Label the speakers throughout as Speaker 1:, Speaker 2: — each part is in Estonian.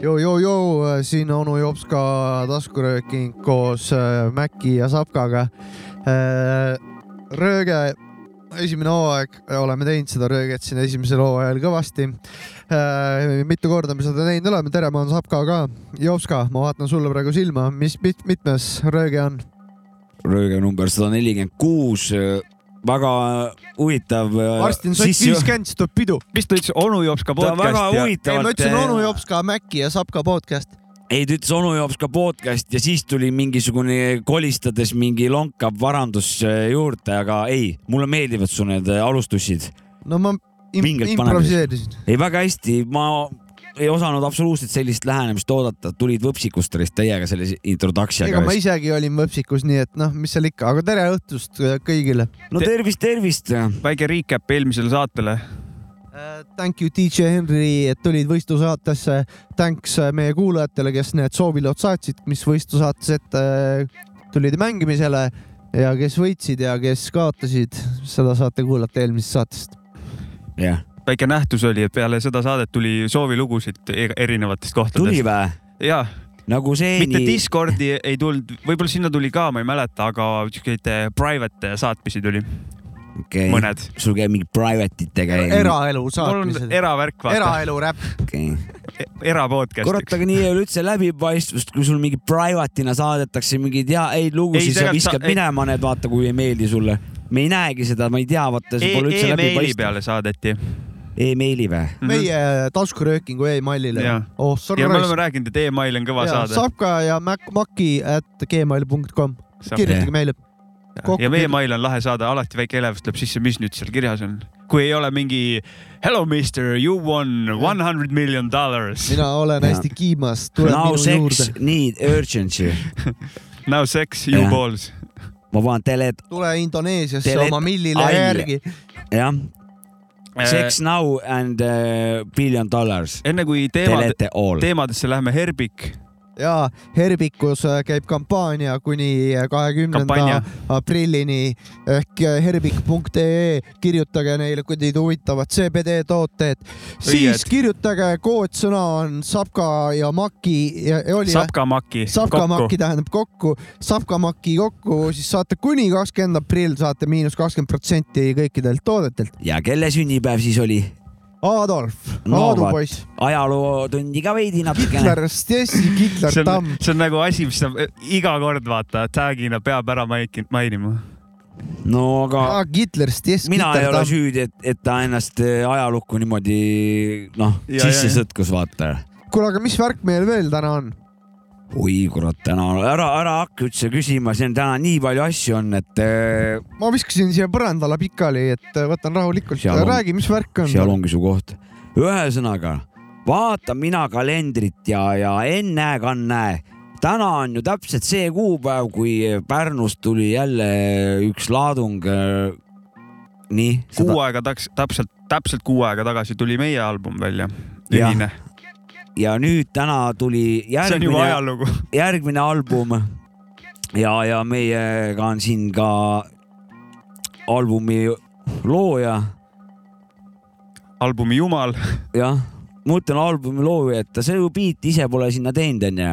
Speaker 1: joo-joo-joo , äh, siin onu Jopska taskurööking koos äh, Mäki ja Sapkaga . rööge , esimene hooaeg , oleme teinud seda rööget siin esimesel hooajal kõvasti . mitu korda me seda teinud oleme , tere , ma olen Sapka ka . Jopska , ma vaatan sulle praegu silma , mis mit, , mitmes rööge on ?
Speaker 2: rööge number sada nelikümmend kuus , väga huvitav . äh,
Speaker 1: Arstin Sott viiskümmend , siis tuleb pidu .
Speaker 3: mis ta ütles , onu Jopska
Speaker 2: ta väga
Speaker 3: podcast ja
Speaker 1: ei , ma
Speaker 2: huvitavalt .
Speaker 1: ütlesin onu . Jopska , Mäki ja Sapka podcast .
Speaker 2: ei , ta ütles onu jops ka podcast ja siis tuli mingisugune kolistades mingi lonkab varandus eh, juurde , aga ei , mulle meeldivad su need eh, alustussid .
Speaker 1: no ma im
Speaker 2: Pingelt paneb
Speaker 1: improviseerisin .
Speaker 2: ei , väga hästi , ma ei osanud absoluutselt sellist lähenemist oodata , tulid võpsikust olid täiega selle
Speaker 1: ega
Speaker 2: introduction'iga .
Speaker 1: ma isegi olin võpsikus , nii et noh , mis seal ikka , aga tere õhtust äh, kõigile
Speaker 2: no tervist , tervist .
Speaker 3: väike recap eelmisele saatele .
Speaker 1: Äh, Thank you DJ Henry , et tulid võistlusaatesse . Thanks äh, meie kuulajatele , kes need soovilood saatsid , mis võistlusaates ette äh, tulid mängimisele ja kes võitsid ja kes kaotasid , seda saate kuulata eelmisest saatest .
Speaker 2: jah ,
Speaker 3: väike nähtus oli , et peale seda saadet tuli soovilugusid e- erinevatest
Speaker 2: tuli
Speaker 3: kohtadest .
Speaker 2: vä ?
Speaker 3: ja ,
Speaker 2: nagu
Speaker 3: mitte
Speaker 2: seeni ,
Speaker 3: Discordi ei tulnud , võib-olla sinna tuli ka , ma ei mäleta , aga siukseid eh, private saatmisi tuli
Speaker 2: okei ,
Speaker 3: mõned .
Speaker 2: sul käib mingi private itega .
Speaker 1: eraelu
Speaker 3: mul on
Speaker 1: saatmised .
Speaker 3: eravärk , vaata ,
Speaker 1: eraelu räpp .
Speaker 2: okei okay. . kurat ,
Speaker 3: erapodcast'iks .
Speaker 2: aga nii ei ole üldse läbipaistvust , kui sul mingi private'ina saadetakse mingeid ja häid lugusid ,
Speaker 3: Ei,
Speaker 2: sa
Speaker 3: tegelikult
Speaker 2: viskad
Speaker 3: sa- ei-
Speaker 2: minema need , vaata , kui ei meeldi sulle . me ei näegi seda , ma ei tea , vaata , see pole üldse
Speaker 3: E- E-meili
Speaker 2: läbipaistev .
Speaker 3: peale saadeti . Mhm.
Speaker 2: E-meili või ?
Speaker 1: meie äh, taskuröökingu e-mailile
Speaker 3: Jah. .
Speaker 1: oh ,
Speaker 3: ja me oleme
Speaker 1: sorry .
Speaker 3: rääkinud , et email on kõva saade .
Speaker 1: Sapka ja Mac- , Maci at gmail.com , kirjutage meile .
Speaker 3: ja meie mail on lahe saade , alati väike elevus tuleb sisse , mis nüüd seal kirjas on . kui ei ole mingi hello mister , you won one hundred million dollars .
Speaker 1: mina olen
Speaker 2: Jaa.
Speaker 1: hästi kiimas , tule
Speaker 2: Now
Speaker 1: minu
Speaker 2: sex
Speaker 1: juurde .
Speaker 2: need urgency .
Speaker 3: Now sex you
Speaker 2: Jah.
Speaker 3: balls .
Speaker 2: ma panen tele ,
Speaker 1: tule Indoneesiasse
Speaker 2: Telet-
Speaker 1: oma millile
Speaker 2: Aile.
Speaker 1: järgi .
Speaker 2: jah , sex now and uh, billion dollars .
Speaker 3: Äh, enne kui teemad ,
Speaker 2: Telete all .
Speaker 3: teemadesse läheme , Herbik ,
Speaker 1: ja Herbikus äh, käib kampaania kuni äh, kahekümnenda
Speaker 3: Kampaania.
Speaker 1: aprillini ehk äh, herbik.ee , kirjutage neile , kui teid huvitavad CBD tooted , siis
Speaker 3: Õied.
Speaker 1: kirjutage , koodsõna on Sapka ja Maki ja ja oli või ?
Speaker 3: Sapkamaki .
Speaker 1: Sapkamaki tähendab kokku , Sapkamaki kokku , siis saate kuni kakskümmend aprill saate miinus kakskümmend protsenti kõikidelt toodetelt .
Speaker 2: ja kelle sünnipäev siis oli ?
Speaker 1: Adolf ,
Speaker 2: No
Speaker 1: Aadu
Speaker 2: vot.
Speaker 1: poiss ,
Speaker 2: ajalootundi ka veidi natukene .
Speaker 1: Hitler Stessi , Hitler
Speaker 3: see on
Speaker 1: Tamm ,,
Speaker 3: see on nagu asi , mis ta iga kord vaata tag'ina peab ära maiki- mainima .
Speaker 2: no aga
Speaker 1: Hitler Stess ,
Speaker 2: mina
Speaker 1: Ah,
Speaker 2: ei
Speaker 1: Hitler
Speaker 2: ole
Speaker 1: Tamm .
Speaker 2: süüdi , et , et ta ennast eh, ajalukku niimoodi noh ,
Speaker 3: Ja,
Speaker 2: sisse
Speaker 3: ja, ja.
Speaker 2: sõtkus , vaata .
Speaker 1: kuule , aga mis värk meil veel täna on ?
Speaker 2: oi kurat , täna ära , ära hakka üldse küsima , siin on täna nii palju asju on , et eh,
Speaker 1: ma viskasin siia põrandale pikali , et äh, võtan rahulikult ,
Speaker 2: Seal on-
Speaker 1: räägi , mis värk
Speaker 2: seal
Speaker 1: on .
Speaker 2: ongi su koht . ühesõnaga , vaatan mina kalendrit ja , ja enne ka näe , täna on ju täpselt see kuupäev , kui Pärnust tuli jälle üks laadung . nii ,
Speaker 3: kuu aega taks- , täpselt , täpselt kuu aega tagasi tuli meie album välja .
Speaker 2: Jah.
Speaker 3: ühine .
Speaker 2: ja nüüd täna tuli
Speaker 3: see on juba
Speaker 2: järgmine
Speaker 3: ajalugu .
Speaker 2: järgmine album ja , ja meiega on siin ka albumi looja ,
Speaker 3: albumi Jumal .
Speaker 2: jah , ma ütlen albumi looja , et ta see ju beat'i ise pole sinna teinud , onju .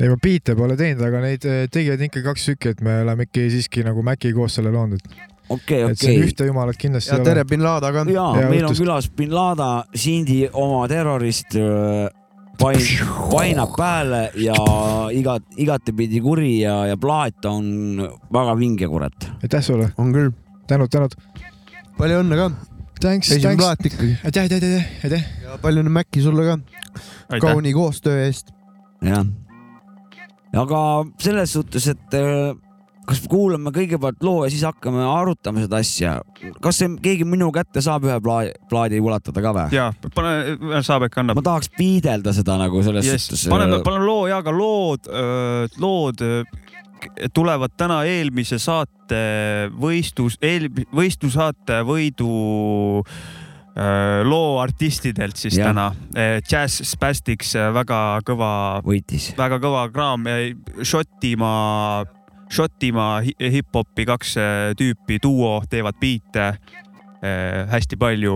Speaker 4: ei , ma biite pole teinud , aga neid eh, tegijad ikka kaks tükki , et me oleme ikki siiski nagu Maci koos selle loonud , et
Speaker 2: okei ,
Speaker 4: et siin
Speaker 2: okei .
Speaker 4: ühte jumalat kindlasti
Speaker 1: ja
Speaker 4: ei
Speaker 1: tere
Speaker 4: ole .
Speaker 1: bin Laden ka .
Speaker 2: ja
Speaker 4: Ja
Speaker 2: meil on
Speaker 4: õhtust.
Speaker 2: külas bin Laden , Sindi oma terrorist äh, öö, pain- , painab päele ja igat , igatepidi kuri ja , ja plaat on väga vinge , kurat .
Speaker 4: aitäh sulle ,
Speaker 1: on küll ,
Speaker 4: tänud , tänud .
Speaker 1: palju õnne ka ,
Speaker 4: Thanks ,
Speaker 1: esimene
Speaker 4: thanks .
Speaker 1: plaat ikkagi .
Speaker 4: aitäh , aitäh , aitäh , aitäh .
Speaker 1: ja palju õnne Mäkki sulle ka , kauni koostöö eest .
Speaker 2: jah . aga selles suhtes , et äh, kas me kuulame kõigepealt loo ja siis hakkame arutama seda asja . kas see, keegi minu kätte saab ühe pla- , plaadi ulatada ka või ?
Speaker 3: ja pane , Saabek annab
Speaker 2: ma . tahaks piidelda seda nagu selles yes,
Speaker 3: yes.
Speaker 2: suhtes .
Speaker 3: paneme , paneme loo ja ka lood , lood öö, k- tulevad täna eelmise saate võistlus , eel- , võistlusaate võidu öö, loo artistidelt siis
Speaker 2: Jah.
Speaker 3: ja. täna . Jazz Spastiks öö, väga kõva ,
Speaker 2: võitis .
Speaker 3: väga kõva kraam , Šotimaa , Šotimaa hi- hip-hopi kaks öö, tüüpi duo teevad äh, biite öö, hästi palju ,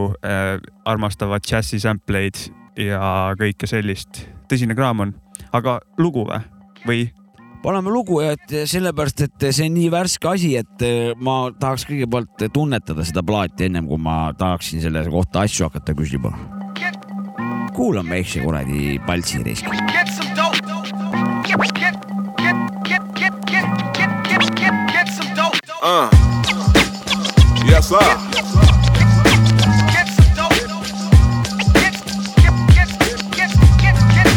Speaker 3: armastavad džässi äh, sampleid ja kõike sellist . tõsine kraam on , aga lugu vä? või ?
Speaker 2: paneme lugu ja et sellepärast , et see on nii värske asi , et eh, ma tahaks kõigepealt tunnetada seda plaati ennem kui ma tahaksin selle kohta asju hakata küsima . kuulame eks see kuradi Paltsi reisk .
Speaker 5: Get some dope. Get, get, get, get, get, get, get, get, get, get some dope.
Speaker 6: Uh. Yes, sir.
Speaker 5: Get some dope. Get, get, get, get, get, get,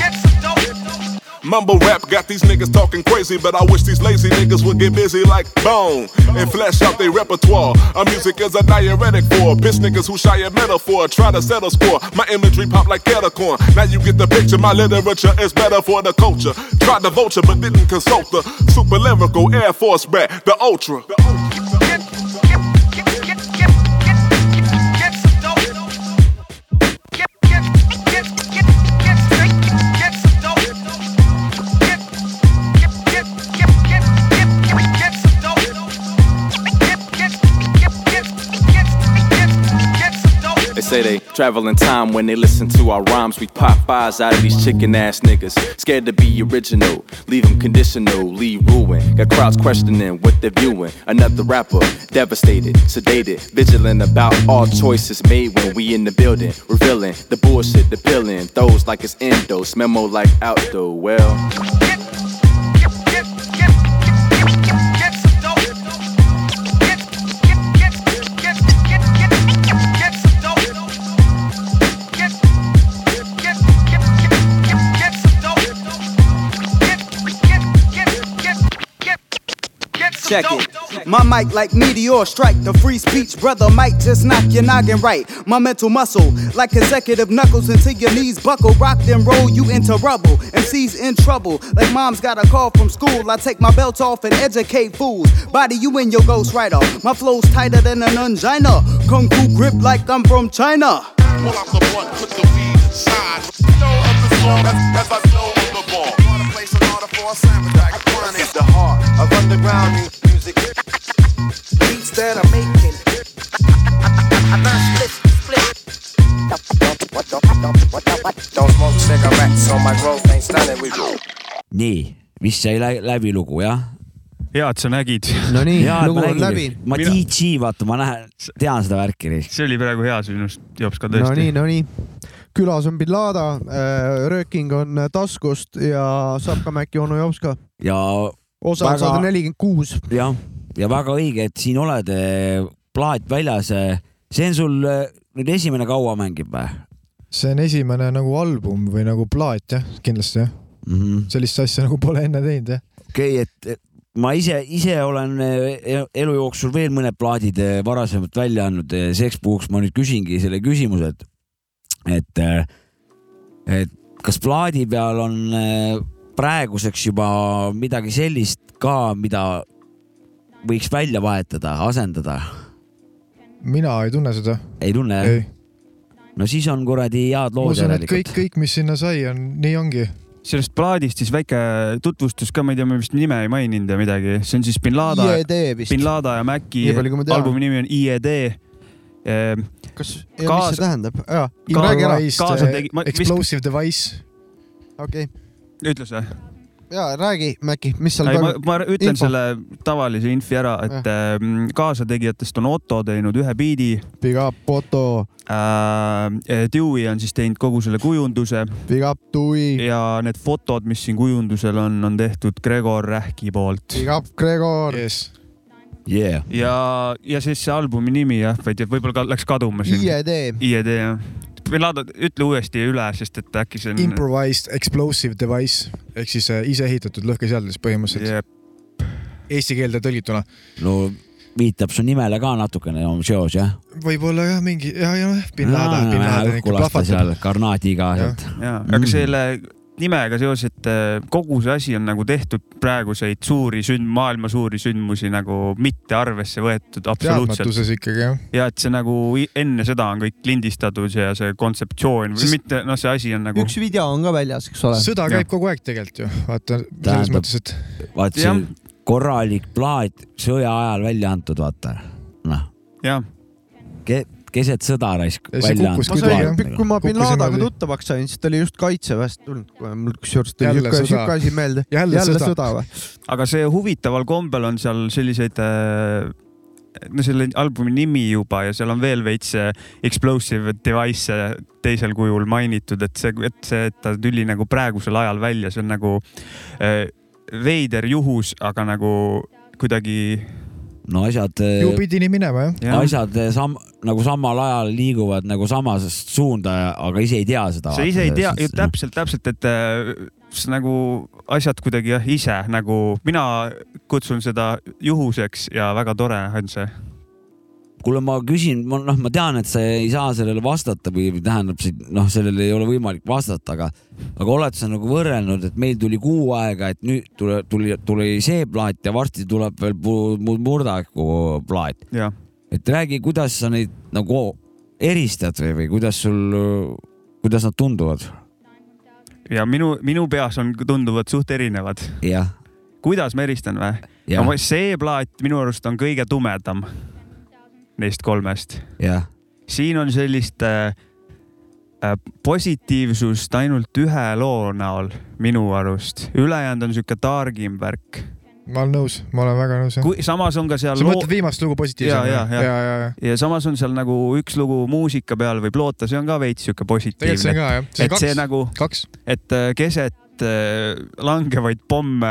Speaker 5: get some dope.
Speaker 6: Mumble rap got these niggas talking crazy, but I wish these lazy niggas would get busy like bone and flesh out their repertoire. Our music is a diuretic for bitch niggas who shy at metaphor, try to settle score. My imagery pop like kettle corn. Now you get the picture. My literature is better for the culture. Tried the vulture, but didn't consult the super lyrical Air Force rat, the ultra.
Speaker 5: Get, get, get, get, get, get, get some dope. Get, get, get, get, get, get, get some dope. Get, get, get, get, get, get, get some dope. Get, get, get, get, get, get, get some dope.
Speaker 7: They say they travel in time when they listen to our rhymes. We pop fives out of these chicken ass niggas. Scared to be original, leave them conditional, leave ruin. Got crowds questioning what they're viewing. Another rapper, devastated, sedated, vigilant about all choices made when we in the building. Revealing the bullshit, the pillin', throws like it's endos, memo like outdo. Well.
Speaker 5: Get, get, get, get, get, get, get some dope. Get, get, get, get, get, get, get, get some dope. Get, get, get, get, get, get, get some dope. Get, get, get, get, get, get some
Speaker 8: Check
Speaker 5: dope.
Speaker 8: it. My mic like meteor strike. The free speech brother might just knock your noggin right. My mental muscle like consecutive knuckles until your knees buckle. Rock then roll you into rubble. MC's in trouble like mom's got a call from school. I take my belt off and educate fools. Body you in your ghostwriter. My flow's tighter than an angina. Kung fu grip like I'm from China.
Speaker 6: Pull out the blunt, put the weed aside. Know of the song as, as I know of the ball. Wanna play some order for a samurai. It's the heart of underground mu- music.
Speaker 9: beats that I'm making. Don't smoke cigarettes, so my growth ain't stunning. We
Speaker 2: nii , mis sai lä- läbi lugu jah ?
Speaker 3: hea , et sa nägid .
Speaker 1: Nonii , lugu on läbi .
Speaker 2: ma
Speaker 3: Mina-
Speaker 2: DJ , vaata , ma näen , tean seda värki reisk .
Speaker 3: see oli praegu hea sinust , Jops ka
Speaker 1: Nonii ,
Speaker 3: tõesti .
Speaker 1: nonii . külas on Billada , rööking on äh, taskust ja saab ka Mäkki onu jops ka .
Speaker 2: ja
Speaker 1: osa on
Speaker 2: Väga-
Speaker 1: sada nelikümmend kuus .
Speaker 2: jah , ja väga õige , et siin oled , plaat väljas . see on sul eh, nüüd esimene kaua mängib või
Speaker 4: see on esimene nagu album või nagu plaat jah , kindlasti jah ,
Speaker 2: mm -hmm. ?
Speaker 4: sellist asja nagu pole enne teinud jah .
Speaker 2: okei okay, , et ma ise , ise olen eh, elu jooksul veel mõned plaadid eh, varasemalt välja andnud , seks puhuks ma nüüd küsingi selle küsimuse , et , et , et kas plaadi peal on eh, praeguseks juba midagi sellist ka , mida võiks välja vahetada , asendada ?
Speaker 4: mina ei tunne seda ,
Speaker 2: ei tunne jah ?
Speaker 4: ei .
Speaker 2: no siis on kuradi head
Speaker 4: ma
Speaker 2: lood
Speaker 4: usun , et kõik ,
Speaker 2: järelikult .
Speaker 4: kõik , mis sinna sai , on , nii ongi .
Speaker 3: sellest plaadist siis väike tutvustus ka , ma ei tea , me vist nime ei maininud ja midagi , see on siis bin Lada ,
Speaker 1: IED vist
Speaker 3: bin . Lada ja Maci
Speaker 1: E Nii palju, kui ma tean.
Speaker 3: albumi nimi on E IED . Äh,
Speaker 1: kas ,
Speaker 3: Kaas-
Speaker 1: mis see tähendab ? jaa ,
Speaker 3: Kaasa-
Speaker 1: räägi ära .
Speaker 3: kaasa tegi- ma-
Speaker 4: Explosive Device ,
Speaker 1: okei ,
Speaker 3: ütle sa .
Speaker 1: jaa , räägi Mäkki , mis seal
Speaker 3: ei , ma
Speaker 1: toimub .,
Speaker 3: ma ütlen
Speaker 1: info.
Speaker 3: info. selle tavalise infi ära , et äh, kaasategijatest on Otto teinud ühe biidi
Speaker 1: Big up Otto ,
Speaker 3: äh, , Dewey on siis teinud kogu selle kujunduse
Speaker 1: big up Tui ,
Speaker 3: ja need fotod , mis siin kujundusel on , on tehtud Gregor Rähki poolt
Speaker 1: big up Gregor ,
Speaker 4: yes .
Speaker 2: Yeah.
Speaker 3: ja , ja siis see albumi nimi jah , ma ei tea , võib-olla ka- läks kaduma siin .
Speaker 1: IED .
Speaker 3: IED jah . või laada , ütle uuesti üle , sest et äkki see on .
Speaker 4: Improvised Explosive Device ehk siis äh, iseehitatud lõhkeseadus põhimõtteliselt yeah. , eesti keelde tõlgituna .
Speaker 2: no viitab su nimele ka natukene on seos jah ?
Speaker 4: võib-olla jah , mingi ja , ja bin Laden , bin Laden ikka
Speaker 2: õhku lasta
Speaker 4: plahvatab .
Speaker 2: seal garnaadiga
Speaker 4: Jah.
Speaker 2: sealt .
Speaker 3: jaa , aga
Speaker 2: Mm.
Speaker 3: selle nimega seoses , et äh, kogu see asi on nagu tehtud praeguseid suuri sünd- , maailma suuri sündmusi nagu mitte arvesse võetud absoluutselt .
Speaker 4: teadmatuses ikkagi jah .
Speaker 3: ja et see nagu i- enne seda on kõik lindistatud ja see kontseptsioon või
Speaker 4: Sest-
Speaker 3: mitte , noh , see asi on nagu
Speaker 1: üks video on ka väljas , eks ole .
Speaker 4: sõda
Speaker 3: Jah.
Speaker 4: käib kogu aeg tegelikult ju , vaata selles
Speaker 2: Tähendab-
Speaker 4: mõttes , et
Speaker 2: vaat see
Speaker 3: Jah.
Speaker 2: korralik plaat sõja ajal välja antud , vaata . noh ,
Speaker 3: jah ,
Speaker 2: kes , keset sõda raisk
Speaker 4: Ja see
Speaker 2: välja nagu.
Speaker 4: kukkus
Speaker 1: ma
Speaker 4: Kui
Speaker 1: sain
Speaker 3: nagu.
Speaker 4: tore. ,
Speaker 1: kui ma bin
Speaker 4: Kukkusin
Speaker 1: Ladaga
Speaker 4: niimoodi.
Speaker 1: tuttavaks sain , siis ta oli just kaitseväest tulnud , mul kusjuures tuli
Speaker 4: Jälle
Speaker 1: siuke ,
Speaker 4: sõda.
Speaker 1: siuke asi meelde .
Speaker 4: Jälle
Speaker 1: jälle
Speaker 4: sõda.
Speaker 1: sõda või ?
Speaker 3: aga see huvitaval kombel on seal selliseid äh, no selle albumi nimi juba ja seal on veel veits äh, explosive device teisel kujul mainitud , et see , et see , et ta tuli nagu praegusel ajal välja , see on nagu äh, veider juhus , aga nagu kuidagi .
Speaker 2: no asjad ,
Speaker 4: ju pidi nii minema jah .
Speaker 2: asjad eh, sam- , nagu samal ajal liiguvad nagu samas suunda , aga ise ei tea seda . eh,
Speaker 3: sa ise ei tea , täpselt , täpselt , et äh, s- nagu asjad kuidagi jah , ise nagu mina kutsun seda juhuseks ja väga tore on see .
Speaker 2: kuule , ma küsin , ma noh , ma tean , et sa ei saa sellele vastata või või tähendab , noh , sellele ei ole võimalik vastata , aga , aga oled sa nagu võrrelnud , et meil tuli kuu aega , et nüüd tule, tuli , tuli see plaat ja varsti tuleb veel pu- mu- murdaku plaat .
Speaker 3: jah ,
Speaker 2: et räägi , kuidas sa neid nagu eristad või , või kuidas sul , kuidas nad tunduvad ?
Speaker 3: ja minu , minu peas on , tunduvad suht erinevad .
Speaker 2: jah ,
Speaker 3: kuidas ma eristan või ?
Speaker 2: jah ,
Speaker 3: see plaat minu arust on kõige tumedam neist kolmest .
Speaker 2: jah ,
Speaker 3: siin on sellist äh, äh, positiivsust ainult ühe loo näol minu arust , ülejäänud on sihuke targim värk .
Speaker 4: ma olen nõus , ma olen väga nõus jah .
Speaker 3: samas on ka seal
Speaker 4: sa
Speaker 3: loo
Speaker 4: mõtled viimast lugu positiivsena ?
Speaker 3: Jaa, jaa, jaa.
Speaker 4: ja , ja , ja .
Speaker 3: ja samas on seal nagu üks lugu muusika peal võib loota , see on ka veits sihuke
Speaker 4: tegelikult see on
Speaker 3: positiivne .
Speaker 4: ka jah , see
Speaker 3: et
Speaker 4: on
Speaker 3: see
Speaker 4: kaks ,
Speaker 3: nagu ,
Speaker 4: kaks .
Speaker 3: et äh, keset äh, langevaid pomme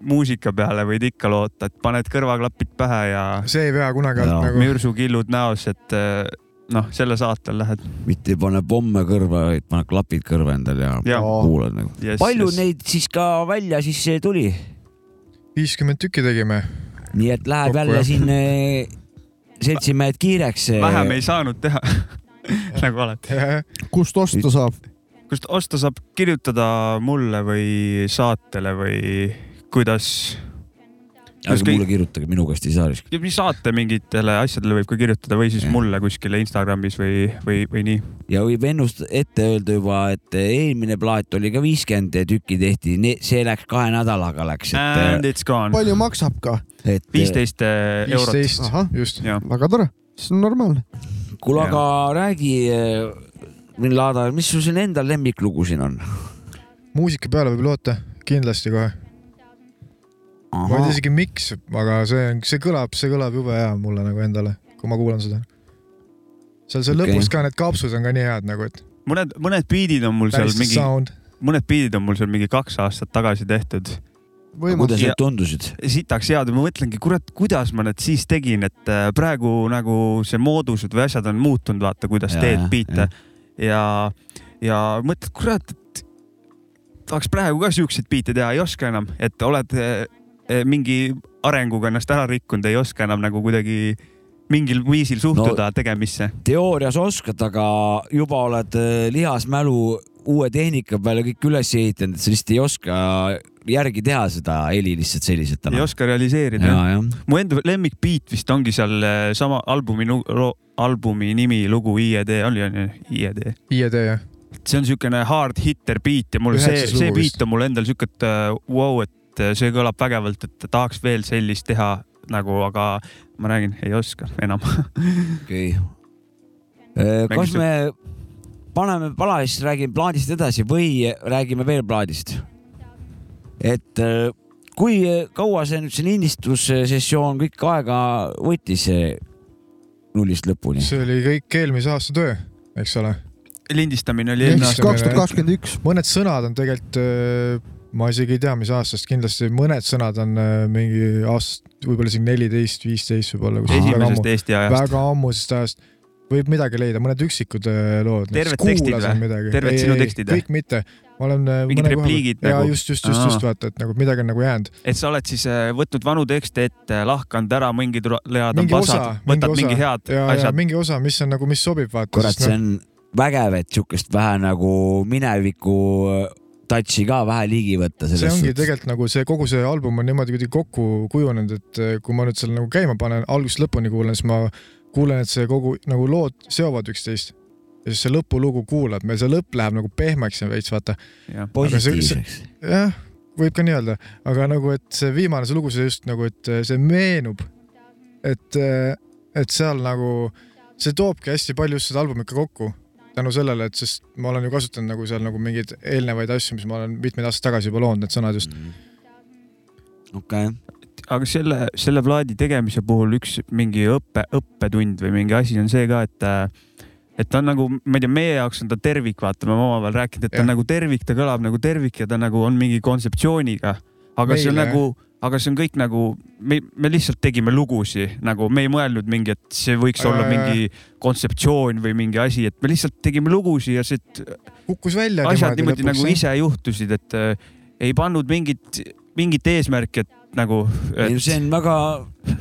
Speaker 3: muusika peale võid ikka loota , et paned kõrvaklapid pähe ja
Speaker 4: see ei pea kunagi
Speaker 2: Jaa.
Speaker 4: alt nagu .
Speaker 3: mürsukillud näos , et äh, noh , selle saatel lähed .
Speaker 2: mitte ei pane pomme kõrva , vaid pane klapid kõrva endale ja,
Speaker 3: Jah.
Speaker 2: kuulad nagu .
Speaker 3: Yes,
Speaker 2: palju
Speaker 3: yes.
Speaker 2: neid siis ka välja siis eh, tuli ?
Speaker 4: viiskümmend tükki tegime .
Speaker 2: nii et läheb
Speaker 4: Kokku,
Speaker 2: jälle
Speaker 4: jah.
Speaker 2: siin eh, seltsimehed kiireks . eh,
Speaker 3: vähem ei saanud teha . nagu alati .
Speaker 1: kust osta saab ?
Speaker 3: kust osta saab , kirjutada mulle või saatele või kuidas ?
Speaker 2: ärge
Speaker 3: Ükskõik-
Speaker 2: mulle kirjutage , minu käest ei saa risk .
Speaker 3: mis saate mingitele asjadele võib ka kirjutada või siis
Speaker 2: Jah.
Speaker 3: mulle kuskile Instagramis või , või , või nii .
Speaker 2: ja võib ennust- , ette öelda juba , et eh, eelmine plaat oli ka viiskümmend tükki tehti , see läks kahe nädalaga läks ,
Speaker 3: And
Speaker 2: et ,
Speaker 3: it's gone .
Speaker 1: palju maksab ka ?
Speaker 2: et .
Speaker 3: Äh,
Speaker 2: eh,
Speaker 3: viisteist äh, eurot .
Speaker 4: viisteist
Speaker 1: Ahah. ,
Speaker 4: just .
Speaker 3: jah ,
Speaker 1: väga tore , see on normaalne .
Speaker 2: kuule ,
Speaker 3: Jah.
Speaker 2: aga räägi , Vin Laada , mis sul siin endal lemmiklugu siin on ?
Speaker 4: muusika peale võib loota , kindlasti kohe . ma ei tea isegi miks , aga see on , see kõlab , see kõlab jube hea mulle nagu endale , kui ma kuulan seda . seal seal
Speaker 2: Okei.
Speaker 4: okay. lõpus ka need kaapsud on ka nii head nagu , et
Speaker 3: mõned , mõned biidid on mul seal
Speaker 4: päris mingi...
Speaker 3: mingi ,
Speaker 4: sound .
Speaker 3: mõned biidid on mul seal mingi kaks aastat tagasi tehtud .
Speaker 1: võimas .
Speaker 2: kuidas
Speaker 3: Ja-
Speaker 2: need tundusid ?
Speaker 3: sitaks head ja ma mõtlengi , kurat , kuidas ma need siis tegin , et äh, praegu nagu see moodused või asjad on muutunud , vaata , kuidas
Speaker 2: Jaa,
Speaker 3: ja, teed
Speaker 2: jah,
Speaker 3: biite ja , ja mõtled , kurat , et tahaks praegu ka siukseid biite teha , ei oska enam , et oled äh, äh, mingi arenguga ennast ära rikkunud , ei oska enam nagu kuidagi mingil viisil suhtuda no, tegemisse .
Speaker 2: teoorias oskad , aga juba oled eh, lihasmälu uue tehnika peale kõik üles ehitanud , et sa lihtsalt ei oska järgi teha seda heli lihtsalt selliselt
Speaker 3: ei
Speaker 2: täna .
Speaker 3: oska realiseerida .
Speaker 2: ja , jah .
Speaker 3: mu enda lemmikbiit vist ongi seal äh, sama albumi , albumi nimi lugu IED , oli on ju , IED
Speaker 4: IED jah ,
Speaker 3: see on niisugune hard hitter beat ja mul see ,
Speaker 4: Üheksas lugu
Speaker 3: see beat
Speaker 4: vist.
Speaker 3: on mul endal niisugune , et äh, vau wow, , et äh, see kõlab vägevalt , et tahaks veel sellist teha nagu , aga ma räägin , ei oska enam .
Speaker 2: okei okay. . kas
Speaker 3: Mängis-
Speaker 2: me paneme pala ja siis räägime plaadist edasi või räägime veel plaadist ? et eh, kui kaua see nüüd see lindistussessioon kõik aega võttis eh, nullist lõpuni ?
Speaker 4: see oli kõik eelmise aasta töö , eks ole .
Speaker 3: lindistamine oli
Speaker 1: ehk
Speaker 3: enne
Speaker 4: Linnas-
Speaker 1: siis kaks tuhat kakskümmend üks .
Speaker 4: mõned sõnad on tegelikult , ma isegi ei tea , mis aastast , kindlasti mõned sõnad on öö, mingi aastast , võib-olla isegi neliteist , viisteist võib-olla .
Speaker 3: esimesest Eesti ajast .
Speaker 4: väga ammusest ajast võib midagi leida , mõned üksikud äh, lood .
Speaker 3: Terved tekstid või? Terved sinu tekstid
Speaker 4: või ?
Speaker 3: või?
Speaker 4: kõik mitte , ma olen .
Speaker 3: Mingid repliigid
Speaker 4: nagu ?
Speaker 3: nagu?
Speaker 4: jaa , just , just , just , just
Speaker 3: Aa.
Speaker 4: vaata , et nagu midagi on nagu jäänud .
Speaker 3: et sa oled siis äh, võtnud vanu tekste ette , lahkanud ära mingid ro- lead on
Speaker 4: Mingi osa,
Speaker 3: pasad ,
Speaker 4: mingi
Speaker 3: võtad
Speaker 4: osa.
Speaker 3: mingi head
Speaker 4: ja , ja
Speaker 3: asjad .
Speaker 4: mingi osa , mis on nagu , mis sobib , vaata . noh,
Speaker 2: kurat , see on vägev , et sihukest vähe nagu mineviku touch'i ka vähe ligi võtta
Speaker 4: see
Speaker 2: selles
Speaker 4: ongi
Speaker 2: suhtes .
Speaker 4: tegelikult nagu see kogu see album on niimoodi kuidagi kokku kujunenud , et äh, kui ma nüüd selle nagu käima panen , algusest lõpuni kuulan , siis ma kuulen , et see kogu nagu lood seovad üksteist ja siis see lõpulugu kuulad , meil see lõpp läheb nagu pehmeks ja veits vaata .
Speaker 2: positiivseks .
Speaker 4: jah , võib ka nii öelda , aga nagu , et see viimane see eh, lugu , see just nagu , et see meenub , et , et eh, seal nagu see toobki hästi palju just seda albumit ka kokku tänu sellele , et sest ma olen ju kasutanud nagu seal nagu mingeid eelnevaid asju , mis ma olen mitmeid aastaid tagasi juba loonud , need sõnad just .
Speaker 2: okei ,
Speaker 3: aga selle , selle plaadi tegemise puhul üks mingi õppe , õppetund või mingi asi on see ka , et äh, et ta on nagu , ma ei tea , meie jaoks on ta tervik , vaata , me oleme omavahel rääkinud , et ta
Speaker 4: Jah.
Speaker 3: on nagu tervik , ta kõlab nagu tervik ja ta nagu on mingi kontseptsiooniga . aga see on
Speaker 4: Meile, jah.
Speaker 3: nagu , aga see on kõik nagu , me , me lihtsalt tegime lugusid , nagu me ei mõelnud mingi , et see võiks olla
Speaker 4: Äh.
Speaker 3: mingi kontseptsioon või mingi asi , et me lihtsalt tegime lugusid ja see
Speaker 4: kukkus välja .
Speaker 3: asjad niimoodi nagu . ise juhtusid , et äh, ei pannud mingit , mingit eesmärki , et nagu .
Speaker 2: see on väga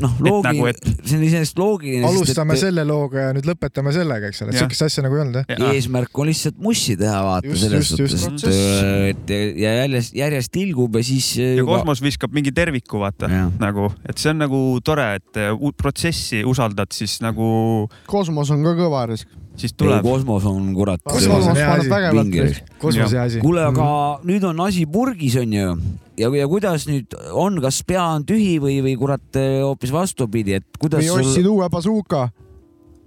Speaker 2: noh ,
Speaker 3: Et nagu,
Speaker 2: loogiline nagu, , et... see on iseenesest loogiline .
Speaker 4: alustame et... selle looga ja nüüd lõpetame sellega , eks ole , et
Speaker 3: Jah.
Speaker 4: sihukest asja nagu ei olnud jah .
Speaker 3: Ja.
Speaker 2: eesmärk on lihtsalt mussi teha , vaata
Speaker 4: Just,
Speaker 2: selles
Speaker 4: just, just.
Speaker 2: suhtes , et , et ja järjest , järjest tilgub ja siis äh,
Speaker 3: ja kosmos viskab mingi terviku , vaata
Speaker 2: Jah.
Speaker 3: nagu , et see on nagu tore , et äh, uut protsessi usaldad , siis nagu
Speaker 1: kosmos on ka kõva risk .
Speaker 3: siis
Speaker 2: tuleb .
Speaker 3: tuleb .
Speaker 2: kosmos on kurat .
Speaker 4: Kosmos on Mhm. hea asi.
Speaker 2: Vinge risk.
Speaker 4: kosmose asi .
Speaker 2: kuule , aga nüüd on asi purgis , onju . ja , ja kuidas nüüd on , kas pea on tühi või , või kurat eh, hoopis vastupidi , et kuidas
Speaker 1: või ostsid
Speaker 2: sul ,
Speaker 1: uue bazooka .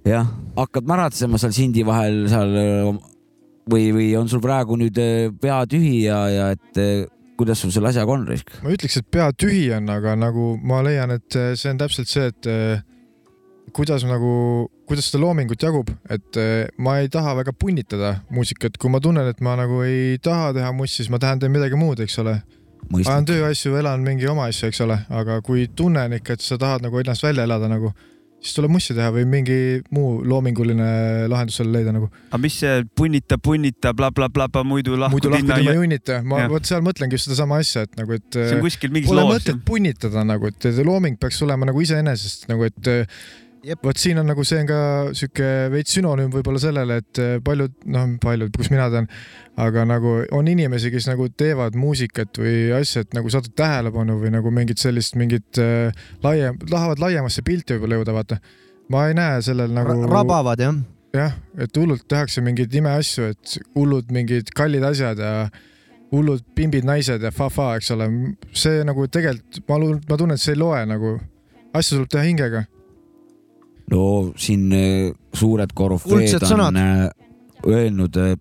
Speaker 2: jah , hakkad märatsema seal sindi vahel seal eh, või , või on sul praegu nüüd eh, pea tühi ja , ja et eh, kuidas sul selle asjaga on , Risk ?
Speaker 4: ma ütleks , et pea tühi on , aga nagu ma leian , et eh, see on täpselt see , et eh, kuidas nagu , kuidas seda loomingut jagub , et eh, ma ei taha väga punnitada muusikat , kui ma tunnen , et ma nagu ei taha teha mussi , siis ma tahan teha midagi muud , eks ole . ajan tööasju , elan mingi oma asju , eks ole , aga kui tunnen ikka , et sa tahad nagu ennast välja elada nagu , siis tuleb mussi teha või mingi muu loominguline lahendus selle leida nagu .
Speaker 3: aga mis see punnita , punnita bla, , blablabla , muidu lahkud
Speaker 4: muidu lahkud
Speaker 3: linna
Speaker 4: ilma
Speaker 3: ei .
Speaker 4: junnita , ma
Speaker 3: Jah.
Speaker 4: vot seal mõtlengi just sedasama asja , et nagu , et
Speaker 3: see on
Speaker 4: eh,
Speaker 3: kuskil mingis
Speaker 4: Pole
Speaker 3: loos .
Speaker 4: mõtet punnitada nagu , et see looming peaks olema nagu iseenesest nagu , et
Speaker 1: Jep.
Speaker 4: vot siin on nagu see on ka sihuke veits sünonüüm võib-olla sellele , et eh, paljud , noh , paljud , kus mina tean , aga nagu on inimesi , kes nagu teevad muusikat või asja , et nagu saadud tähelepanu või nagu mingit sellist , mingit eh, laiem , tahavad laiemasse pilti võib-olla jõuda , vaata . ma ei näe sellel nagu
Speaker 1: rabavad jah ?
Speaker 4: jah , et hullult tehakse mingeid imeasju , et hullud mingid kallid asjad ja hullud pimbid naised ja fa-fa , eks ole . see nagu tegelikult , ma , ma tunnen , et see ei loe nagu , asja tuleb teha hingega .
Speaker 2: no siin eh, suured korüfeed
Speaker 1: Kuldsed
Speaker 2: on
Speaker 1: sõnad.
Speaker 2: eh, öelnud eh,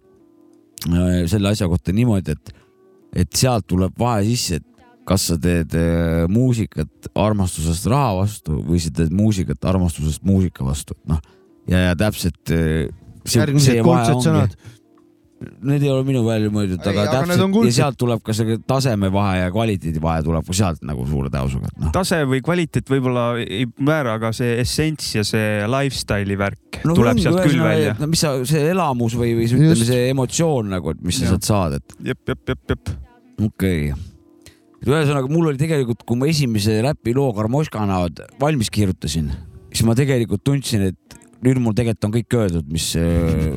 Speaker 2: eh, selle asja kohta niimoodi , et , et sealt tuleb vahe sisse , et kas sa teed eh, muusikat armastusest raha vastu või sa teed muusikat armastusest muusika vastu , et noh , ja , ja täpselt eh, see,
Speaker 1: järgmised
Speaker 2: see vahe
Speaker 1: kuldsed sõnad
Speaker 2: ongi .. Need ei ole minu välja mõeldud ,
Speaker 1: Ei,
Speaker 2: aga
Speaker 1: aga need on
Speaker 2: täpselt ja
Speaker 1: kuldsed.
Speaker 2: sealt tuleb ka see tasemevahe ja kvaliteedivahe tuleb ka sealt nagu suure tõusuga , et noh .
Speaker 3: tase või kvaliteet võib-olla ei määra , aga see essents ja see lifestyle'i värk
Speaker 2: no
Speaker 3: no, tuleb
Speaker 2: ongi,
Speaker 3: sealt küll
Speaker 2: ühesõnaga,
Speaker 3: välja
Speaker 2: et . no mis sa , see elamus või , või ütleme
Speaker 1: Just.
Speaker 2: see emotsioon nagu , et mis sa
Speaker 4: Jah.
Speaker 2: sealt saad , et
Speaker 3: jep , jep , jep , jep .
Speaker 2: okei okay. . ühesõnaga , mul oli tegelikult , kui ma esimese räpiloo Karmoškana valmis kirjutasin , siis ma tegelikult tundsin , et nüüd mul tegelikult on kõik öeldud , mis ,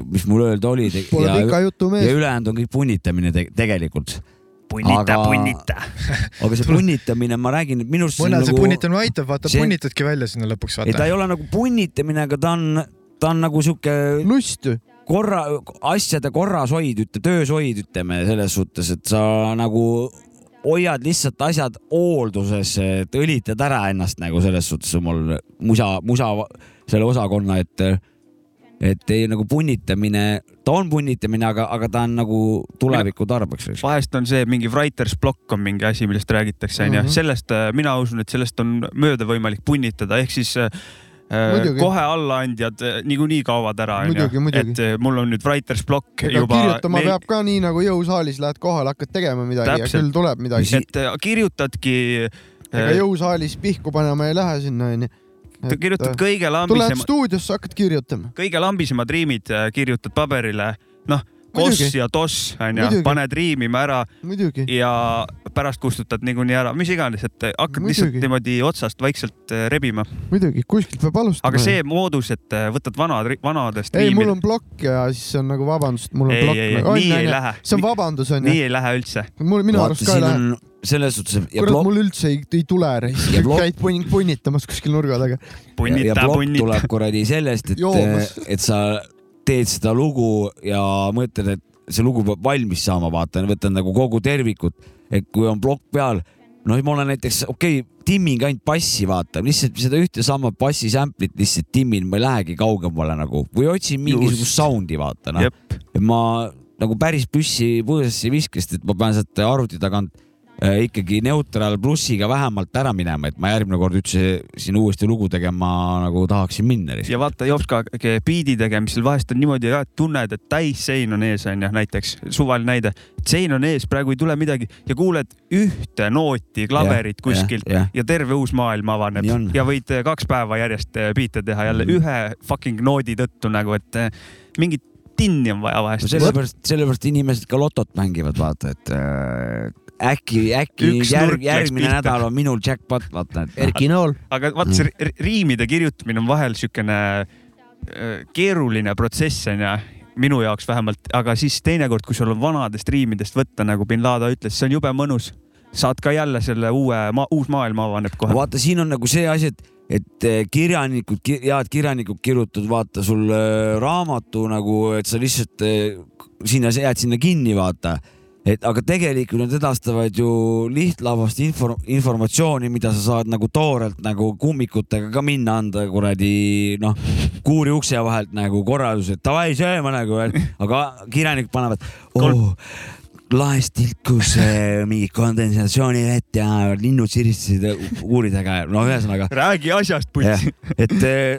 Speaker 2: mis mul öelda oli te-
Speaker 1: Pole
Speaker 2: ja,
Speaker 1: pika jutu
Speaker 2: ja
Speaker 1: mees .
Speaker 2: ülejäänud on kõik punnitamine te tegelikult .
Speaker 3: punnita
Speaker 2: Aga-
Speaker 3: aga... , punnita .
Speaker 2: aga see punnitamine , ma räägin , et minu arust see on
Speaker 4: mõnel see
Speaker 2: nagu ,
Speaker 4: punnitamine aitab , vaata
Speaker 2: see-
Speaker 4: see... punnitadki välja sinna lõpuks ,
Speaker 2: ei ta
Speaker 4: vaata .
Speaker 2: ei ole nagu punnitamine , aga ta on , ta on nagu sihuke
Speaker 1: lust ju .
Speaker 2: korra , asjade korrashoid , ütle , tööshoid , ütleme selles suhtes , et sa nagu hoiad lihtsalt asjad hoolduses , et õlitad ära ennast nagu selles suhtes on mul musa , musa selle osakonna , et et ei nagu punnitamine , ta on punnitamine , aga , aga ta on nagu tuleviku tarbeks .
Speaker 3: vahest on see mingi writer's block on mingi asi , millest räägitakse , onju .
Speaker 1: Mhm.
Speaker 3: sellest äh, mina usun , et sellest on mööda võimalik punnitada , ehk siis äh,
Speaker 1: Muidugi.
Speaker 3: kohe allaandjad äh, niikuinii kaovad ära ,
Speaker 1: Muidugi,
Speaker 3: onju .
Speaker 1: muidugi.
Speaker 3: et äh, mul on nüüd writer's block
Speaker 1: ega
Speaker 3: juba .
Speaker 1: kirjutama meil... peab ka nii nagu jõusaalis lähed kohale , hakkad tegema midagi Täpselt.
Speaker 3: Täpselt.
Speaker 1: ja küll tuleb midagi .
Speaker 3: et äh, kirjutadki
Speaker 1: ega
Speaker 3: äh, ,
Speaker 1: jõusaalis pihku panema ei lähe sinna onju .
Speaker 3: kirjutad
Speaker 1: äh,
Speaker 3: kõige
Speaker 1: tuled
Speaker 3: lambisema ,
Speaker 1: stuudiosse , hakkad kirjutama .
Speaker 3: kõige lambisemad riimid äh, kirjutad paberile , noh , koss
Speaker 1: Muidugi.
Speaker 3: ja toss , onju
Speaker 1: Muidugi. ,
Speaker 3: paned riimima ära
Speaker 1: muidugi .
Speaker 3: ja pärast kustutad niikuinii ära , mis iganes , et äh, hakkad lihtsalt
Speaker 1: Muidugi.
Speaker 3: niimoodi otsast vaikselt äh, rebima .
Speaker 1: muidugi , kuskilt peab alustama .
Speaker 3: aga see moodus , et äh, võtad vanad , vanadest
Speaker 1: ei , mul
Speaker 3: riimid-
Speaker 1: on plokk ja siis on nagu vabandust , mul on
Speaker 3: ei ,
Speaker 1: plokk . nagu-
Speaker 3: ei , ei , nii ei lähe .
Speaker 1: see on vabandus onju
Speaker 3: nii . ei lähe üldse .
Speaker 1: mul , minu arust ka ei lähe .
Speaker 2: selles suhtes ja
Speaker 1: kurat ,
Speaker 2: plokk ,
Speaker 1: mul üldse ei , ei tule .
Speaker 2: Ja blok-
Speaker 1: käid punn- , punnitamas kuskil nurga taga .
Speaker 2: ja
Speaker 3: punnita ,
Speaker 2: plokk
Speaker 3: punnita .
Speaker 2: tuleb kuradi sellest , et
Speaker 1: Joomas. ,
Speaker 2: et sa teed seda lugu ja mõtled , et see lugu peab valmis saama , vaata , võtad nagu kogu tervikut , et kui on plokk peal , no ma olen näiteks , okei okay, , timmingi ainult bassi , vaata , lihtsalt seda ühte sama bassi sample'it lihtsalt timmin , ma ei lähegi kaugemale nagu või otsin mingisugust
Speaker 3: Just.
Speaker 2: sound'i , vaata noh .
Speaker 3: jep ,
Speaker 2: ma nagu päris püssi põõsasse ei viska , sest et ma pean sealt arvuti tagant äh, ikkagi neutral plussiga vähemalt ära minema , et ma järgmine kord üldse siin uuesti lugu tegema nagu tahaksin minna .
Speaker 3: ja vaata Jopska ke- biidi tegemisel vahest on niimoodi ka , et tunned , et täis sein on ees , onju , näiteks suvaline näide , sein on ees , praegu ei tule midagi ja kuuled ühte nooti klaverit kuskilt
Speaker 2: jah, jah.
Speaker 3: ja terve uus maailm avaneb
Speaker 2: Nii on.
Speaker 3: ja võid eh, kaks päeva järjest eh, biite teha jälle
Speaker 2: Mm.
Speaker 3: ühe fucking noodi tõttu nagu , et eh, mingit tinni on vaja
Speaker 2: no
Speaker 3: vahest .
Speaker 2: sellepärast , sellepärast inimesed ka lotot mängivad , vaata , et äh, äkki , äkki
Speaker 3: Üks
Speaker 2: järg,
Speaker 3: nurk läks
Speaker 2: järgmine
Speaker 3: pihta.
Speaker 2: nädal on minul jackpot , vaata , et
Speaker 1: Erki Nool ,
Speaker 3: aga vaata see ri- riimide kirjutamine on vahel siukene äh, keeruline protsess onju , minu jaoks vähemalt , aga siis teinekord , kui sul on vanadest riimidest võtta , nagu bin Laden ütles , see on jube mõnus . saad ka jälle selle uue ma, , uus maailm avaneb
Speaker 2: Aga
Speaker 3: kohe .
Speaker 2: vaata , siin on nagu see asi , et , et eh, kirjanikud , head kirjanikud kirjutavad , vaata sul äh, raamatu nagu , et sa lihtsalt äh, sinna , sa jääd sinna kinni , vaata . et aga tegelikult nad edastavad ju lihtlabast infor- , informatsiooni , mida sa saad nagu toorelt nagu kummikutega ka minna anda kuradi noh , kuuri ukse vahelt nagu korraldused , davai sööma nagu , aga kirjanikud panevad oh, laest tilkus äh, mingi kondensatsioonivett ja linnud siristasid kuuridega , no ühesõnaga ,
Speaker 3: räägi asjast ,
Speaker 2: jah
Speaker 3: putsi . ,
Speaker 2: et äh,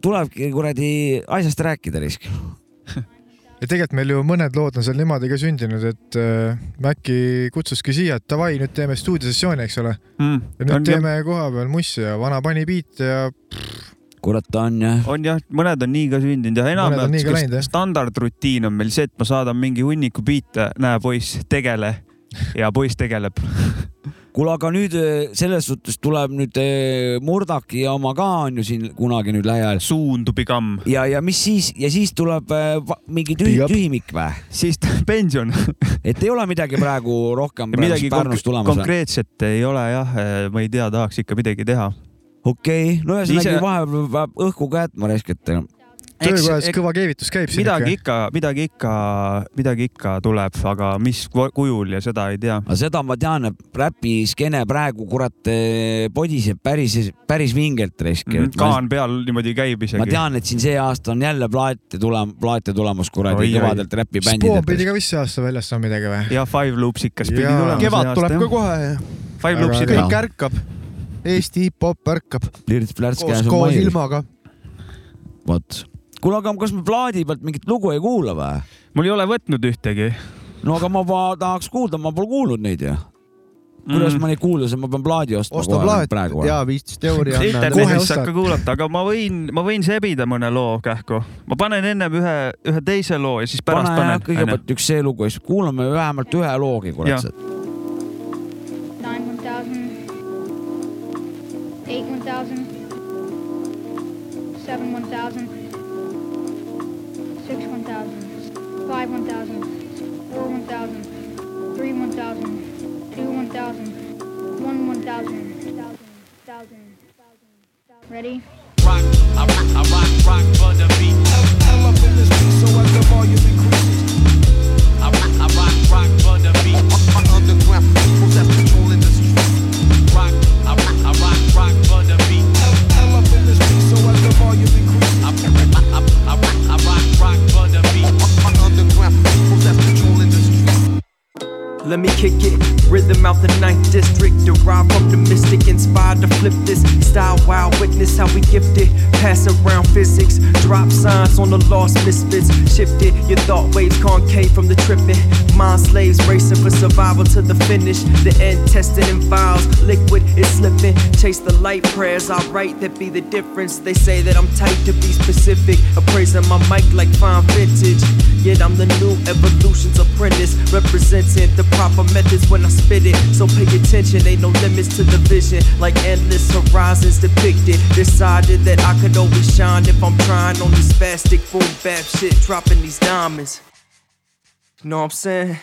Speaker 2: tulebki kuradi asjast rääkida risk .
Speaker 4: ja tegelikult meil ju mõned lood on seal niimoodi ka sündinud , et äh, Mäkki kutsuski siia , et davai , nüüd teeme stuudiosessiooni , eks ole .
Speaker 3: Mm.
Speaker 4: ja nüüd on, teeme koha peal mussi ja vana pani biite ja
Speaker 2: kurat on jah ,
Speaker 3: on jah , mõned on nii ka sündinud ja
Speaker 4: Mõned on nii ka läinud, jah.
Speaker 3: enamjaolt standardrutiin on meil see , et ma saadan mingi hunniku biite , näe poiss , tegele ja poiss tegeleb .
Speaker 2: kuule , aga nüüd äh, selles suhtes tuleb nüüd äh, Murdaki ja oma ka on ju siin kunagi nüüd lähiajal
Speaker 3: suundubi kamm ,
Speaker 2: ja , ja mis siis ja siis tuleb äh, va- mingi tühi,
Speaker 4: Big up.
Speaker 2: tühimik või ,
Speaker 3: siis pension
Speaker 2: et ei ole midagi praegu rohkem
Speaker 3: Ja midagi
Speaker 2: praegu Pärnust
Speaker 3: konk
Speaker 2: tulemas või ?
Speaker 3: konkreetset ei ole jah , ma ei tea , tahaks ikka midagi teha .
Speaker 2: okei okay. , no ühesõnaga
Speaker 3: Ise-
Speaker 2: Ise... vahepeal peab õhku ka jätma äh, raiskata
Speaker 4: töökojas kõva keevitus käib siin
Speaker 3: midagi ikka , midagi ikka , midagi ikka tuleb , aga mis ku- kujul ja seda ei tea .
Speaker 2: aga seda ma tean , et räpiskeene praegu kurat eh, podiseb päris , päris vingelt risk mm . -hmm.
Speaker 3: Mhm, kaan peal niimoodi käib
Speaker 2: ma
Speaker 3: isegi .
Speaker 2: tean , et siin see aasta on jälle plaate tulem- , plaate tulemas kuradi
Speaker 3: Oi, oi.
Speaker 2: kõvadelt
Speaker 4: ikka . Spoon pidi
Speaker 2: räpibändidelt .
Speaker 4: ka vist see aasta väljas saama midagi või ?
Speaker 3: ja Five Loopsikas pidi
Speaker 4: Jaa.
Speaker 3: tulema .
Speaker 1: kevad tuleb ka . kohe ,
Speaker 3: Five
Speaker 4: Väga
Speaker 3: Loopsid
Speaker 4: hea.
Speaker 1: kõik ärkab . Eesti hip-hop ärkab
Speaker 2: plirts-plärts
Speaker 1: koos ,
Speaker 2: käes on
Speaker 1: koos
Speaker 2: mail ,
Speaker 1: ilmaga .
Speaker 2: vot . kuule , aga kas me plaadi pealt mingit lugu ei kuula või ?
Speaker 3: mul ei ole võtnud ühtegi .
Speaker 2: no aga ma pa- tahaks kuulda , ma pole kuulnud neid ju . kuidas
Speaker 3: Mhm.
Speaker 2: ma neid kuulda saan , ma pean plaadi ostma
Speaker 1: osta
Speaker 2: kohe
Speaker 1: plaat
Speaker 2: nüüd praegu või ?
Speaker 1: ja viisteist euri anna .
Speaker 4: Kohe
Speaker 3: internetist
Speaker 4: ostad.
Speaker 3: hakka kuulata , aga ma võin , ma võin sebida mõne loo kähku . ma panen ennem ühe , ühe teise loo ja siis pärast
Speaker 2: pane jah,
Speaker 3: panen .
Speaker 2: kõigepealt üks see lugu ja siis kuulame vähemalt ühe loogi ,
Speaker 3: Jah.
Speaker 2: kurat .
Speaker 10: Nine one thousand. Eight one thousand. Seven one thousand. Six one thousand. Five one thousand. Four one thousand. Three one thousand. Two one thousand. One one thousand. Thousand. Thousand. Thousand. Ready?
Speaker 11: Let me kick it. Rhythm out the ninth district, derived from the mystic, inspired to flip this style. Wild witness how we gifted. Pass around physics, drop signs on the lost misfits. Shifted your thought waves concave from the tripping. Mind slaves racing for survival to the finish. The end tested in vials, liquid is slipping. Chase the light prayers, I write that be the difference. They say that I'm tight to be specific. Appraising my mic like fine vintage. Yet I'm the new evolution's apprentice, representing the proper methods when I spit it. So pay attention, ain't no limits to the vision, like endless horizons depicted. Decided that I could always shine if I'm trying on this spastic boom bap shit, dropping these diamonds. Know what I'm saying?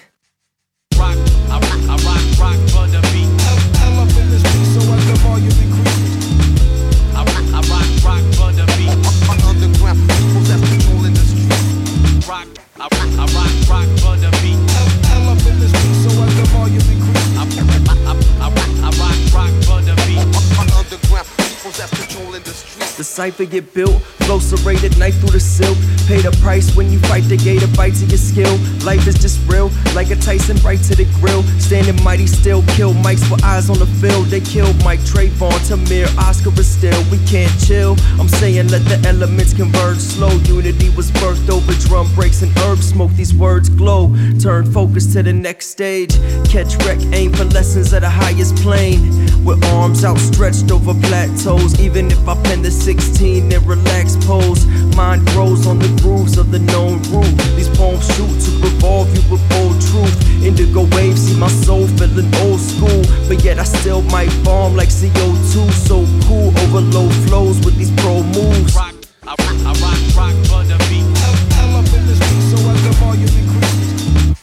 Speaker 5: I
Speaker 11: cipher get built. Flow serrated, knife through the silk. Pay the price when you fight the gator, bite to your skill. Life is just real, like a Tyson right to the grill. Standing mighty still, kill mics for eyes on the field. They killed Mike Trayvon, Tamir, Oscar is still. We can't chill. I'm saying let the elements converge. Slow unity was birthed over drum breaks and herb smoke. These words glow. Turn focus to the next stage. Catch wreck, aim for lessons at the highest plane. With arms outstretched over plateaus. Even if I pen the 16 in relaxed pose, mind grows on the grooves of the known route. These poems shoot to revolve you with bold truth. Indigo waves see my soul feeling old school. But yet I still might bomb like CO2. So cool, overload flows with these pro moves.
Speaker 5: I rock, I rock, rock for the beat. I'm up in this beat, so as the volume increases.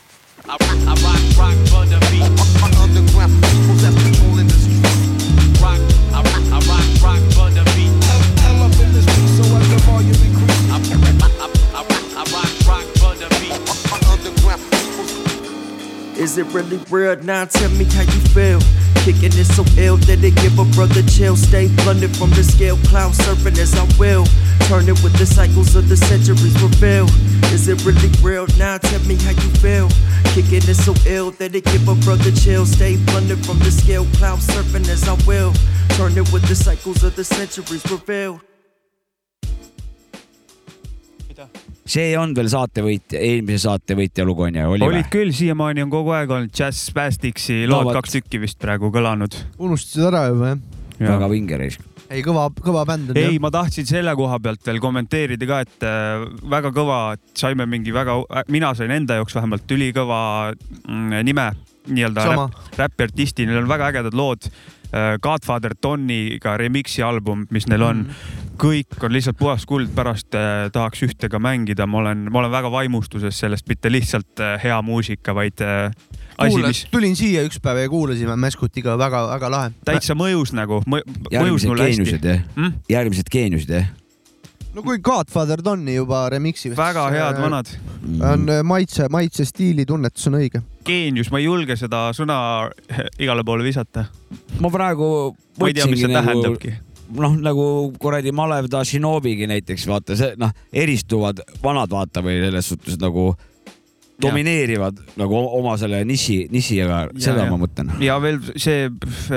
Speaker 5: I rock, I rock, rock for the beat. Underground people that's controlling the streets. Rock, I rock, I rock, rock for the beat. I'm up in this beat, so as the volume increases. I rock, I rock, I rock, rock for the beat. Underground
Speaker 11: Is it really real? Now tell me how you feel. Kicking it so ill that it give a brother chill. Stay blunted from the scale, cloud surfing as I will. Turn it with the cycles of the centuries reveal. Is it really real? Now tell me how you feel. Kicking it so ill that it give a brother chill. Stay blunted from the scale, cloud surfing as I will. Turn it with the cycles of the centuries revealed.
Speaker 2: see ei olnud veel saatevõitja , eelmise saatevõitja lugu onju , oli või
Speaker 3: olid ? küll , siiamaani on kogu aeg olnud Jazz Spastixi lood
Speaker 2: No vot.
Speaker 3: kaks tükki vist praegu kõlanud .
Speaker 1: unustasid ära juba jah ?
Speaker 2: väga vinge reis .
Speaker 1: ei , kõva , kõva bänd on
Speaker 3: ei , ma tahtsin selle koha pealt veel kommenteerida ka , et äh, väga kõva , et saime mingi väga , mina sain enda jaoks vähemalt ülikõva mm, nime nii-öelda
Speaker 1: Sama.
Speaker 3: räpp , räpiartisti , neil on väga ägedad lood . Godfather Toniga remix'i album , mis neil on mm , -hmm. kõik on lihtsalt puhas kuld , pärast äh, tahaks ühte ka mängida , ma olen , ma olen väga vaimustuses sellest , mitte lihtsalt äh, hea muusika , vaid äh, asi ,
Speaker 1: Kuulas,
Speaker 3: mis
Speaker 1: tulin siia üks päev ja kuulasime Mäskutiga väga-väga lahe .
Speaker 3: täitsa mõjus nagu , mõjus
Speaker 2: järgmised
Speaker 3: mulle hästi
Speaker 2: geeniused . jah
Speaker 3: Mm?
Speaker 2: järgmised geeniused jah
Speaker 1: no kui Godfather Donni juba remix'i .
Speaker 3: väga head . vanad .
Speaker 1: on äh, maitse , maitse stiili tunnetus on õige .
Speaker 3: geenius , ma ei julge seda sõna igale poole visata .
Speaker 2: ma praegu
Speaker 3: ma ei tea , mis
Speaker 2: võtsingi
Speaker 3: see
Speaker 2: nagu
Speaker 3: tähendabki .
Speaker 2: noh , nagu kuradi Malev Dašinovigi näiteks vaata see noh , eristuvad vanad vaata või selles suhtes nagu domineerivad nagu o- oma selle niši , nišiga ,
Speaker 3: Ja,
Speaker 2: seda
Speaker 3: ja.
Speaker 2: ma mõtlen .
Speaker 3: ja veel see pff,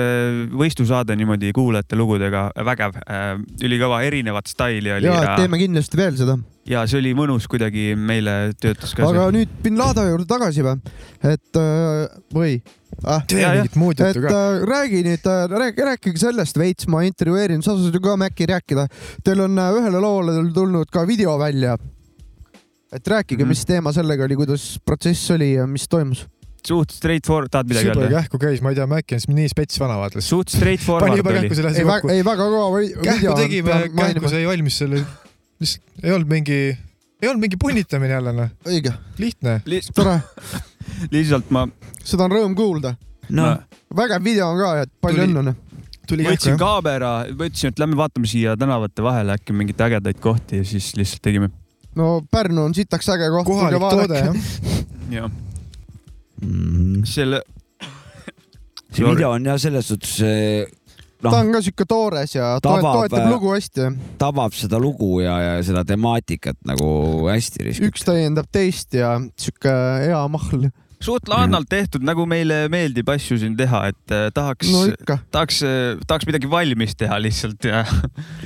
Speaker 3: võistlusaade niimoodi kuulajate lugudega , vägev , ülikõva , erinevat staili oli
Speaker 1: ja
Speaker 3: ja, ja,
Speaker 1: teeme kindlasti veel seda .
Speaker 3: ja see oli mõnus kuidagi meile töötas ka
Speaker 1: aga
Speaker 3: see .
Speaker 1: nüüd bin Laden juurde tagasi või , et äh, või ah, ?
Speaker 3: Ja, ja.
Speaker 4: mingit muud
Speaker 1: et
Speaker 4: juttu
Speaker 1: äh,
Speaker 4: ka .
Speaker 1: räägi nüüd , rääkige , rääkige sellest veits , ma intervjueerin , sa saad ju ka Maci rääkida . Teil on äh, ühele loole tulnud ka video välja . et rääkige mm , -hmm.
Speaker 3: Mhm.
Speaker 1: mis teema sellega oli , kuidas protsess oli ja mis toimus ?
Speaker 3: suht straightforward , tahad midagi
Speaker 4: sõber
Speaker 3: öelda ?
Speaker 4: kähku käis , ma ei tea , Maci on s- nii spets vana vaata .
Speaker 3: suht
Speaker 4: pani
Speaker 3: straightforward
Speaker 4: juba
Speaker 3: oli
Speaker 4: kähku . selle
Speaker 1: ei ,
Speaker 4: asja kokku .
Speaker 1: ei väga kõva või- video
Speaker 4: kähku
Speaker 1: on,
Speaker 4: tegime
Speaker 1: peab ,
Speaker 4: kähku
Speaker 1: mainima.
Speaker 4: sai valmis selle , lihtsalt ei olnud mingi , ei olnud mingi punnitamine jälle noh ,
Speaker 1: õige ,
Speaker 4: lihtne .
Speaker 1: tore ,
Speaker 3: lihtsalt ma
Speaker 1: seda on rõõm kuulda .
Speaker 2: no
Speaker 3: Ma-
Speaker 1: vägev video on ka , et palju
Speaker 3: Tuli-
Speaker 1: õnne .
Speaker 4: tuli kähku
Speaker 3: võtsin
Speaker 4: jah .
Speaker 3: kaamera , mõtlesin , et lähme vaatame siia tänavate vahele äkki mingeid ägedaid kohti ja siis lihtsalt tegime .
Speaker 1: no Pärnu on sitaks äge koht .
Speaker 4: kohalik toode jah .
Speaker 3: jah ,
Speaker 2: mm,
Speaker 3: selle
Speaker 2: see
Speaker 3: Sorry.
Speaker 2: video on jah selles suhtes eh,
Speaker 1: ta
Speaker 2: noh ,
Speaker 1: on ka sihuke toores ja toet-
Speaker 2: Tabab,
Speaker 1: toetab
Speaker 2: äh,
Speaker 1: lugu hästi .
Speaker 2: tabab seda lugu ja , ja seda temaatikat nagu hästi risk- .
Speaker 1: üks täiendab teist ja sihuke hea mahl .
Speaker 3: suht laadnalt tehtud , nagu meile meeldib asju siin teha , et äh, tahaks
Speaker 1: no
Speaker 3: no, ,
Speaker 1: ikka ,
Speaker 3: tahaks , tahaks midagi valmis teha lihtsalt ja ,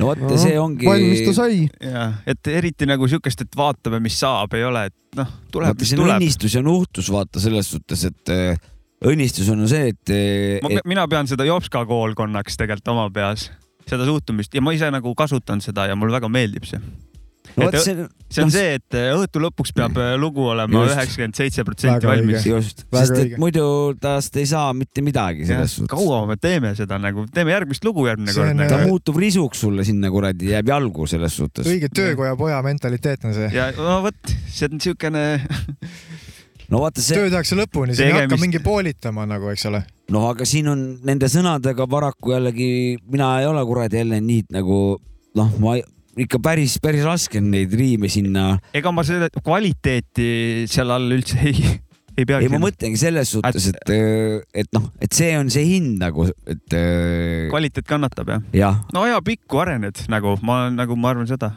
Speaker 2: no vot ja see ongi .
Speaker 1: valmis ta sai .
Speaker 3: ja et eriti nagu siukest , et vaatame , mis saab , ei ole , et noh , tuleb ,
Speaker 2: vaata ,
Speaker 3: mis
Speaker 2: see on
Speaker 3: tuleb .
Speaker 2: õnnistus ja nuhtlus , vaata selles suhtes , et eh, õnnistus on ju see , et, eh, et
Speaker 3: mina pean seda Jopska koolkonnaks tegelikult oma peas , seda suhtumist ja ma ise nagu kasutan seda ja mulle väga meeldib see .
Speaker 2: no vot
Speaker 3: et-
Speaker 2: see on
Speaker 3: see on
Speaker 2: Noh,
Speaker 3: see , et äh, õhtu lõpuks peab äh, lugu olema
Speaker 2: Just.
Speaker 3: üheksakümmend seitse protsenti
Speaker 4: Väga
Speaker 3: valmis .
Speaker 2: Noh, just ,
Speaker 4: Väga
Speaker 2: sest et
Speaker 4: õige.
Speaker 2: muidu tast ei saa mitte midagi selles suhtes .
Speaker 3: kaua me teeme seda nagu , teeme järgmist lugu järgmine
Speaker 4: See on,
Speaker 3: kord
Speaker 4: äh,
Speaker 2: ta
Speaker 3: nagu. .
Speaker 2: muutub risuks sulle sinna kuradi , jääb jalgu selles suhtes .
Speaker 4: õige töökoja poja mentaliteet on see .
Speaker 3: ja no vot , see on siukene ,
Speaker 2: no vaata see ,
Speaker 4: töö tehakse lõpuni , see ei hakka
Speaker 3: Tegemist-
Speaker 4: mingi poolitama nagu , eks ole .
Speaker 2: noh , aga siin on nende sõnadega paraku jällegi , mina ei ole kuradi Ellen Niit nagu noh , ma ei- ikka päris , päris raske on neid riime sinna
Speaker 3: ega ma selle kvaliteeti seal all üldse ei ei peagi
Speaker 2: ei , ma mõtlengi selles suhtes , et , et noh , et see on see hind nagu , et .
Speaker 3: nagu kvaliteet kannatab jah ?
Speaker 2: jah ,
Speaker 3: no ajapikku arened nagu ma nagu ma arvan seda .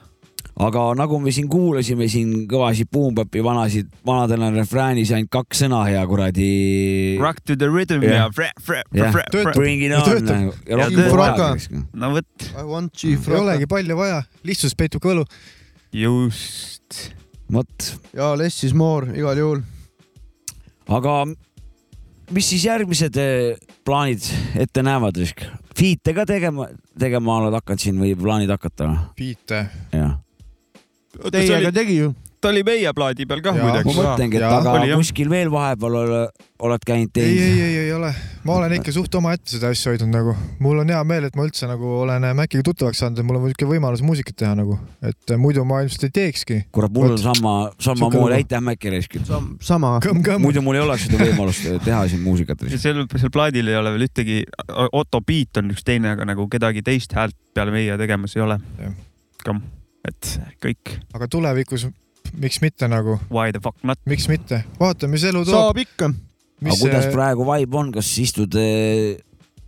Speaker 2: aga nagu me siin kuulasime siin kõvasid Boompäppi vanasid , vanadel on refräänis ainult kaks sõna ja kuradi .
Speaker 3: Rock to the rhythm ja fre- , fre- , fre- , fre- .
Speaker 2: Bring it on nagu . ja rock n roll
Speaker 3: Fraka.
Speaker 2: nagu .
Speaker 3: no vot .
Speaker 1: I want
Speaker 4: ei
Speaker 1: you from
Speaker 4: olegi palju vaja , lihtsus peitub kõlu .
Speaker 3: just .
Speaker 2: vot ,
Speaker 1: ja less is more igal juhul .
Speaker 2: aga mis siis järgmised eh, plaanid ette näevad , Risk ? Feat'e ka tegema , tegema oled hakanud siin või plaanid hakata ?
Speaker 4: Piite .
Speaker 2: jah .
Speaker 1: Teiega tegi ju .
Speaker 3: ta oli meie plaadi peal kah
Speaker 4: Jaa.
Speaker 2: ma
Speaker 3: muideks .
Speaker 2: mõtlengi , et
Speaker 4: jaa.
Speaker 2: aga
Speaker 3: Oli, jah.
Speaker 2: kuskil veel vahepeal ole- oled
Speaker 4: ei ,
Speaker 2: käinud teinud
Speaker 4: ei , ei , ei ole , ma olen ikka suht omaette seda asja hoidnud nagu , mul on hea meel , et ma üldse nagu olen Maciga tuttavaks saanud , et mul on niisugune võimalus muusikat teha nagu , et muidu ma ilmselt ei teekski .
Speaker 2: kurat , mul on
Speaker 4: Vot.
Speaker 2: sama , samamoodi ,
Speaker 4: Sihuke-
Speaker 2: aitäh Mäkki Resk .
Speaker 1: sama .
Speaker 4: kõmm-kõmm .
Speaker 2: muidu mul ei oleks seda võimalust eh, teha siin muusikat .
Speaker 3: ja sel , sel plaadil ei ole veel ühtegi , Otto Beat on üks teine , aga nagu kedagi teist häält peale meie tegemas ei ole
Speaker 4: Jah. .
Speaker 3: et kõik ,
Speaker 4: aga tulevikus miks mitte nagu ,
Speaker 3: why the fuck not .
Speaker 4: miks mitte , vaatame , mis elu toob .
Speaker 1: saab ikka .
Speaker 2: aga
Speaker 4: mis
Speaker 3: äh,
Speaker 2: kuidas
Speaker 4: see ,
Speaker 2: praegu vibe on , kas istud eh,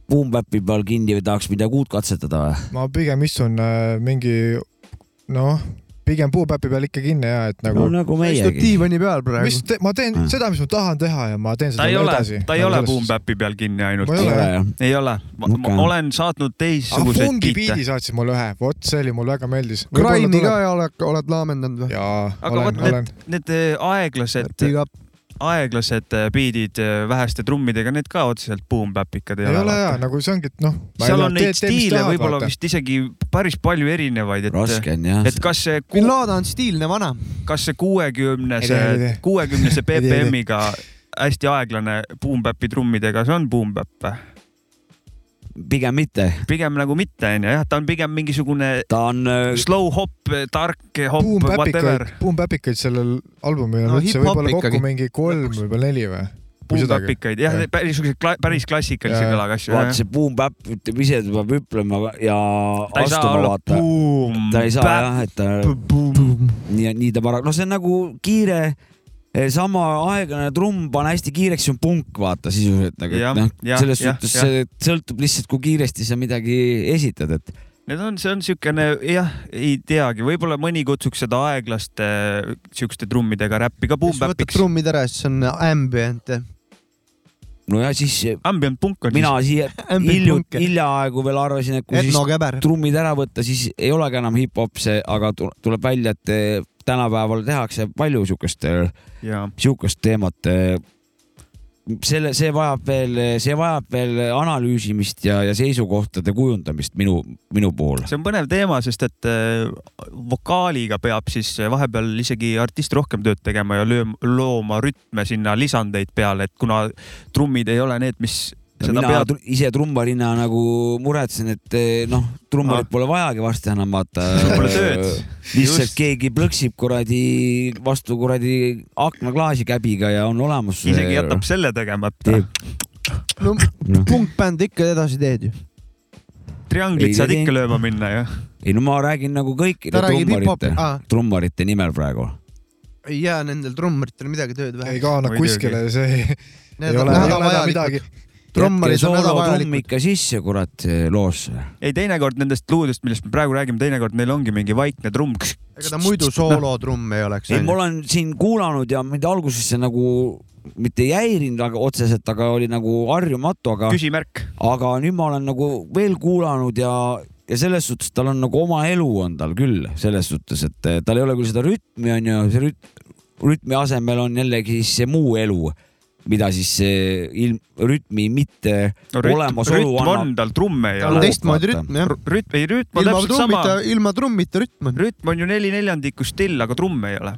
Speaker 2: Boom Bap'i peal kinni või tahaks midagi uut katsetada või ?
Speaker 4: ma pigem istun äh, mingi noh , pigem puupäpi peal ikka kinni ja et nagu
Speaker 2: no nagu
Speaker 1: istub
Speaker 2: meiegi .
Speaker 1: diivani peal
Speaker 4: mis
Speaker 1: praegu .
Speaker 4: te, ma teen
Speaker 2: Mm.
Speaker 4: seda , mis ma tahan teha ja ma teen
Speaker 3: ta
Speaker 4: seda nagu
Speaker 3: ei ole
Speaker 4: edasi .,
Speaker 3: ta ei ole Boom . Bap'i peal kinni ainult
Speaker 4: Ma . ei ole.
Speaker 3: ei ole , ma
Speaker 2: Okei.
Speaker 3: olen saatnud
Speaker 4: aga
Speaker 3: teistsuguseid
Speaker 4: fungi
Speaker 3: biite
Speaker 4: biidi . saatsid mulle ühe , vot see oli , mulle väga meeldis .
Speaker 1: Grind'i ka ja oled , oled laamendanud või ?
Speaker 4: jaa ,
Speaker 3: Aga
Speaker 4: olen ,
Speaker 3: vot need-
Speaker 4: olen .
Speaker 3: Need eh, aeglased ,
Speaker 1: Big up .
Speaker 3: aeglased eh, biidid eh, väheste trummidega , need ka otseselt Boom Bap'ikad
Speaker 4: ei ole hea , nagu see ongi , et noh .
Speaker 3: seal on neid stiile võib-olla vist isegi päris palju erinevaid , et ,
Speaker 2: raske on jah .
Speaker 3: et kas see
Speaker 1: bin Laden on stiilne vana .
Speaker 3: kas see
Speaker 4: Ei tea, ei tea.
Speaker 3: kuuekümnese , kuuekümnese
Speaker 4: Ei tea, ei tea.
Speaker 3: BPM-iga hästi aeglane boom bap'i trummidega , see on boom bap või ?
Speaker 2: pigem mitte ,
Speaker 3: pigem nagu mitte onju , jah , ta on pigem mingisugune
Speaker 2: ta on eh,
Speaker 3: slow hop , tark hop ,
Speaker 4: Boom
Speaker 3: whatever
Speaker 4: Bapikaid ,, Boom Bapikaid sellel albumil on
Speaker 1: No
Speaker 4: no, üldse
Speaker 1: hip-hop
Speaker 4: võib-olla kokku
Speaker 1: ikkagi.
Speaker 4: mingi kolm , võib-olla neli või ?
Speaker 3: boom bap'ikaid , jah
Speaker 4: Jah. ,
Speaker 3: päris siukseid , päris klassikalise
Speaker 4: Jah.
Speaker 3: kõlaga asju .
Speaker 2: vaata see Boom Bap ütleb ise , ta peab hüplema ja
Speaker 3: ta ei saa
Speaker 2: astuma
Speaker 3: olla
Speaker 2: vaata .
Speaker 3: boom
Speaker 2: ta ei saa
Speaker 3: bap ,
Speaker 2: jah , et ta nii , nii ta paraku , noh , see on nagu kiire , sama aeglane trumm , pane hästi kiireks , see on punk , vaata sisuliselt nagu ,
Speaker 3: Jah,
Speaker 2: et noh ,
Speaker 3: jah,
Speaker 2: selles
Speaker 3: jah,
Speaker 2: suhtes
Speaker 3: jah.
Speaker 2: see sõltub lihtsalt , kui kiiresti sa midagi esitad , et
Speaker 3: Need on , see on siukene jah , ei teagi , võib-olla mõni kutsuks seda aeglaste äh, siukeste trummidega räppi ka boom
Speaker 1: siis võtad
Speaker 3: bap'iks .
Speaker 1: trummid ära , siis on ambient .
Speaker 2: nojah , siis
Speaker 3: ambient punk on
Speaker 2: mina siia hiljuti ,
Speaker 1: ambient .
Speaker 2: hiljaaegu veel arvasin , et kui siis
Speaker 1: etnokäber .
Speaker 2: trummid ära võtta , siis ei olegi enam hip-hop see , aga tu- tuleb välja , et eh, tänapäeval tehakse palju siukest ,
Speaker 3: siis ja
Speaker 2: siukest teemat . selle , see vajab veel , see vajab veel analüüsimist ja , ja seisukohtade kujundamist minu , minu puhul .
Speaker 3: see on põnev teema , sest et äh, vokaaliga peab siis äh, vahepeal isegi artist rohkem tööd tegema ja lööma , looma rütme sinna lisandeid peale , et kuna trummid ei ole need , mis
Speaker 2: Ja
Speaker 3: seda
Speaker 2: mina
Speaker 3: pead
Speaker 2: pead... , ise trummarina nagu muretsen , et eh, noh , trummarit
Speaker 3: Ah.
Speaker 2: pole vajagi varsti enam vaata
Speaker 3: Sul . pole tööd.
Speaker 2: lihtsalt
Speaker 3: Just.
Speaker 2: keegi plõksib kuradi vastu kuradi aknaklaasi käbiga ja on olemas . eh,
Speaker 3: isegi jätab . selle tegemata .
Speaker 2: Teeb.
Speaker 1: no
Speaker 2: noh.
Speaker 1: punkbänd ikka edasi teed ju .
Speaker 2: Ei,
Speaker 3: trianglit saad
Speaker 2: tegi-
Speaker 3: ikka lööma minna ja
Speaker 2: ei no ma räägin nagu kõikide
Speaker 1: ta räägib hip-hopi
Speaker 2: trummarite ,,
Speaker 1: aa ,
Speaker 2: trummarite nimel praegu .
Speaker 1: ei jää nendel trummaritel midagi tööd
Speaker 4: ei
Speaker 1: vähe .
Speaker 4: kaana
Speaker 3: Muidugi.
Speaker 4: kuskile , see ei, ei ole , ei
Speaker 1: Need on
Speaker 4: ole enam
Speaker 1: hädavajalikud .
Speaker 4: midagi .
Speaker 1: trummarid on
Speaker 2: soolotrumm
Speaker 1: hädavajalikud .
Speaker 2: ikka sisse , kurat , loosse .
Speaker 3: ei , teinekord nendest luudest , millest me praegu räägime , teinekord neil ongi mingi vaikne trumm .
Speaker 1: ega ta muidu soolotrumm ei oleks .
Speaker 2: ei , ma olen siin kuulanud ja mind alguses see nagu mitte ei häirinud aga otseselt , aga oli nagu harjumatu , aga
Speaker 3: küsimärk .
Speaker 2: aga nüüd ma olen nagu veel kuulanud ja , ja selles suhtes tal on nagu oma elu on tal küll selles suhtes , et eh, tal ei ole küll seda rütmi onju , see rüt- , rütmi asemel on jällegi siis see muu elu , mida siis see ilm , rütmi mitte
Speaker 3: no rütm ,
Speaker 2: Olemasolu
Speaker 3: rütm on
Speaker 2: annab-
Speaker 3: tal , trumme ei
Speaker 1: tal on
Speaker 3: ole .
Speaker 1: teistmoodi
Speaker 2: vaata.
Speaker 1: rütm jah .
Speaker 3: rütm , ei rütm on
Speaker 1: ilma
Speaker 3: täpselt sama .
Speaker 1: trummita , ilma trummita rütm on .
Speaker 3: rütm on ju neli neljandikku still , aga trumme ei ole .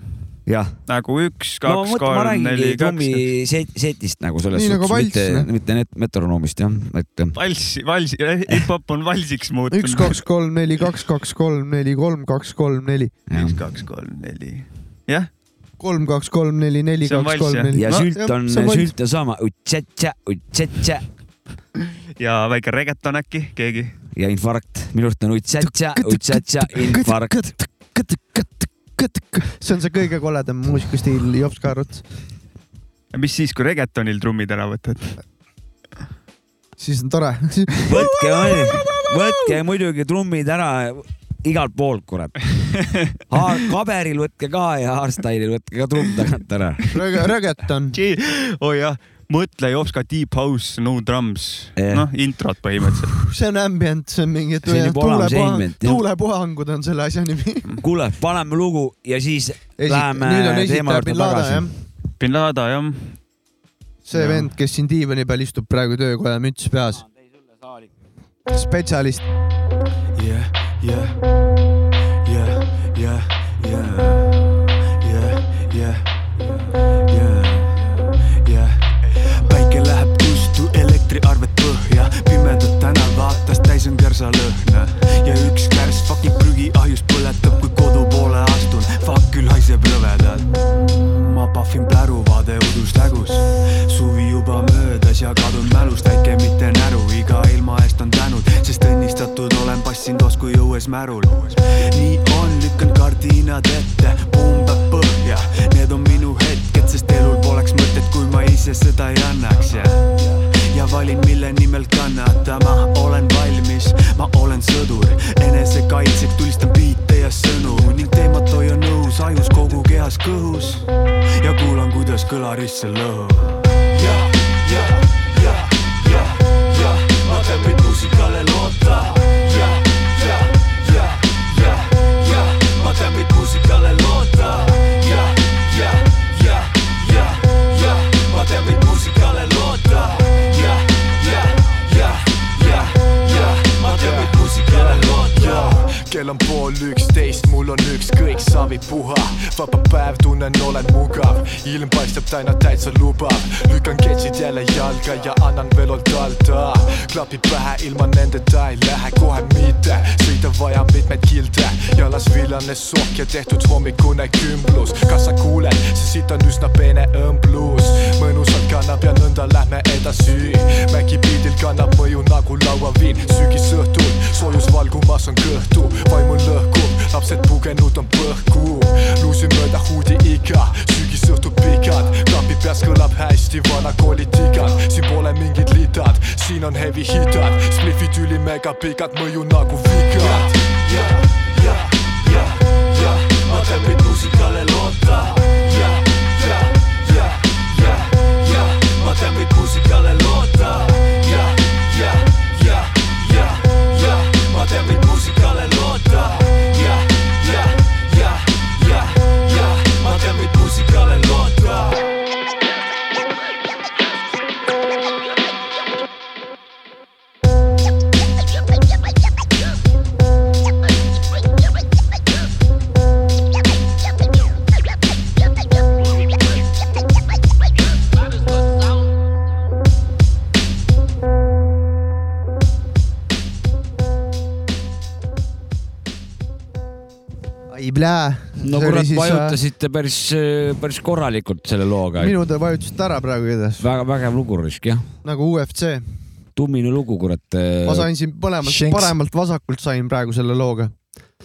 Speaker 2: jah ,
Speaker 3: nagu üks ,
Speaker 2: no
Speaker 3: kaks ,
Speaker 2: mõtle , ma
Speaker 3: kolm ,
Speaker 2: räägingi
Speaker 3: neli ,
Speaker 2: trummi
Speaker 3: kaks .
Speaker 2: set- , setist nagu selles
Speaker 1: Nii nagu
Speaker 2: suhtes ,
Speaker 1: valss,
Speaker 2: mitte ,
Speaker 1: noh.
Speaker 2: mitte net- metronoomist jah , et
Speaker 3: valssi , valssi , hip-hop on valsiks muutunud .
Speaker 1: üks , kaks , kolm , neli , kaks , kaks , kolm , neli , kolm , kaks , kolm , neli ,
Speaker 3: üks ,
Speaker 2: jah.
Speaker 3: kaks , kolm , neli . jah ,
Speaker 1: kolm , kaks , kolm , neli , neli ,
Speaker 3: See on
Speaker 1: kaks ,
Speaker 3: valss,
Speaker 1: kolm ,
Speaker 3: jah?
Speaker 1: neli .
Speaker 2: ja
Speaker 3: No,
Speaker 2: sült on , sült on sama , utsetša , utsetša
Speaker 3: ja väike reget on äkki keegi .
Speaker 2: ja infarkt , minu arust on utsetša , utsetša , infarkt .
Speaker 1: see on see kõige koledam muusikastiil Jops Kaarut .
Speaker 3: mis siis , kui reggaetonil trummid ära võtad ?
Speaker 1: siis on tore .
Speaker 2: võtke , võtke muidugi trummid ära igalt poolt , kurat . kaberil võtke ka ja hardstyle'il võtke ka trumm tagant ära .
Speaker 1: Reggaeton .
Speaker 3: oo jah , mõtle Jopska Deep House , no drums , noh introt põhimõtteliselt .
Speaker 1: see on ambient , see on mingi
Speaker 2: See on juba olemas
Speaker 1: tuulepuhang ,
Speaker 2: ambient, jah.
Speaker 1: tuulepuhangud on selle asja nimi .
Speaker 2: kuule , paneme lugu ja siis Esi
Speaker 1: nüüd on
Speaker 2: läheme
Speaker 1: esitaja
Speaker 2: teema juurde
Speaker 1: bin Laden
Speaker 2: tagasi
Speaker 1: jah .,
Speaker 3: bin Laden jah .
Speaker 1: see
Speaker 3: Jah.
Speaker 1: vend , kes siin diivani peal istub praegu töökoja müts peas . spetsialist .
Speaker 12: Yeah, yeah, yeah, yeah, yeah, yeah, yeah, yeah, yeah. päike läheb kustu , elektriarved põhja , pimedad tänavatas täis on kersalõhna ja üks kärs fucking prügiahjus põletab , kui kodu poole astun , fuck küll haiseb rõvedalt . ma pahvin pläruvaade udust hägus , suvi juba möödas ja kadun mälust , väike mitte näru , iga ilma eest on tänud , sest õnnistatud olen , passin tosku jõues märul . nii on , lükkan kardinad ette , pumbab põhja , need on minu hetked , sest elul poleks mõtet , kui ma ise seda ei annaks ja ja valin , mille nimel kannatama olen valmis , ma olen sõdur , enesekaitseks tulistan biite ja sõnu ning teemat hoian õhus , ajus kogu kehas kõhus ja kuulan , kuidas kõlarisse lõhub . jah , jah , jah , jah , jah , ma teen meid muusikale loota . jah , jah , jah , jah , jah , ma teen meid muusikale loota . jah , jah , jah , jah , jah , ma teen meid muusikale loota . jah , jah , jah , jah , jah , ma teen meid muusikale loota .
Speaker 13: kell on pool üksteist , mul on ükskõik , saavi puha , vaba päev , tunnen , olen mugav , ilm paistab täna täitsa lubav , lükkan ketsid jälle jalga ja annan velolt alta , klapid pähe , ilma nendeta ei lähe kohe mitte , sõita vaja mitmeid kilde , jalas villane sokk ja tehtud hommikune kümblus , kas sa kuuled , see siit on üsna peene õmblus , mõnusalt kannab ja nõnda lähme edasi , mägipiidil kannab mõju nagu lauaviin , sügisõhtul soojus valgumas on kõhtu , vaim on lõhkuv , lapsed pugenud on põhku , luusin mööda huudi iga , sügisõhtu pikad , klapi peas kõlab hästi vana kooli tigad , siin pole mingid litad , siin on heavy hitad , spliffid ülimega pikad , mõju nagu vigad .
Speaker 12: jah , jah , jah , jah , ma teen meid muusikale loota . jah , jah , jah , jah , jah , ma teen meid muusikale loota . jah , jah , jah , jah , jah , ma teen meid muusikale loota . jah , jah , jah , jah , jah , ma teen meid muusikale loota .
Speaker 1: ei plää .
Speaker 2: no kurat ,
Speaker 1: äh,
Speaker 2: vajutasite päris , päris korralikult selle looga .
Speaker 1: minu te vajutasite ära praegu igatahes .
Speaker 2: väga vägev lugu , Risk , jah .
Speaker 1: nagu UFC .
Speaker 2: tummine lugu , kurat . äh,
Speaker 1: ma sain siin mõlemalt , paremalt vasakult sain praegu selle looga .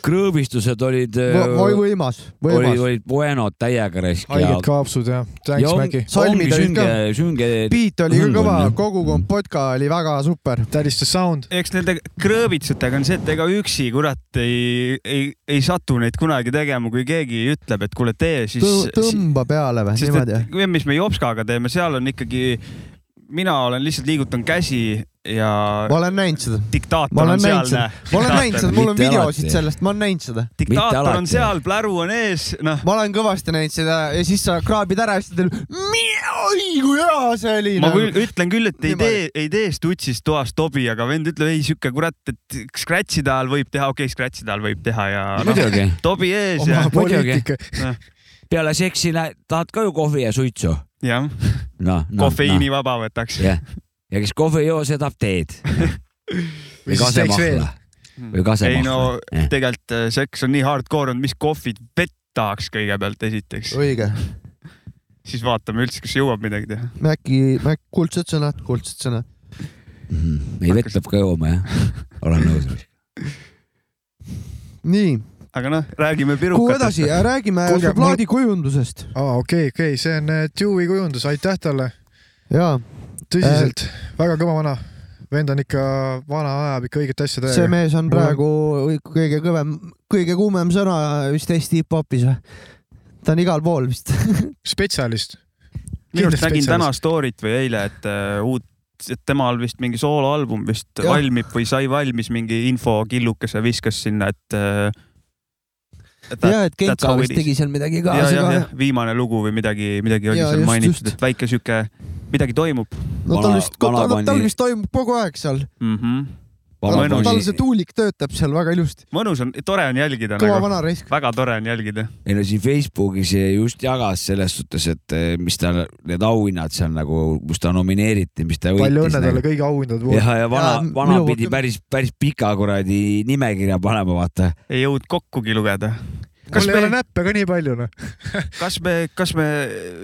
Speaker 2: krõõbistused olid .
Speaker 1: Oi, võimas, võimas.
Speaker 2: olid , olid Buenod täiega Risk .
Speaker 4: haiged kaapsud ja tänks Mägi .
Speaker 1: salmid olid ka .
Speaker 2: sünge .
Speaker 1: beat oli küll kõva , kogu kompotka oli väga super .
Speaker 4: that is the sound .
Speaker 3: eks nende krõõbitsutega on see , et ega üksi kurat ei , ei , ei satu neid kunagi tegema , kui keegi ütleb , et kuule , tee siis .
Speaker 1: tõmba peale või ,
Speaker 3: sest
Speaker 1: niimoodi .
Speaker 3: et mis me Jopskaga teeme , seal on ikkagi , mina olen lihtsalt liigutan käsi ja .
Speaker 1: ma olen näinud seda .
Speaker 3: diktaator
Speaker 1: ma olen
Speaker 3: on
Speaker 1: näinud seda
Speaker 3: seal , näe .,
Speaker 1: ma olen näinud seda , mul on
Speaker 3: Mitte
Speaker 1: videosid
Speaker 3: alati.
Speaker 1: sellest , ma olen näinud seda .
Speaker 3: diktaator on seal , pläru on ees , noh .
Speaker 1: ma olen kõvasti näinud seda ja siis sa kraabid ära ja siis ta ütleb , oi kui hea see oli . Nagu
Speaker 3: ma küll ütlen küll , et ei tee , ei tee stutsist toas tobi , aga vend ütleb , ei siuke kurat , et scratch'ide all võib teha , okei okay, , scratch'ide all võib teha ja noh,
Speaker 2: Muidugi.
Speaker 3: tobi ees
Speaker 2: Oma
Speaker 3: ja .
Speaker 2: poliitika. peale seksi lä- tahad ka ju kohvi ja suitsu ?
Speaker 3: jah
Speaker 2: noh no, .
Speaker 3: Kofeiinivaba võtaks
Speaker 2: jah , ja kes kohvi ei joo , see tahab teed . või
Speaker 3: siis teeks
Speaker 2: kasemahla . või kasemahla .
Speaker 3: ei no tegelikult äh, seks on nii hardcore olnud , mis kohvid vett tahaks kõigepealt esiteks .
Speaker 1: õige .
Speaker 3: siis vaatame üldse , kas jõuab midagi teha .
Speaker 1: Mäkki , Mäkk , kuldsed sõnad , kuldsed sõnad .
Speaker 2: Mhm. ei vett peab ka jooma jah , olen nõus .
Speaker 1: nii ,
Speaker 3: aga noh , räägime
Speaker 1: kuhu edasi ,
Speaker 3: pirukatest .
Speaker 1: räägime
Speaker 4: Kuulge,
Speaker 1: su plaadi kujundusest .
Speaker 4: aa , okei , okei , see on äh, Dewey kujundus , aitäh talle .
Speaker 1: jaa .
Speaker 4: tõsiselt , väga kõva vana . vend on ikka vana , ajab ikka õiget asja täiega .
Speaker 1: see mees on . praegu kõige kõvem , kõige kuumem sõna vist Eesti hip-hopis või ? ta on igal pool vist .
Speaker 4: spetsialist .
Speaker 3: minu arust nägin täna story't või eile , et uh, uut , et temal vist mingi sooloalbum vist
Speaker 1: Jah.
Speaker 3: ja. valmib või sai valmis mingi infokillukese viskas sinna , et uh, .
Speaker 1: Jaa, et Genka vist tegi seal midagi ka, see ka, jah.
Speaker 3: viimane lugu või midagi , midagi oli
Speaker 1: Jaa,
Speaker 3: seal
Speaker 1: just,
Speaker 3: mainitud , et väike sihuke , midagi toimub .
Speaker 1: no tal vist , tal vist toimub kogu aeg seal .
Speaker 3: Mhm.
Speaker 1: tal tal see tuulik töötab seal väga ilusti .
Speaker 3: mõnus on , tore on jälgida .
Speaker 1: Kõva vana raisk. .
Speaker 3: väga tore on jälgida .
Speaker 2: ei no siin Facebookis just jagas selles suhtes , et eh, mis ta , need auhinnad seal nagu , kus ta nomineeriti , mis ta
Speaker 4: palju õnne talle
Speaker 2: nagu.
Speaker 4: kõigi auhindade puhul .
Speaker 2: ja , ja vana , vana pidi päris , päris pika kuradi nimekirja panema , vaata .
Speaker 3: ei jõudnud kokkugi lugeda .
Speaker 4: mul ei ole näppe ka nii palju , noh .
Speaker 3: kas me , kas me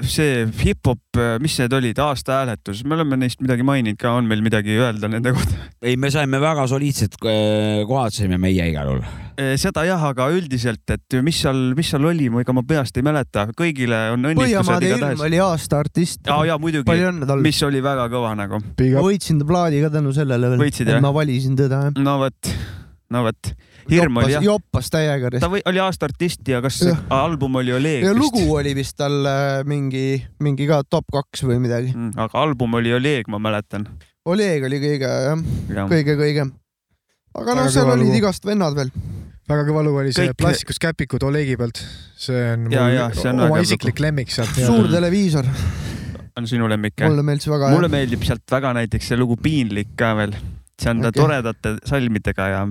Speaker 3: see hip-hop , mis need olid , aastahääletus , me oleme neist midagi maininud ka , on meil midagi öelda nende kohta ?
Speaker 2: ei , me saime väga soliidsed eh, kohad , saime meie igal juhul .
Speaker 3: Eh, seda jah , aga üldiselt , et mis seal , mis seal oli , ega ma peast ei mäleta , kõigile on õnnitlused
Speaker 1: Põhjamaade
Speaker 3: igatahes
Speaker 1: Ilm . oli aasta artist .
Speaker 3: ja , ja muidugi
Speaker 1: palju õnne , talle .
Speaker 3: mis oli väga kõva nagu .
Speaker 1: ma võitsin ta plaadi ka tänu sellele veel .
Speaker 3: Võitsid, jah?
Speaker 1: ma valisin teda jah .
Speaker 3: no vot , no vot , hirm oli jah .
Speaker 1: joppas täiega .
Speaker 3: ta või, oli aasta artist ja kas
Speaker 1: Jah.
Speaker 3: album oli Oleg
Speaker 1: ja
Speaker 3: vist ?
Speaker 1: lugu oli vist tal äh, mingi , mingi ka top kaks või midagi .
Speaker 3: Mm, aga album oli Oleg , ma mäletan .
Speaker 1: Oleg oli kõige jah ,
Speaker 3: Jah.
Speaker 1: kõige-kõigem . aga noh ,
Speaker 4: Väga
Speaker 1: seal
Speaker 4: kõva
Speaker 1: olid
Speaker 4: lugu.
Speaker 1: igast vennad veel .
Speaker 4: väga kõva lugu oli see
Speaker 1: Kõik-
Speaker 4: Plastikust käpikud Olegi pealt . see on
Speaker 3: Jaa,
Speaker 4: mul
Speaker 3: jaa, see on väga
Speaker 4: oma
Speaker 3: lugu.
Speaker 4: isiklik lemmik sealt .
Speaker 1: suur televiisor ,
Speaker 3: on sinu lemmik ?
Speaker 1: Mulle meeldis väga, jah.
Speaker 3: mulle meeldib sealt väga näiteks see lugu Piinlik ka veel . see on ta
Speaker 1: Okei.
Speaker 3: toredate salmidega ja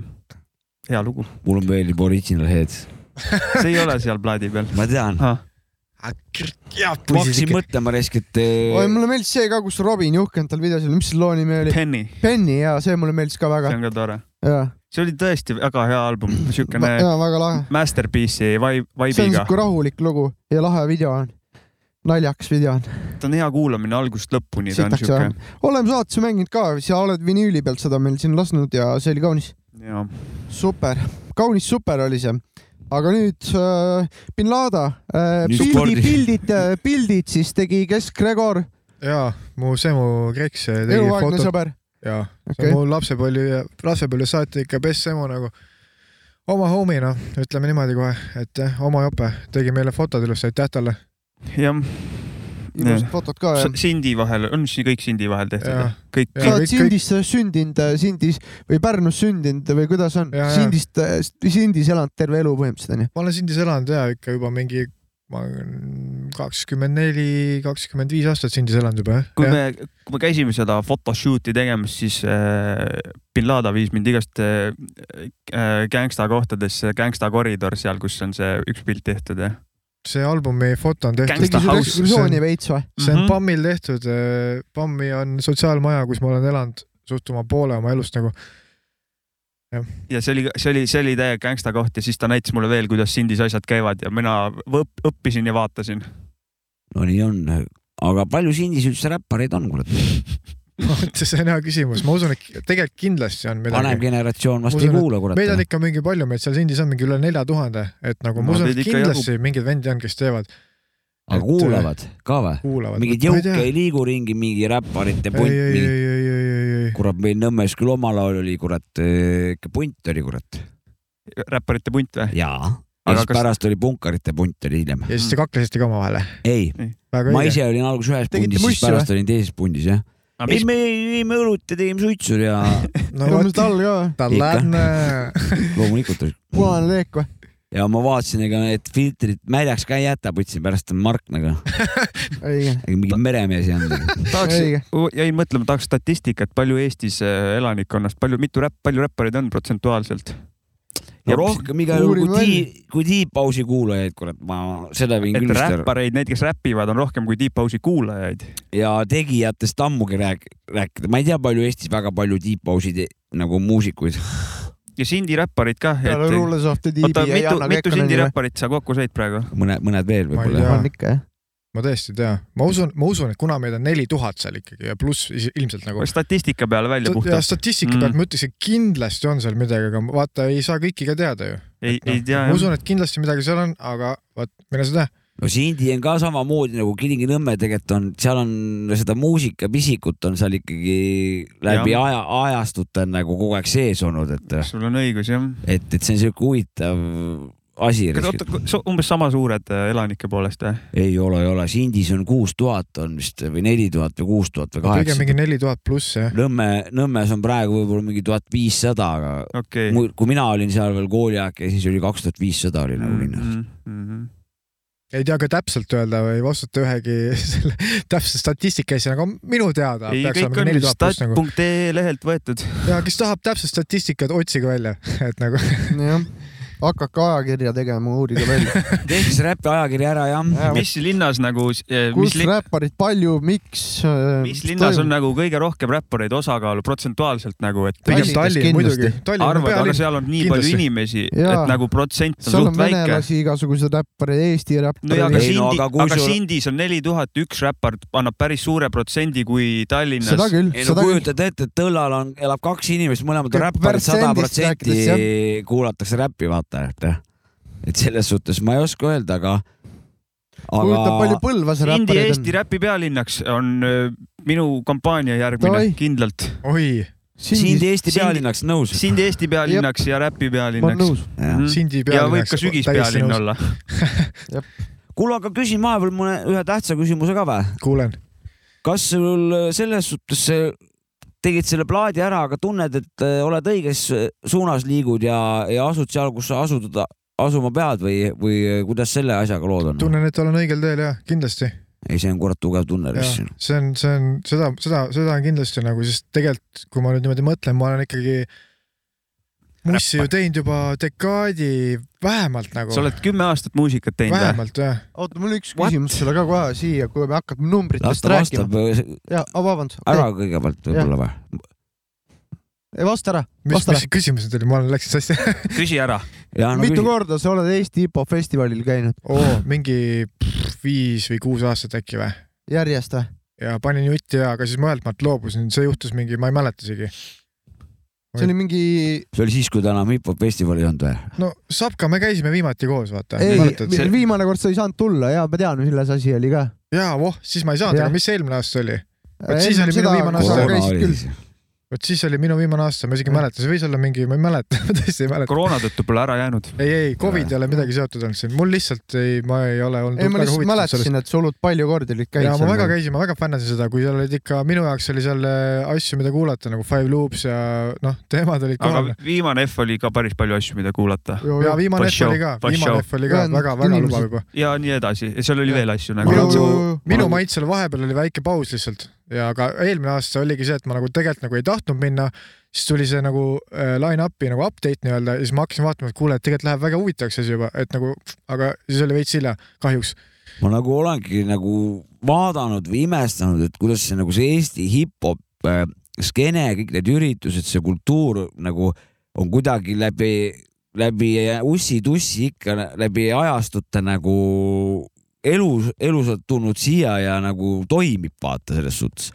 Speaker 3: hea lugu .
Speaker 2: mulle meeldib Original Head .
Speaker 3: see ei ole seal plaadi peal . Ah,
Speaker 4: Ah,
Speaker 2: ma tean . ma hakkasin mõtlema eh, raiskelt .
Speaker 1: oi mulle meeldis see ka , kus Robin Juhkend tal videos oli , mis selle loo nimi oli ?
Speaker 3: Penny .
Speaker 1: Penny ja see mulle meeldis ka väga
Speaker 3: see . on ka tore .
Speaker 1: jaa ,
Speaker 3: see oli tõesti väga hea album , siukene
Speaker 1: jaa , väga lahe .
Speaker 3: masterpiece'i
Speaker 1: see
Speaker 3: vibe ,
Speaker 1: on
Speaker 3: vibe'iga .
Speaker 1: siuke rahulik lugu ja lahe video on . naljakas video on .
Speaker 3: ta on hea kuulamine algusest lõpuni , ta on
Speaker 1: sitaks
Speaker 3: siuke
Speaker 1: jah .. oleme saates mänginud ka , sa oled vinüüli pealt seda meil siin lasknud ja see oli kaunis .
Speaker 3: jaa .
Speaker 1: super , kaunis super oli see . aga nüüd äh, bin Lada äh, ,
Speaker 4: Nüüd
Speaker 1: pildi ,
Speaker 4: spordi.
Speaker 1: pildid , pildid siis tegi Kesk-Gregor ,
Speaker 4: jaa , mu Semu Kreks tegi
Speaker 1: eluaegne
Speaker 4: foto .
Speaker 1: sõber .
Speaker 4: jaa , see
Speaker 1: Okei.
Speaker 4: on mu lapsepõlve , lapsepõlve saati ikka best Semu nagu oma homina , ütleme niimoodi kohe , et jah, oma jope tegi meile fotod üles , aitäh talle .
Speaker 3: jah .
Speaker 1: Ilusad fotod ka, jah.
Speaker 3: Sindi vahel , on siis kõik Sindi vahel
Speaker 1: Jaa.
Speaker 3: tehtud ? kõik .
Speaker 1: sa oled Sindis äh, sündinud , Sindis või Pärnus sündinud või kuidas on
Speaker 4: Jaa, jaa. ,
Speaker 1: Sindist , Sindis elanud terve elu põhimõtteliselt onju .
Speaker 4: ma olen Sindis elanud ja ikka juba mingi , ma olen kakskümmend neli , kakskümmend viis aastat Sindis elanud juba jah .
Speaker 3: kui me , kui me käisime seda photoshoot'i tegemas , siis äh, bin Laden viis mind igast äh, äh, gängsta kohtadesse , gängsta koridor seal , kus on see üks pilt tehtud ja .
Speaker 4: see albumi foto on tehtud .
Speaker 3: Gangsta House.
Speaker 1: ekskursiooni veits või ?
Speaker 4: see on PAM-il tehtud , PAM-i on sotsiaalmaja , kus ma olen elanud suht oma poole oma elust nagu .
Speaker 3: ja see oli , see oli , see oli täiega gängsta koht ja siis ta näitas mulle veel , kuidas Sindis asjad käivad ja mina võp, õppisin ja vaatasin .
Speaker 2: no nii on , aga palju Sindis üldse räppareid on , kurat ?
Speaker 4: see on hea küsimus , ma usun , et tegelikult kindlasti on midagi .
Speaker 2: vanem generatsioon vast ei kuula , kurat .
Speaker 4: meid on ikka mingi palju , meid seal Sindis on mingi üle nelja tuhande , et nagu ma
Speaker 2: No
Speaker 4: usun ,
Speaker 2: teid
Speaker 4: et
Speaker 2: ikka
Speaker 4: kindlasti mingeid vendi on , kes teevad .
Speaker 2: aga kuulavad ka või ?
Speaker 4: kuulavad .
Speaker 2: mingeid jõuke ei liigu ringi , mingi räpparite punt ,
Speaker 4: ei , ei ,
Speaker 2: mingi
Speaker 4: ei , ei , ei , ei ,
Speaker 2: kurat , meil Nõmmes küll omal ajal oli , kurat , ikka punt oli , kurat .
Speaker 3: räpparite punt või ?
Speaker 2: jaa . ja
Speaker 3: Aga
Speaker 2: siis
Speaker 3: kas-
Speaker 2: pärast oli punkarite punt oli hiljem .
Speaker 4: ja siis te kaklesite ka omavahele .
Speaker 2: ei ,
Speaker 4: Väga
Speaker 2: ma
Speaker 4: õige.
Speaker 2: ise olin alguses ühes
Speaker 4: Tegite
Speaker 2: pundis , siis
Speaker 4: mussi
Speaker 2: pärast
Speaker 4: või?
Speaker 2: olin teises pundis , jah .
Speaker 3: Aga
Speaker 2: ei
Speaker 3: mis- ,
Speaker 2: me jõime õlut ja tegime suitsu ja
Speaker 4: no
Speaker 1: vot tal ka .
Speaker 4: tal
Speaker 2: Ikka.
Speaker 4: on ,
Speaker 2: loomulikult oli .
Speaker 1: punane leek või ?
Speaker 2: ja ma vaatasin , ega need filtrid märjaks ka ei jäta , võtsin pärast marknaga .
Speaker 1: õige .
Speaker 2: mingi meremees ei nagu. olnud .
Speaker 3: tahaks
Speaker 1: Õige. ,
Speaker 3: jäin mõtlema , tahaks statistikat , palju Eestis äh, elanikkonnast , palju , mitu räpp , palju räppareid on protsentuaalselt ?
Speaker 2: ja rohkem igal juhul
Speaker 3: Uurime
Speaker 2: kui
Speaker 3: välja.
Speaker 2: tiib , kui tiibpausi kuulajaid , kurat , ma seda võin
Speaker 3: et
Speaker 2: küll vist ära .
Speaker 3: räppareid , need , kes räpivad , on rohkem kui Deep House'i kuulajaid .
Speaker 2: ja tegijatest ammugi rääk- , rääkida , ma ei tea , palju Eestis väga palju tiibpausi te- nagu muusikuid .
Speaker 3: ja Sindi räpparid ka .
Speaker 1: Peale Rules of the Deep'i
Speaker 3: oota ,
Speaker 1: ja
Speaker 3: mitu
Speaker 1: Janna ,
Speaker 3: mitu
Speaker 1: Kekkonen
Speaker 3: Sindi
Speaker 1: või?
Speaker 3: räpparit sa kokku said praegu ?
Speaker 2: mõned , mõned veel
Speaker 1: on
Speaker 2: võib-olla .
Speaker 1: ikka jah .
Speaker 4: ma tõesti ei tea , ma usun , ma usun , et kuna meid on neli tuhat seal ikkagi ja pluss is- ilmselt nagu .
Speaker 3: statistika peale välja
Speaker 4: ja
Speaker 3: puhtalt .
Speaker 4: statistika
Speaker 2: Mm.
Speaker 4: pealt ma ütleks , et kindlasti on seal midagi , aga ma- vaata , ei saa kõiki ka teada ju .
Speaker 3: ei , ei tea
Speaker 4: ma usun , et kindlasti midagi seal on , aga vot , mine sa tea .
Speaker 2: no see indie on ka samamoodi nagu Kilingi-Nõmme tegelikult on , seal on seda muusikapisikut on seal ikkagi läbi
Speaker 3: Jah.
Speaker 2: aja , ajastute on nagu kogu aeg sees olnud , et .
Speaker 3: sul on õigus jah .
Speaker 2: et , et see on siuke huvitav asi .
Speaker 3: kas oota , umbes sama suured äh, elanike poolest või ?
Speaker 2: ei ole , ei ole , see indis on kuus tuhat on vist või neli tuhat või kuus tuhat või
Speaker 4: pigem
Speaker 2: kaheksa .
Speaker 4: mingi neli tuhat pluss jah .
Speaker 2: Nõmme , Nõmmes on praegu võib-olla mingi tuhat viissada , aga
Speaker 3: okay.
Speaker 2: kui mina olin seal veel kooliaeg , siis oli kaks tuhat viissada oli nagu linnas mm .
Speaker 3: mhm.
Speaker 4: ei tea ka täpselt öelda või vastata ühegi selle täpse statistika asja , aga minu teada
Speaker 3: ei ,
Speaker 4: peaks
Speaker 3: kõik
Speaker 4: olema
Speaker 3: on
Speaker 4: neli tuhat pluss nagu .
Speaker 3: stat.ee lehelt võetud .
Speaker 4: ja kes tahab täpset statistikat , otsige välja , et nagu .
Speaker 1: jah , hakake ajakirja tegema , uurige välja .
Speaker 2: tehke see räpi ajakiri ära jah
Speaker 3: mis linnas nagu , mis
Speaker 1: kus
Speaker 3: linn ,
Speaker 1: räpparid palju , miks ? äh,
Speaker 3: mis linnas on ? nagu kõige rohkem räppareid osakaalu protsentuaalselt nagu , et .
Speaker 1: Pigem Tallinnas Tallinn kindlasti. muidugi. Tallinn on
Speaker 3: arvad , aga
Speaker 1: pealinn.
Speaker 3: seal on nii
Speaker 1: Kindlasti.
Speaker 3: palju inimesi ,
Speaker 1: Jaa.
Speaker 3: et nagu protsent on
Speaker 1: seal on
Speaker 3: suht väike .
Speaker 1: venelasi , igasugused räpparid , Eesti
Speaker 3: no ja ,
Speaker 1: räpparid .
Speaker 3: aga Sindi , aga, aga Sindis on neli tuhat , üks räppar annab päris suure protsendi kui Tallinnas .
Speaker 1: Seda küll,
Speaker 2: ei no kujutad ette , et Õllal on , elab kaks inimest , mõlemad on räpparid , sada
Speaker 1: Protsendist rääkides,
Speaker 2: protsenti kuulatakse räppi , vaata , et jah . et selles suhtes ma ei oska öelda , aga , aga
Speaker 1: Põlvas
Speaker 3: Sindi
Speaker 2: räppareid on.
Speaker 3: Eesti räpi pealinnaks on öö, minu kampaania järgmine
Speaker 2: Davai.
Speaker 3: kindlalt .
Speaker 4: oi .
Speaker 2: Sindi Eesti pealinnaks , nõus .
Speaker 3: Sindi Eesti pealinnaks ja räpi pealinnaks .
Speaker 4: Sindi
Speaker 3: Hmm. ja võib
Speaker 4: pealinnaks .
Speaker 3: ka sügispealinn olla .
Speaker 2: kuule , aga küsin vahepeal mõne ühe tähtsa küsimuse ka või ?
Speaker 4: kuulen .
Speaker 2: kas sul äh, selles suhtes see- tegid selle plaadi ära , aga tunned , et eh, oled õiges suunas liigud ja , ja asud seal , kus sa asud , asuma pead või , või äh, kuidas selle asjaga lood on ?
Speaker 4: tunnen , et olen õigel teel ja kindlasti .
Speaker 2: ei , see on kurat tugev tunne lihtsalt .
Speaker 4: see on , see on seda , seda , seda on kindlasti nagu , sest tegelikult , kui ma nüüd niimoodi mõtlen , ma olen ikkagi mussi ju teinud juba dekaadi vähemalt nagu .
Speaker 3: sa oled kümme aastat muusikat teinud või ?
Speaker 4: vähemalt jah .
Speaker 1: oota , mul üks küsimus sulle ka kohe siia , kui me hakkame numbritest rääkima . ja , vabandust .
Speaker 2: äh, ära kõigepealt võib-olla või ?
Speaker 1: ei vasta ära ,
Speaker 4: mis ,
Speaker 1: vasta
Speaker 4: mis
Speaker 1: ära .
Speaker 4: küsimus nüüd oli , ma läksin sassi .
Speaker 3: küsi ära .
Speaker 1: mitu korda sa oled Eesti hip-hop festivalil käinud
Speaker 4: oo , mingi pff, viis või kuus aastat äkki või ?
Speaker 1: järjest või ?
Speaker 4: ja panin jutti ja , aga siis ma ühelt maalt loobusin , see juhtus mingi , ma ei mäleta isegi .
Speaker 1: see oli mingi ,
Speaker 2: see oli siis , kui ta enam hip-hop festivali ei olnud või ?
Speaker 4: no Sapka , me käisime viimati koos , vaata .
Speaker 1: ei , viimane kord sa ei saanud tulla ja ma tean , milles asi oli ka .
Speaker 4: jaa , voh , siis ma ei saanud ,
Speaker 1: Jah.
Speaker 4: aga mis see eelmine aasta oli ? vot
Speaker 1: Enne
Speaker 4: siis oli minu
Speaker 1: seda
Speaker 4: viimane
Speaker 1: korona oli
Speaker 4: aasta
Speaker 1: siis. .
Speaker 4: vot siis oli minu viimane aasta , ma
Speaker 1: Mm.
Speaker 4: isegi ei mäleta , see võis olla mingi , ma ei mäleta , ma tõesti ei mäleta .
Speaker 3: koroona tõttu pole ära jäänud .
Speaker 4: ei , ei , Covid ei ole midagi seotud olnud siin , mul lihtsalt ei , ma ei ole olnud .
Speaker 1: Äh. ei , ma lihtsalt mäletasin , et nagu. sa hullult palju kordi olid käinud
Speaker 4: ja ma väga . käisin , ma väga fännasin seda , kui seal olid ikka , minu jaoks oli seal äh, asju , mida kuulata nagu Five Loops ja noh , teemad olid
Speaker 3: aga
Speaker 4: kohal .
Speaker 3: viimane F oli ka päris palju asju , mida kuulata .
Speaker 4: ja viimane F oli ka , viimane F oli ka väga-väga lubav juba .
Speaker 3: ja nii edasi , seal oli veel asju nagu .
Speaker 4: minu , minu maitsel vahepeal oli väike paus lihtsalt ja aga eelmine aasta oligi see , et ma nagu tegelikult nagu ei tahtnud minna , siis tuli see nagu äh, line-up'i nagu update nii-öelda ja siis ma hakkasin vaatama , et kuule , et tegelikult läheb väga huvitavaks asi juba , et nagu , aga siis oli veits hilja , kahjuks .
Speaker 2: ma nagu olengi nagu vaadanud või imestanud , et kuidas see nagu see Eesti hip-hop äh, skeene , kõik need üritused , see kultuur nagu on kuidagi läbi , läbi ussi-tussi ikka läbi ajastute nagu elus , elusalt tulnud siia ja nagu toimib , vaata selles suhtes .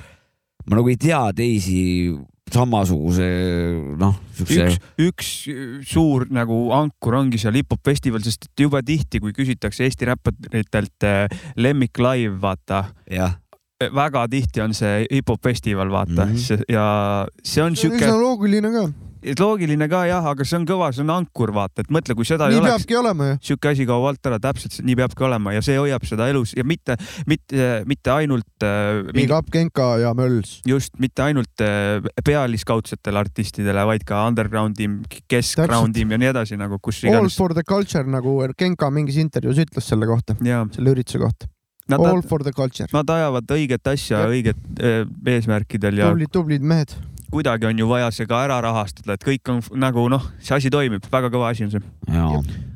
Speaker 2: ma nagu ei tea teisi samasuguse noh , siukse
Speaker 3: üks , üks suur nagu ankur ongi seal hip-hop festival , sest et jube tihti , kui küsitakse Eesti räpparitelt eh, lemmik live , vaata . väga tihti on see hip-hop festival , vaata mm , -hmm. ja see on sihuke
Speaker 1: üsna , loogiline ka .
Speaker 3: loogiline ka jah , aga see on kõva , see on ankur , vaata , et mõtle , kui seda ei
Speaker 1: nii
Speaker 3: oleks ,
Speaker 1: peabki olema ju .
Speaker 3: sihuke asi kaob alt ära , täpselt nii peabki olema ja see hoiab seda elus ja mitte , mitte , mitte ainult eh,
Speaker 1: Big up Genka ja Mölls .
Speaker 3: just , mitte ainult äh, pealiskaudsetele artistidele , vaid ka undergroundim , keskgroundim ja nii edasi nagu , kus
Speaker 1: All
Speaker 3: iganes .
Speaker 1: for the culture nagu Genka mingis intervjuus ütles selle kohta ,
Speaker 3: selle
Speaker 1: ürituse kohta .
Speaker 3: Nad-
Speaker 1: All for the culture .
Speaker 3: Nad ajavad õiget asja õiget äh, eesmärkidel ja
Speaker 1: tublid , tublid mehed .
Speaker 3: kuidagi on ju vaja see ka ära rahastada , et kõik on f- nagu noh , see asi toimib , väga kõva asi on see .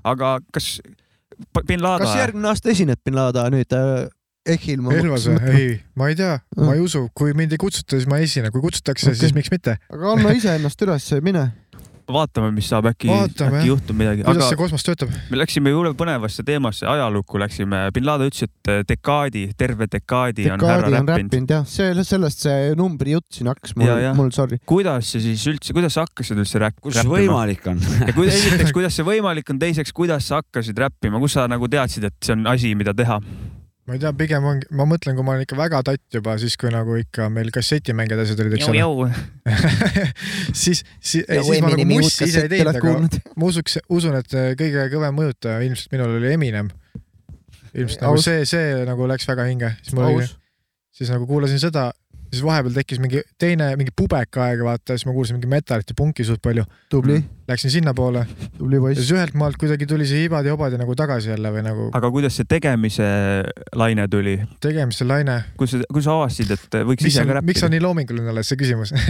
Speaker 3: aga kas P- bin
Speaker 1: kas
Speaker 3: Laden ,
Speaker 1: järgmine aasta esineb bin Laden nüüd äh, EHIL ?
Speaker 4: Elvas või ? ei , ma ei tea , ma ei usu , kui mind ei kutsuta , siis ma ei esine , kui kutsutakse okay. , siis miks mitte .
Speaker 1: aga anna iseennast üles , mine .
Speaker 3: vaatame , mis saab , äkki ,
Speaker 4: Vaatame,
Speaker 3: äkki
Speaker 4: jah.
Speaker 3: juhtub midagi .
Speaker 4: kuidas see kosmos töötab ?
Speaker 3: me läksime jube põnevasse teemasse , ajalukku läksime . bin Laden ütles , et eh, dekaadi , terve dekaadi, dekaadi on härra
Speaker 1: dekaadi on
Speaker 3: räppinud .
Speaker 1: räppinud jah , see , sellest see numbri jutt siin hakkas mul
Speaker 3: Ja, ja. ,
Speaker 1: mul sorry .
Speaker 3: kuidas see siis üldse , kuidas sa hakkasid üldse räpp- ?
Speaker 1: Kus võimalik
Speaker 2: on
Speaker 3: ja kui, esiteks , kuidas see võimalik on , teiseks , kuidas sa hakkasid räppima , kus sa nagu teadsid , et see on asi , mida teha ?
Speaker 4: ma ei tea , pigem ongi , ma mõtlen , kui ma olin ikka väga tatt juba , siis kui nagu ikka meil kassetimängijad asjad olid , eks ole . siis , siis ,
Speaker 1: Ja
Speaker 4: siis ma nagu
Speaker 1: Eminem'i uut
Speaker 4: mussi ise ei
Speaker 1: kasseti
Speaker 4: teinud ,
Speaker 1: oled
Speaker 4: aga
Speaker 1: kuulnud?
Speaker 4: ma usuks , usun , et äh, kõige kõvem mõjutaja ilmselt minul oli Eminem . ilmselt nagu
Speaker 1: Aus.
Speaker 4: see , see nagu läks väga hinge , siis mul oli
Speaker 1: Aus. ,
Speaker 4: siis nagu kuulasin seda , siis vahepeal tekkis mingi teine , mingi pubeka aeg , vaata , siis ma kuulsin mingi metalit ja punki suht palju .
Speaker 1: tubli .
Speaker 4: Läksin sinnapoole .
Speaker 1: tubli
Speaker 4: ja
Speaker 1: poiss .
Speaker 4: siis ühelt maalt kuidagi tuli see hibad ja hobad ja nagu tagasi jälle või nagu
Speaker 3: aga kuidas see tegemise laine tuli ?
Speaker 4: tegemiste laine .
Speaker 3: kui sa , kui sa avastasid , et võiks
Speaker 4: miks
Speaker 3: ise ka
Speaker 4: on , miks on
Speaker 3: räppida ?
Speaker 4: nii loominguline alles see küsimus ?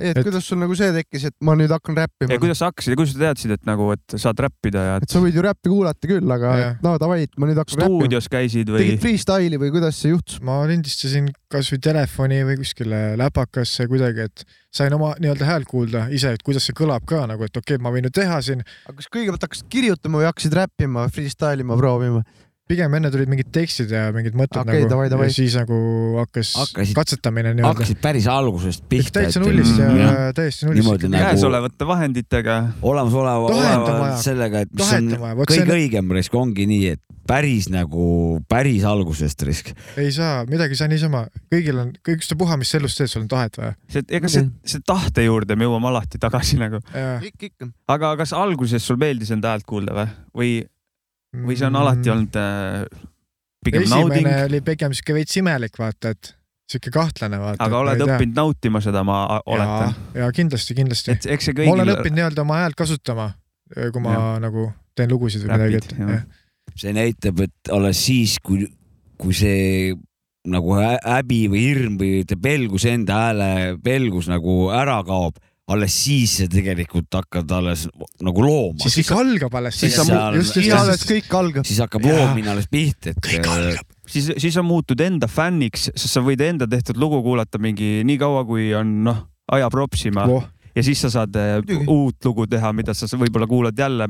Speaker 1: et kuidas sul nagu see tekkis , et ma nüüd hakkan räppima
Speaker 3: ja ? kuidas sa hakkasid ja kuidas sa teadsid , et nagu , et saad räppida ja
Speaker 1: et sa võid ju räppi kuulata küll , aga
Speaker 4: Jah.
Speaker 1: et no davai , et ma nüüd hakkan räppima .
Speaker 3: stuudios käisid või
Speaker 1: tegid ? freestyle'i või kuidas see juhtus ?
Speaker 4: ma lindistasin kasvõi telefoni või kuskile läpakasse kuidagi , et sain oma nii-öelda häält kuulda ise , et kuidas see kõlab ka nagu , et okei okay, , ma võin ju teha siin .
Speaker 1: aga kas kõigepealt hakkasid kirjutama või hakkasid räppima , freestyle ima proovima ?
Speaker 4: pigem enne tulid mingid tekstid ja mingid mõtted
Speaker 1: Okei,
Speaker 4: nagu
Speaker 1: davai, davai.
Speaker 4: ja siis nagu hakkas
Speaker 2: Hakkasid-
Speaker 4: hakkasid, katsetamine nii-öelda .
Speaker 2: hakkasid päris algusest pihta .
Speaker 4: täitsa nullist ja täiesti nullist .
Speaker 2: niimoodi nagu
Speaker 3: käesolevate vahenditega ?
Speaker 2: olemasoleva ,
Speaker 4: Tahet on
Speaker 2: oleva
Speaker 4: vaja.
Speaker 2: sellega , et mis
Speaker 4: Tahet on vaja.
Speaker 2: on
Speaker 4: Vot see
Speaker 2: kõige
Speaker 4: on-
Speaker 2: õigem risk ongi nii , et päris nagu päris algusest risk .
Speaker 4: ei saa , midagi ei saa niisama , kõigil on , ükstapuha , mis sa elus teed , sul on tahet vaja .
Speaker 3: see , ega see , see tahte juurde me jõuame alati tagasi nagu .
Speaker 1: ikka , ikka .
Speaker 3: aga kas alguses sul meeldis enda häält kuulda või , või , või see on alati olnud äh, pigem
Speaker 4: Mm. esimene
Speaker 3: nauding ?
Speaker 4: oli pigem siuke veits imelik , vaata , et siuke kahtlane , vaata .
Speaker 3: aga oled õppinud nautima seda , ma a- oletan .
Speaker 4: ja kindlasti , kindlasti .
Speaker 3: et eks see
Speaker 4: ma olen
Speaker 3: kõigil ,
Speaker 4: õppinud nii-öelda oma häält kasutama , kui ma
Speaker 3: Jah.
Speaker 4: nagu teen lugusid või midagi ,
Speaker 3: Räpid,
Speaker 4: et eh,
Speaker 3: jah.
Speaker 4: jah.
Speaker 2: see näitab , et alles siis , kui , kui see nagu hä- häbi või hirm või te- pelgus enda hääle pelgus nagu ära kaob , alles siis sa tegelikult hakkad alles nagu looma .
Speaker 4: siis kõik algab alles .
Speaker 2: siis sa mu- just- siis
Speaker 1: ja alles kõik algab .
Speaker 2: siis hakkab loomine alles pihta , et .
Speaker 3: siis , siis on muutud enda fänniks , sest sa võid enda tehtud lugu kuulata mingi nii kaua , kui on noh , ajab ropsima
Speaker 4: Voh.
Speaker 3: ja siis sa saad äh, uut lugu teha , mida sa s- võib-olla kuulad jälle ,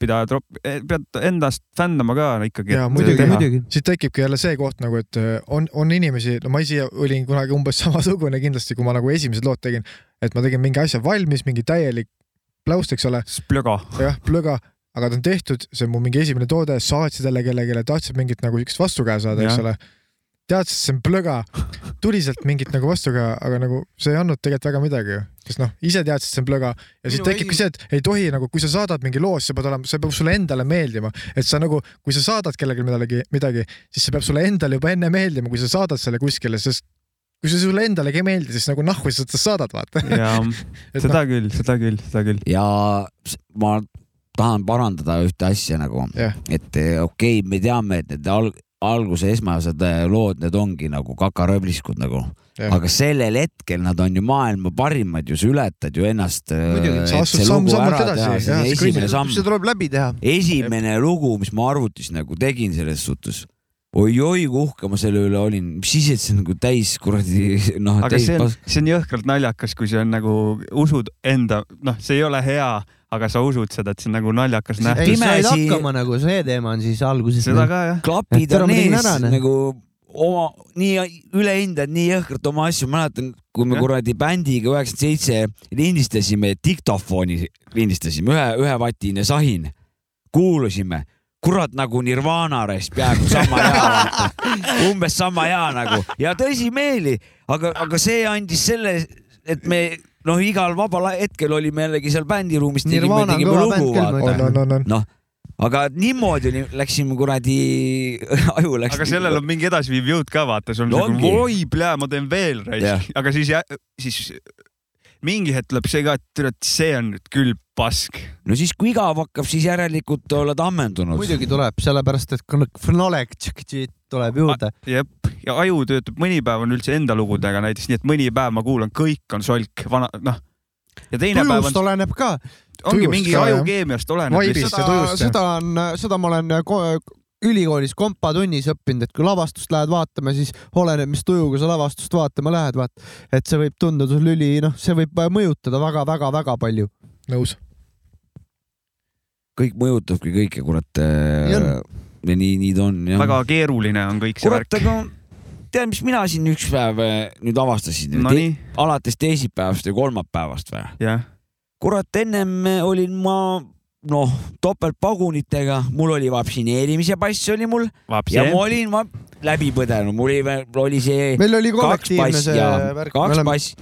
Speaker 3: pidad , pead endast fännama ka ikkagi .
Speaker 4: ja muidugi , muidugi . siis tekibki jälle see koht nagu , et äh, on , on inimesi , no ma ise olin kunagi umbes samasugune kindlasti , kui ma nagu esimesed lood tegin , et ma tegin mingi asja valmis , mingi täielik pläust , eks ole ,
Speaker 3: plöga .
Speaker 4: jah , plõga , aga ta on tehtud , see on mu mingi esimene toode , saatsid jälle kellelegi , tahtsid mingit nagu siukest vastukäe saada , eks
Speaker 3: Jah.
Speaker 4: ole . teadsid , see on plõga , tuli sealt mingit nagu vastukäe , aga nagu see ei andnud tegelikult väga midagi ju , sest noh , ise teadsid , see on plõga ja siis
Speaker 1: Minu
Speaker 4: tekibki see , et ei tohi nagu , kui sa saadad mingi loo , siis see peab olema , see peab sulle endale meeldima , et sa nagu , kui sa saadad kellelegi midagi , midagi , siis see peab sulle endale juba enne meeldima , kui sa saadad selle kuskile , sest kui see sulle endalegi ei meeldi , siis nagu nahku sa seda saadad , vaata .
Speaker 3: ja
Speaker 4: Et
Speaker 3: seda küll , seda küll , seda küll .
Speaker 2: ja s- ma tahan parandada ühte asja nagu ,
Speaker 4: Jah.
Speaker 2: et eh, okei okay, , me teame , et need alg- , alguse esmased eh, lood , need ongi nagu kakaröbliskud nagu .
Speaker 4: Jah.
Speaker 2: aga sellel hetkel nad on ju maailma parimad ju , sa ületad ju ennast . eh,
Speaker 4: Muidugi, sa astud samm-sammult edasi, jah, see
Speaker 2: esimene
Speaker 4: kõige-
Speaker 2: samm
Speaker 1: see , tuleb läbi teha .
Speaker 2: esimene lugu , mis ma arvutis nagu tegin selles suhtes oi-oi , kui uhke ma selle üle olin , mis siis , et see on nagu täis kuradi noh ,
Speaker 3: aga
Speaker 2: täis
Speaker 3: see on
Speaker 2: pas- ,
Speaker 3: see on jõhkralt naljakas , kui see on nagu usud enda , noh , see ei ole hea , aga sa usud seda , et see on nagu naljakas
Speaker 1: ei ,
Speaker 3: nähtus .
Speaker 1: sa said
Speaker 2: Pimesi-
Speaker 1: hakkama nagu , see teema on siis alguses .
Speaker 3: seda ka jah .
Speaker 2: klapid
Speaker 1: Tere,
Speaker 2: on
Speaker 1: ma tegin
Speaker 2: ees
Speaker 1: ära, näe.
Speaker 2: nagu oma , nii ülehindad nii jõhkralt oma asju , ma mäletan , kui me
Speaker 3: Jah.
Speaker 2: kuradi bändiga üheksakümmend seitse lindistasime , diktofoni lindistasime , ühe , ühevatine sahin , kuulusime , kurat nagu Nirvana raisk , peaaegu sama hea , umbes sama hea nagu ja tõsimeeli , aga , aga see andis selle , et me noh , igal vabal hetkel olime jällegi seal bändiruumis , tegime ,
Speaker 1: Nirvana on
Speaker 2: tegime
Speaker 1: kõva
Speaker 2: lugu
Speaker 1: bänd , küll , ma
Speaker 2: vaata
Speaker 4: on , on , on , on .
Speaker 2: noh , aga niimoodi oli- läksime kuradi , aju läks .
Speaker 3: aga sellel on mingi edasiviiv jõud ka , vaata , sul on
Speaker 2: No
Speaker 3: nagu
Speaker 2: ongi.
Speaker 3: oi plää , ma teen veel
Speaker 2: Jah.
Speaker 3: raisk , aga siis , siis mingi hetk tuleb see ka , et tead , see on nüüd küll pask .
Speaker 2: no siis , kui igav hakkab , siis järelikult oled ammendunud .
Speaker 1: muidugi tuleb , sellepärast et knowledge tuleb juurde .
Speaker 3: jep , ja aju töötab , mõni päev on üldse enda lugudega näiteks , nii et mõni päev ma kuulan , kõik on solk , vana , noh . ja teine päev
Speaker 1: tujust
Speaker 3: on ,
Speaker 1: oleneb ka .
Speaker 3: ongi
Speaker 4: tujust
Speaker 3: mingi
Speaker 4: ka, jah.
Speaker 3: ajukeemiast oleneb
Speaker 4: Vibe'ist
Speaker 3: lihtsalt .
Speaker 4: ja
Speaker 1: seda ,
Speaker 4: tujust, jah.
Speaker 1: seda on , seda ma olen äh, ko- ülikoolis kompatunnis õppinud , et kui lavastust lähed vaatama , siis oleneb , mis tujuga sa lavastust äh, vaatama lähed , vaat . et see võib tunduda sul üli , noh , see võib mõjutada väga-väga-väga palju .
Speaker 4: nõus .
Speaker 2: kõik mõjutabki kõike , kurat . ja nii , nii ta on , jah .
Speaker 3: väga keeruline on kõik see
Speaker 2: kurat ,
Speaker 3: värk .
Speaker 2: aga tead , mis mina siin üks päev äh, nüüd avastasin
Speaker 3: No
Speaker 2: Te
Speaker 3: nii.
Speaker 2: alates teisipäevast ja kolmapäevast või ?
Speaker 3: jah ,
Speaker 2: kurat , ennem äh, olin ma noh , topeltpagunitega , mul oli vaktsineerimise pass oli mul
Speaker 3: Vapsi.
Speaker 2: ja ma olin ma läbi põdenud , mul oli , oli see
Speaker 1: Meil oli
Speaker 2: kaks
Speaker 1: kollektiivne
Speaker 2: pass
Speaker 1: see
Speaker 2: ja
Speaker 1: värk, me
Speaker 2: kaks
Speaker 1: oleme-
Speaker 2: pass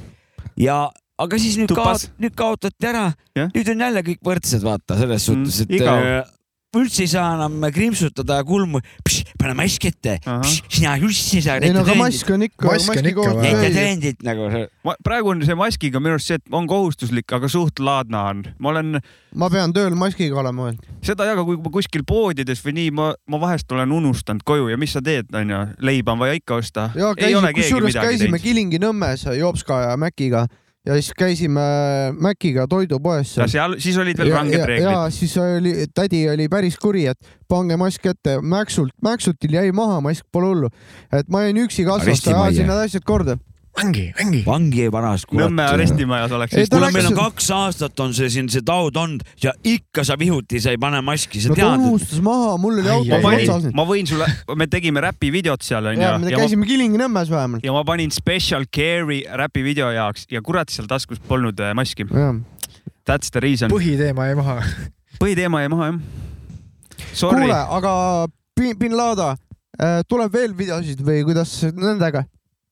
Speaker 2: ja aga siis nüüd
Speaker 1: Tupas.
Speaker 2: kaot- , nüüd kaotati ära , nüüd on jälle kõik võrdsed , vaata
Speaker 1: Mm,
Speaker 2: selles suhtes , et
Speaker 3: igav.
Speaker 2: äh, üldse ei saa enam krimpsutada ja kulmu , pane mask ette , sina üldse ei saa .
Speaker 1: Ei no aga mask on ikka- Mask on maski ikka kohustus- vaja.
Speaker 2: Nende trendid nagu see .
Speaker 3: praegu on see maskiga minu arust see , et on kohustuslik , aga suht laadna on . ma olen ,
Speaker 1: ma pean tööl maskiga olema veel .
Speaker 3: seda ei jaga , kui ma kuskil poodides või nii , ma , ma vahest olen unustanud koju ja mis sa teed , onju , leiba on vaja ikka osta .
Speaker 1: ja käisime , kusjuures käisime Kilingi-Nõmmes Jopska ja Mäkiga ja siis käisime Mäkiga toidupoes .
Speaker 3: Ja seal- siis olid veel ranged reeglid.
Speaker 1: ja siis oli , tädi oli päris kuri , et pange mask ette , mäksult , mäksutil jäi maha mask , pole hullu . et ma jäin üksi kassast ,
Speaker 2: Arestimajja.
Speaker 1: ajasin need asjad korda .
Speaker 4: vangi , vangi .
Speaker 2: vangi ei panas .
Speaker 3: Nõmme arestimajas oleks
Speaker 1: Ei,
Speaker 2: siis .
Speaker 1: ta
Speaker 2: kuule ,
Speaker 1: läks-
Speaker 2: meil on kaks aastat on see siin see taud olnud ja ikka sa vihuti , sa ei pane maski , sa
Speaker 1: no ta
Speaker 2: tead .
Speaker 1: unustas maha , mul oli auto
Speaker 3: ma
Speaker 1: otsas
Speaker 3: panin ,
Speaker 1: nüüd .
Speaker 3: ma võin sulle , me tegime räpivideot seal onju .
Speaker 1: ja me käisime Kilingi-Nõmmes vähemalt .
Speaker 3: ja ma panin special carry räpivideo jaoks ja kurat , seal taskus polnud äh, maski . That's the reason .
Speaker 4: põhiteema jäi maha .
Speaker 3: põhiteema jäi maha jah . Sorry
Speaker 1: kuule ,, aga bin, bin Lada , tuleb veel videosid või kuidas nendega ?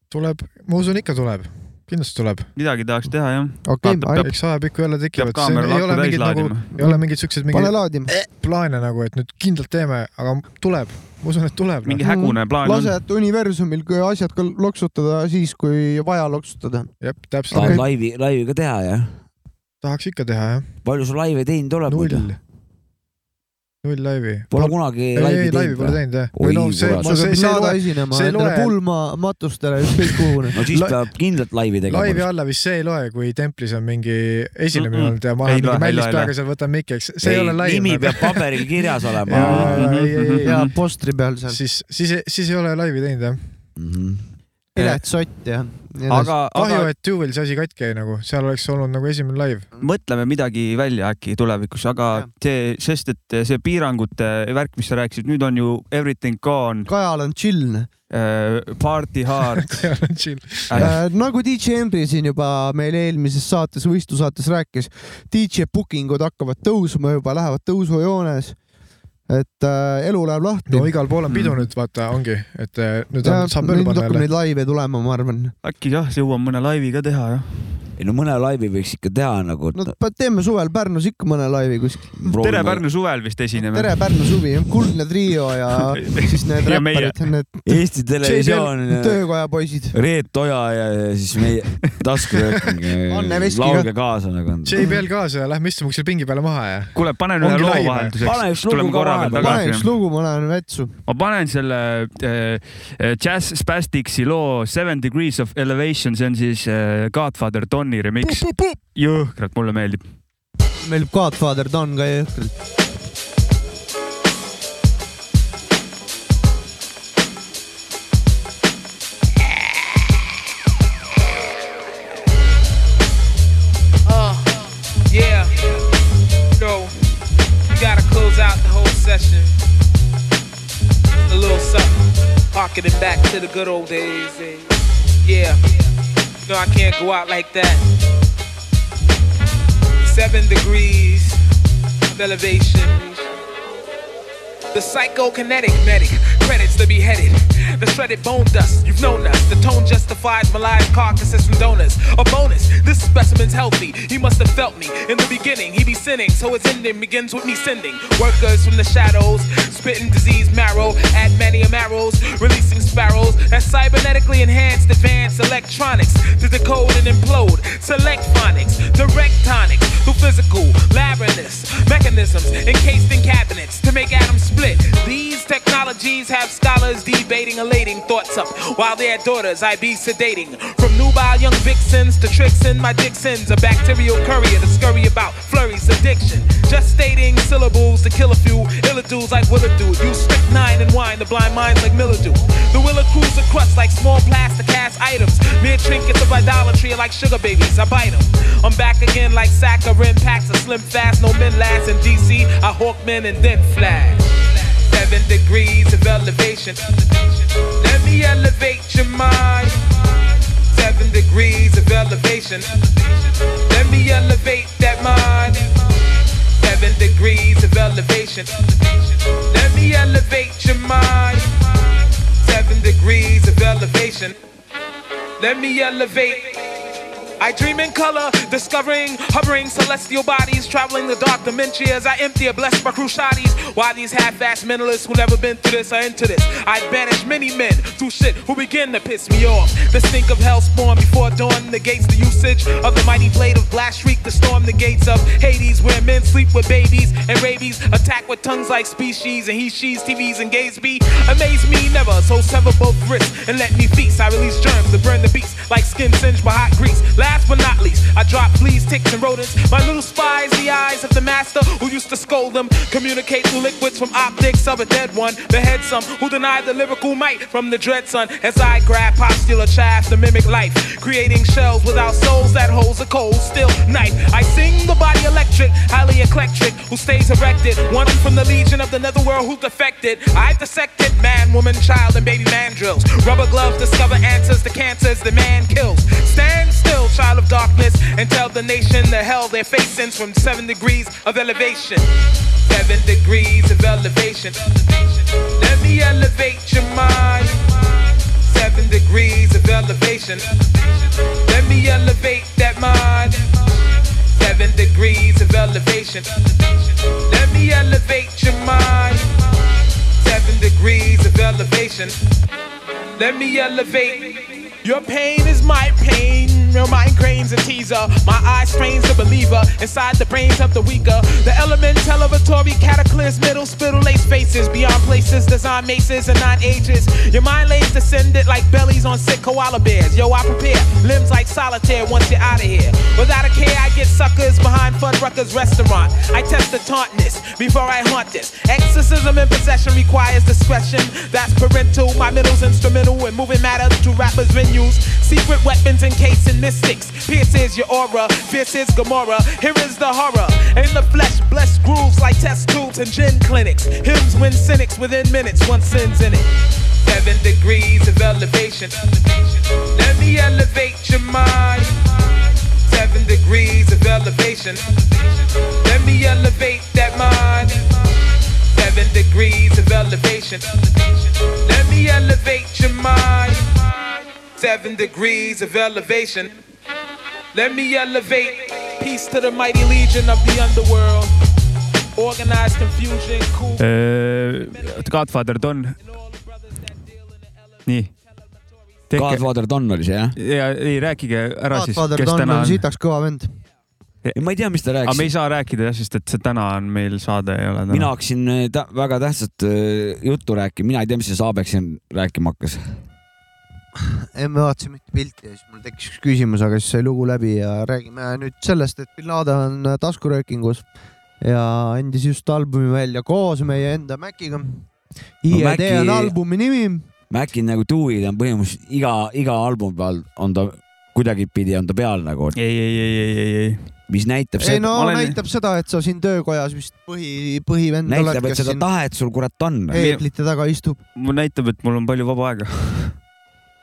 Speaker 4: tuleb , ma usun , ikka tuleb , kindlasti tuleb .
Speaker 3: midagi tahaks teha jah .
Speaker 1: Okei,
Speaker 3: peab,
Speaker 4: eks ajapikku jälle tekivad ,
Speaker 3: peab kaamera
Speaker 4: ei ole
Speaker 3: laku täis
Speaker 4: mingid nagu
Speaker 3: laadima. ,
Speaker 4: ei ole mingid siuksed
Speaker 1: Pane
Speaker 4: mingid
Speaker 1: laadima.
Speaker 4: plaane nagu , et nüüd kindlalt teeme , aga tuleb , ma usun , et tuleb . noh.
Speaker 1: Mm,
Speaker 3: Mingi hägune plaan on.
Speaker 1: lased universumil kui asjad ka loksutada siis , kui vaja loksutada .
Speaker 4: jah , täpselt
Speaker 2: tahad . laivi , laivi ka teha jah ?
Speaker 4: tahaks ikka teha jah .
Speaker 2: palju sul laive teinud oled muidu ?
Speaker 4: null laivi .
Speaker 2: Pole kunagi
Speaker 4: ei,
Speaker 2: laivi
Speaker 4: ei, laivi
Speaker 2: teinud
Speaker 4: pole
Speaker 2: või?
Speaker 4: teinud jah . noh,
Speaker 2: Oi, kurat.
Speaker 1: ma pean saada esinema , endale pulma matustele , ükskõik kuhu .
Speaker 2: no siis peab kindlalt laivi
Speaker 4: laivi
Speaker 2: tegema .
Speaker 4: alla vist see ei loe , kui templis on mingi esinemine
Speaker 2: Mm-mm.
Speaker 4: olnud ja ma
Speaker 2: Ei
Speaker 4: olen mingi
Speaker 2: loe, ei
Speaker 4: mällis
Speaker 2: loe, ei
Speaker 4: peaga
Speaker 2: loe.
Speaker 4: seal võtan mikki , eks see ei, ole laiv .
Speaker 2: nimi peab Mm-hmm, paberil kirjas olema
Speaker 4: Jaa, ei, ei, ei.
Speaker 3: Mhm.
Speaker 1: ja postri peal seal .
Speaker 4: siis , siis , siis ei ole laivi teinud jah .
Speaker 2: Mhm.
Speaker 1: Pilet Sott ja .
Speaker 3: Aga-
Speaker 4: kahju
Speaker 3: aga-
Speaker 4: aga... , et Duvel see asi katki jäi nagu , seal oleks olnud nagu esimene laiv .
Speaker 3: mõtleme midagi välja äkki tulevikus , aga see , sest et see piirangute värk , mis sa rääkisid , nüüd on ju everything gone .
Speaker 1: Kajal on chill .
Speaker 3: Party hard .
Speaker 4: Kajal on chill .
Speaker 3: Äh.
Speaker 1: nagu DJ Henry siin juba meil eelmises saates , võistlusaates rääkis , DJ booking ud hakkavad tõusma juba , lähevad tõusujoones . et äh, elu läheb lahti .
Speaker 4: no igal pool on pidu nüüd vaata , ongi , et eh, nüüd on, saab mööda panna
Speaker 1: nüüd Mm. hakkab
Speaker 4: jälle
Speaker 1: neid . laive tulema , ma arvan .
Speaker 3: äkki jah , jõuame mõne laivi ka teha jah .
Speaker 2: ei no mõne laivi võiks ikka teha nagu .
Speaker 1: no pa- teeme suvel Pärnus ikka mõne laivi kuskil .
Speaker 3: tere Pärnu suvel vist esineme .
Speaker 1: tere Pärnu suvi , Kuldne Trio ja siis need
Speaker 3: Ja meie.
Speaker 1: räpparid , need .
Speaker 2: Eesti Televisioon ja-
Speaker 1: töökoja poisid .
Speaker 2: Reet Oja ja ja siis meie taskurööking äh,
Speaker 1: Anne Veski ka.
Speaker 2: laulge kaasa nagu .
Speaker 4: JBL kaasa ja lähme istume kuskil pingi peale maha ja .
Speaker 3: kuule , pane nüüd
Speaker 4: Ongi
Speaker 3: ühe loo
Speaker 4: laiv.
Speaker 3: vahelduseks .
Speaker 4: Pane üks lugu ka vahepeal.
Speaker 1: pane üks lugu , ma lähen vetsu .
Speaker 3: ma panen selle äh, äh, Jazz Spasticsi loo Seven Degrees of Elevation , see on siis äh, Godfather Donni remix . jõhkralt mulle meeldib .
Speaker 1: meeldib Godfather Don ka jõhkralt .
Speaker 14: Uh, yeah. No, you gotta close out the whole session. A little something, pocket it back to the good old days. eh? Yeah. No, I can't go out like that. Seven degrees of elevation. The psychokinetic medic credits the beheaded. The shredded bone dust, you've known us. The tone justifies malign carcasses from donors. A bonus, this specimen's healthy. He must have felt me. In the beginning, he be sinning, so his ending begins with me sending. Workers from the shadows, spitting disease marrow, admanium arrows, releasing sparrows. That cybernetically enhanced advanced electronics to decode and implode. Select phonics, direct tonics, through physical labyrinths, mechanisms encased in cabinets to make atoms split. These technologies have scholars debating, elating thoughts up while their daughters I be sedating. From nubile young vixens to tricks in my Dixons, a bacterial courier to scurry about flurries of diction. Just stating syllables to kill a few illidules like Willidude. Use strychnine and wine to blind minds like mildew. The Willa Cruiser crust like small plastic cast items. Mere Weird trinkets of idolatry are like sugar babies. I bite 'em. I'm back again like saccharin packs of slim fast. No men last in DC. I hawk men and then flag. Seven degrees of elevation. Let me elevate your mind. Seven degrees of elevation. Let me elevate that mind. Seven degrees of elevation. Let me elevate your mind. Seven degrees of elevation. Let me elevate. I dream in color, discovering, hovering celestial bodies, traveling the dark dimensions. I empty, are blessed by cruciaties. Why these half-assed mentalists who never been through this are into this? I banish many men through shit who begin to piss me off. The stink of hell spawn before dawn negates the usage of the mighty blade of blast shriek to storm the gates of Hades, where men sleep with babies and rabies, attack with tongues like species and he, she's, TVs and gays be. Amaze me never, so sever both wrists and let me feast. I release germs to burn the beats like skin singed by hot grease. Last but not least, I drop fleas, ticks, and rodents. My little spies, the eyes of the master who used to scold them, communicate through liquids from optics of a dead one. Behead some who deny the lyrical might from the dread sun as I grab postular chaff to mimic life, creating shells without souls that holds a cold still knife. I sing the body electric, highly eclectic, who stays erected. One from the legion of the netherworld who defected. I dissected man, woman, child, and baby man drills. Rubber gloves discover answers to cancers the man kills. Stand still, child of darkness, and tell the nation the hell they're facing from seven degrees of elevation. Seven degrees of elevation. Let me elevate your mind. Seven degrees of elevation. Let me elevate that mind. Seven degrees of elevation. Let me elevate your mind. Seven degrees of elevation. Let me elevate. Your pain is my pain. Your mind cranes a teaser. My eye strains the believer inside the brains of the weaker. The elemental of a Tory cataclysm, middle spittle lace faces beyond places, design maces and non ages. Your mind lays descended like bellies on sick koala bears. Yo, I prepare limbs like solitaire once you're out of here. Without a care, I get suckers behind Fuddruckers restaurant. I test the tauntness before I haunt this. Exorcism in possession requires discretion. That's parental. My middle's instrumental in moving matter to rappers' venues. Secret weapons encased in mystics. Pierces your aura. Fierce is Gomorrah. Here is the horror. In the flesh, blessed grooves like test tubes and gin clinics. Hymns win cynics within minutes. One sin's in it. Seven degrees of elevation. Let me elevate your mind. Seven degrees of elevation. Let me elevate that mind. Seven degrees of elevation. Let me elevate your mind. Seven degrees of elevation. Let me elevate. Peace to the mighty legion of the underworld. Organized confusion, cool.
Speaker 3: Äh, Godfather Don . nii .
Speaker 2: Godfather Don oli see jah ?
Speaker 3: ja ei rääkige ära siis ,
Speaker 1: Godfather
Speaker 3: kes
Speaker 1: Don
Speaker 3: täna
Speaker 1: on
Speaker 3: on .
Speaker 1: sitaks kõva vend .
Speaker 2: ma ei tea , mis ta rääkis .
Speaker 3: aga me ei saa rääkida jah , sest et see täna on meil saade ei ole
Speaker 2: mina
Speaker 3: täna .
Speaker 2: hakkasin äh, tä- väga tähtsat äh, juttu rääkima , mina ei tea , mis see Saabek siin rääkima hakkas .
Speaker 1: ei , me vaatasime ühte pilti ja siis mul tekkis üks küsimus , aga siis sai lugu läbi ja räägime nüüd sellest , et Bin Laden on taskuröökingus ja andis just albumi välja koos meie enda Maciga . IED on albumi nimi .
Speaker 2: Maci nagu Dewey ta on põhimõtteliselt iga , iga albumi peal on ta kuidagipidi on ta peal nagu .
Speaker 3: ei , ei , ei , ei , ei , ei .
Speaker 2: mis näitab
Speaker 1: ei no
Speaker 2: ma olen-
Speaker 1: näitab seda , et sa siin töökojas vist põhi , põhivend oled ,
Speaker 2: näitab , et
Speaker 1: kes
Speaker 2: seda
Speaker 1: siin
Speaker 2: tahet sul kurat on .
Speaker 1: heeglite taga istub .
Speaker 3: mul näitab , et mul on palju vaba aega .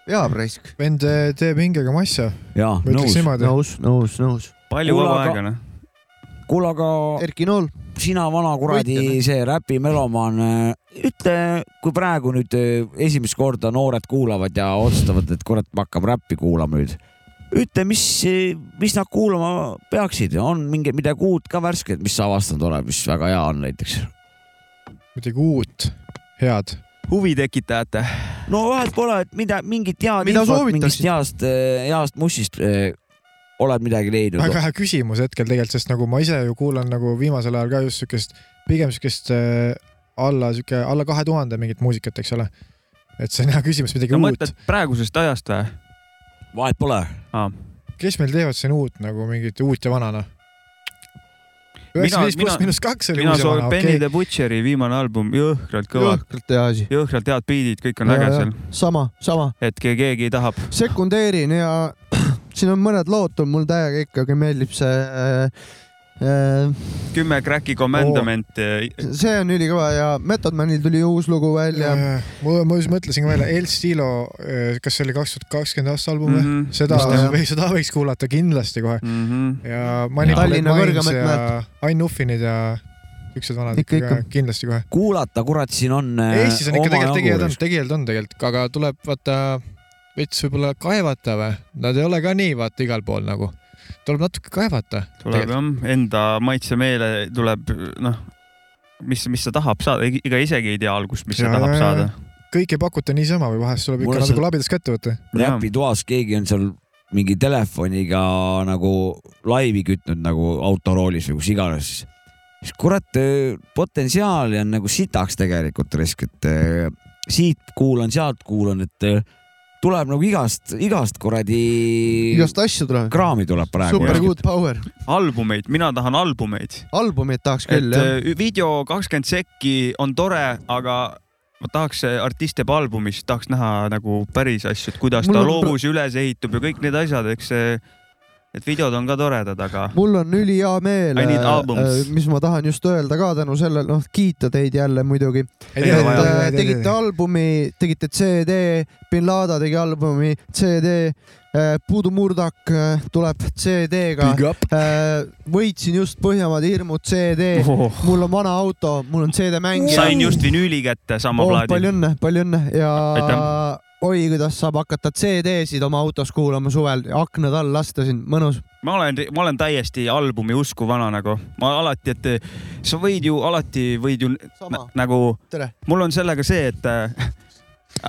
Speaker 1: jaa , raisk .
Speaker 4: vend eh, teeb hingega masja .
Speaker 2: jaa ,
Speaker 4: Ma ütleks niimoodi.
Speaker 1: nõus , nõus , nõus .
Speaker 3: palju vaba aega , noh .
Speaker 2: kuule , aga .
Speaker 3: Oh.
Speaker 1: Erki Nool .
Speaker 2: sina , vana kuradi , see räpimelomaan , ütle , kui praegu nüüd äh, esimest korda noored kuulavad ja otsustavad , et kurat , me hakkame räppi kuulama nüüd . ütle , mis , mis nad kuulama peaksid , on mingi midagi uut ka värsket , mis sa avastanud oled , mis väga hea on näiteks ?
Speaker 4: midagi uut , head .
Speaker 3: huvi tekitajate .
Speaker 2: no vahet pole , et mida , mingit head
Speaker 4: Mida soovitaksid?
Speaker 2: mingist heast , heast mussist äh, oled midagi leidnud
Speaker 4: väga hea küsimus hetkel tegelikult , sest nagu ma ise ju kuulan nagu viimasel ajal ka just siukest , pigem siukest äh, alla siuke alla kahe tuhande mingit muusikat , eks ole . et see on hea küsimus , midagi
Speaker 3: no
Speaker 4: no, uut
Speaker 3: mõtled . praegusest ajast või ?
Speaker 2: vahet pole .
Speaker 4: kes meil teevad siin uut nagu mingit uut ja vana noh ? 95 pluss miinus kaks oli
Speaker 3: mina
Speaker 4: uus ja
Speaker 3: soovin
Speaker 4: vana,
Speaker 3: Benny
Speaker 4: okei.
Speaker 3: the Butcheri viimane album , jõhkralt kõva .
Speaker 1: jõhkralt hea asi .
Speaker 3: jõhkralt head beat'id , kõik on äge seal .
Speaker 1: sama , sama .
Speaker 3: et ke- keegi tahab .
Speaker 1: sekundeerin ja siin on mõned lood , mul täiega ikkagi meeldib see äh, . Äh,
Speaker 3: kümme Cracki Commandment .
Speaker 1: see on ülikõva ja Method Manil tuli uus lugu välja .
Speaker 4: ma , ma just mõtlesin ka välja , El Stilo , kas see oli kaks tuhat kakskümmend aasta album või mm
Speaker 1: Mhm,
Speaker 4: -hmm. ? seda
Speaker 1: just, jah. ,
Speaker 4: seda võiks kuulata kindlasti kohe
Speaker 3: mm . -hmm.
Speaker 4: ja Manipulated
Speaker 1: Tallinna
Speaker 4: Minds
Speaker 1: kõrgemat
Speaker 4: ja
Speaker 1: mäed.
Speaker 4: Ain Uffinid ja niisugused vanad
Speaker 1: Ikka,
Speaker 4: ikka, ikka.
Speaker 1: ikka.
Speaker 4: kindlasti kohe .
Speaker 2: kuulata , kurat , siin on . äh,
Speaker 4: Eestis on ikka
Speaker 2: nagu
Speaker 4: tegelikult tegijad on , tegijad on tegelikult , aga tuleb vaata veits võib-olla kaevata või , nad ei ole ka nii vaata igal pool nagu , tuleb natuke kaevata .
Speaker 3: tuleb jah , enda maitsemeele tuleb noh , mis , mis sa tahad saada , ega isegi ei tea algust , mis sa tahad saada ..
Speaker 4: kõike ei pakuta niisama või vahest tuleb
Speaker 2: Mulle
Speaker 4: ikka
Speaker 2: see-
Speaker 4: natuke labidast kätte võtta .
Speaker 2: räpitoas keegi on seal mingi telefoniga nagu laivi kütnud nagu autoroolis või kus iganes , siis , siis kurat , potentsiaali on nagu sitaks tegelikult risk , et eh, siit kuulan , sealt kuulan , et eh, tuleb nagu igast , igast kuradi .
Speaker 1: igast asju tuleb .
Speaker 2: kraami tuleb praegu .
Speaker 1: super good power ,
Speaker 3: albumeid , mina tahan albumeid .
Speaker 1: albumeid tahaks küll
Speaker 3: et
Speaker 1: jah .
Speaker 3: eh, video kakskümmend sekki on tore , aga ma tahaks eh, artist teeb albumi , siis tahaks näha nagu päris asju , et kuidas
Speaker 1: Mul
Speaker 3: ta
Speaker 1: on pra-
Speaker 3: loovusi üles ehitab ja kõik need asjad , eks see , et videod on ka toredad , aga
Speaker 1: mul on ülihea meel äh,
Speaker 3: I need albums. ,
Speaker 1: mis ma tahan just öelda ka tänu sellele , noh , kiita teid jälle muidugi .
Speaker 3: Ei tea, vaja. Ei, ei, ei,
Speaker 1: et äh,
Speaker 3: ei, ei.
Speaker 1: tegite albumi , tegite CD , bin Laden tegi albumi CD , Puudu Murdak äh, tuleb CD-ga
Speaker 4: Big up. .
Speaker 1: võitsin just Põhjamaade hirmud CD
Speaker 3: Oh. ,
Speaker 1: mul on vana auto , mul on CD-mängija .
Speaker 3: sain just vinüüli kätte sama
Speaker 1: oh, .
Speaker 3: plaadi
Speaker 1: palju . õnne , palju õnne ja
Speaker 3: Aitäh.
Speaker 1: oi , kuidas saab hakata CD-sid oma autos kuulama suvel , aknad all lasta siin , mõnus .
Speaker 3: ma olen , ma olen täiesti albumi usku vana nagu , ma alati , et sa võid ju alati võid ju nä- nagu
Speaker 1: Tere. ,
Speaker 3: mul on sellega see , et äh,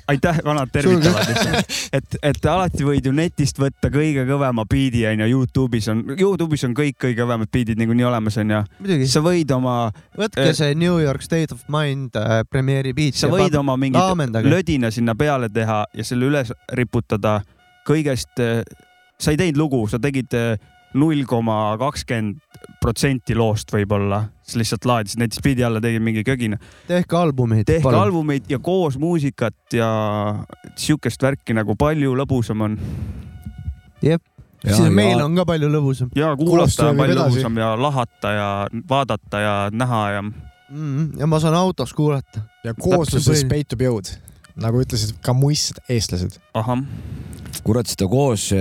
Speaker 3: aitäh , vanad tervitavad lihtsalt , et , et alati võid ju netist võtta kõige kõvema biidi onju , Youtube'is on , Youtube'is on kõik kõige kõvemad biidid niikuinii olemas onju .
Speaker 1: Muidugi.
Speaker 3: sa võid oma .
Speaker 1: võtke see New York State of Mind äh, premiere'i beat .
Speaker 3: sa võid oma mingit
Speaker 1: laamendage .
Speaker 3: lödina sinna peale teha ja selle üles riputada kõigest . sa ei teinud lugu , sa tegid äh, null koma kakskümmend protsenti loost võib-olla , siis lihtsalt laadisid näiteks pidi alla , tegid mingi kögina .
Speaker 1: tehke albumeid .
Speaker 3: tehke Palun. . albumeid ja koos muusikat ja sihukest värki nagu palju lõbusam on .
Speaker 1: jep ,
Speaker 3: Ja-
Speaker 1: siis
Speaker 3: ja-
Speaker 1: meil on ka palju lõbusam .
Speaker 3: ja kuulata on palju lõbusam ja lahata ja vaadata ja näha ja .
Speaker 1: Mhm, ja ma saan autos kuulata .
Speaker 4: ja koosluses . peitub jõud , nagu ütlesid ka muistsed eestlased .
Speaker 3: ahah .
Speaker 2: kurat , seda koos ,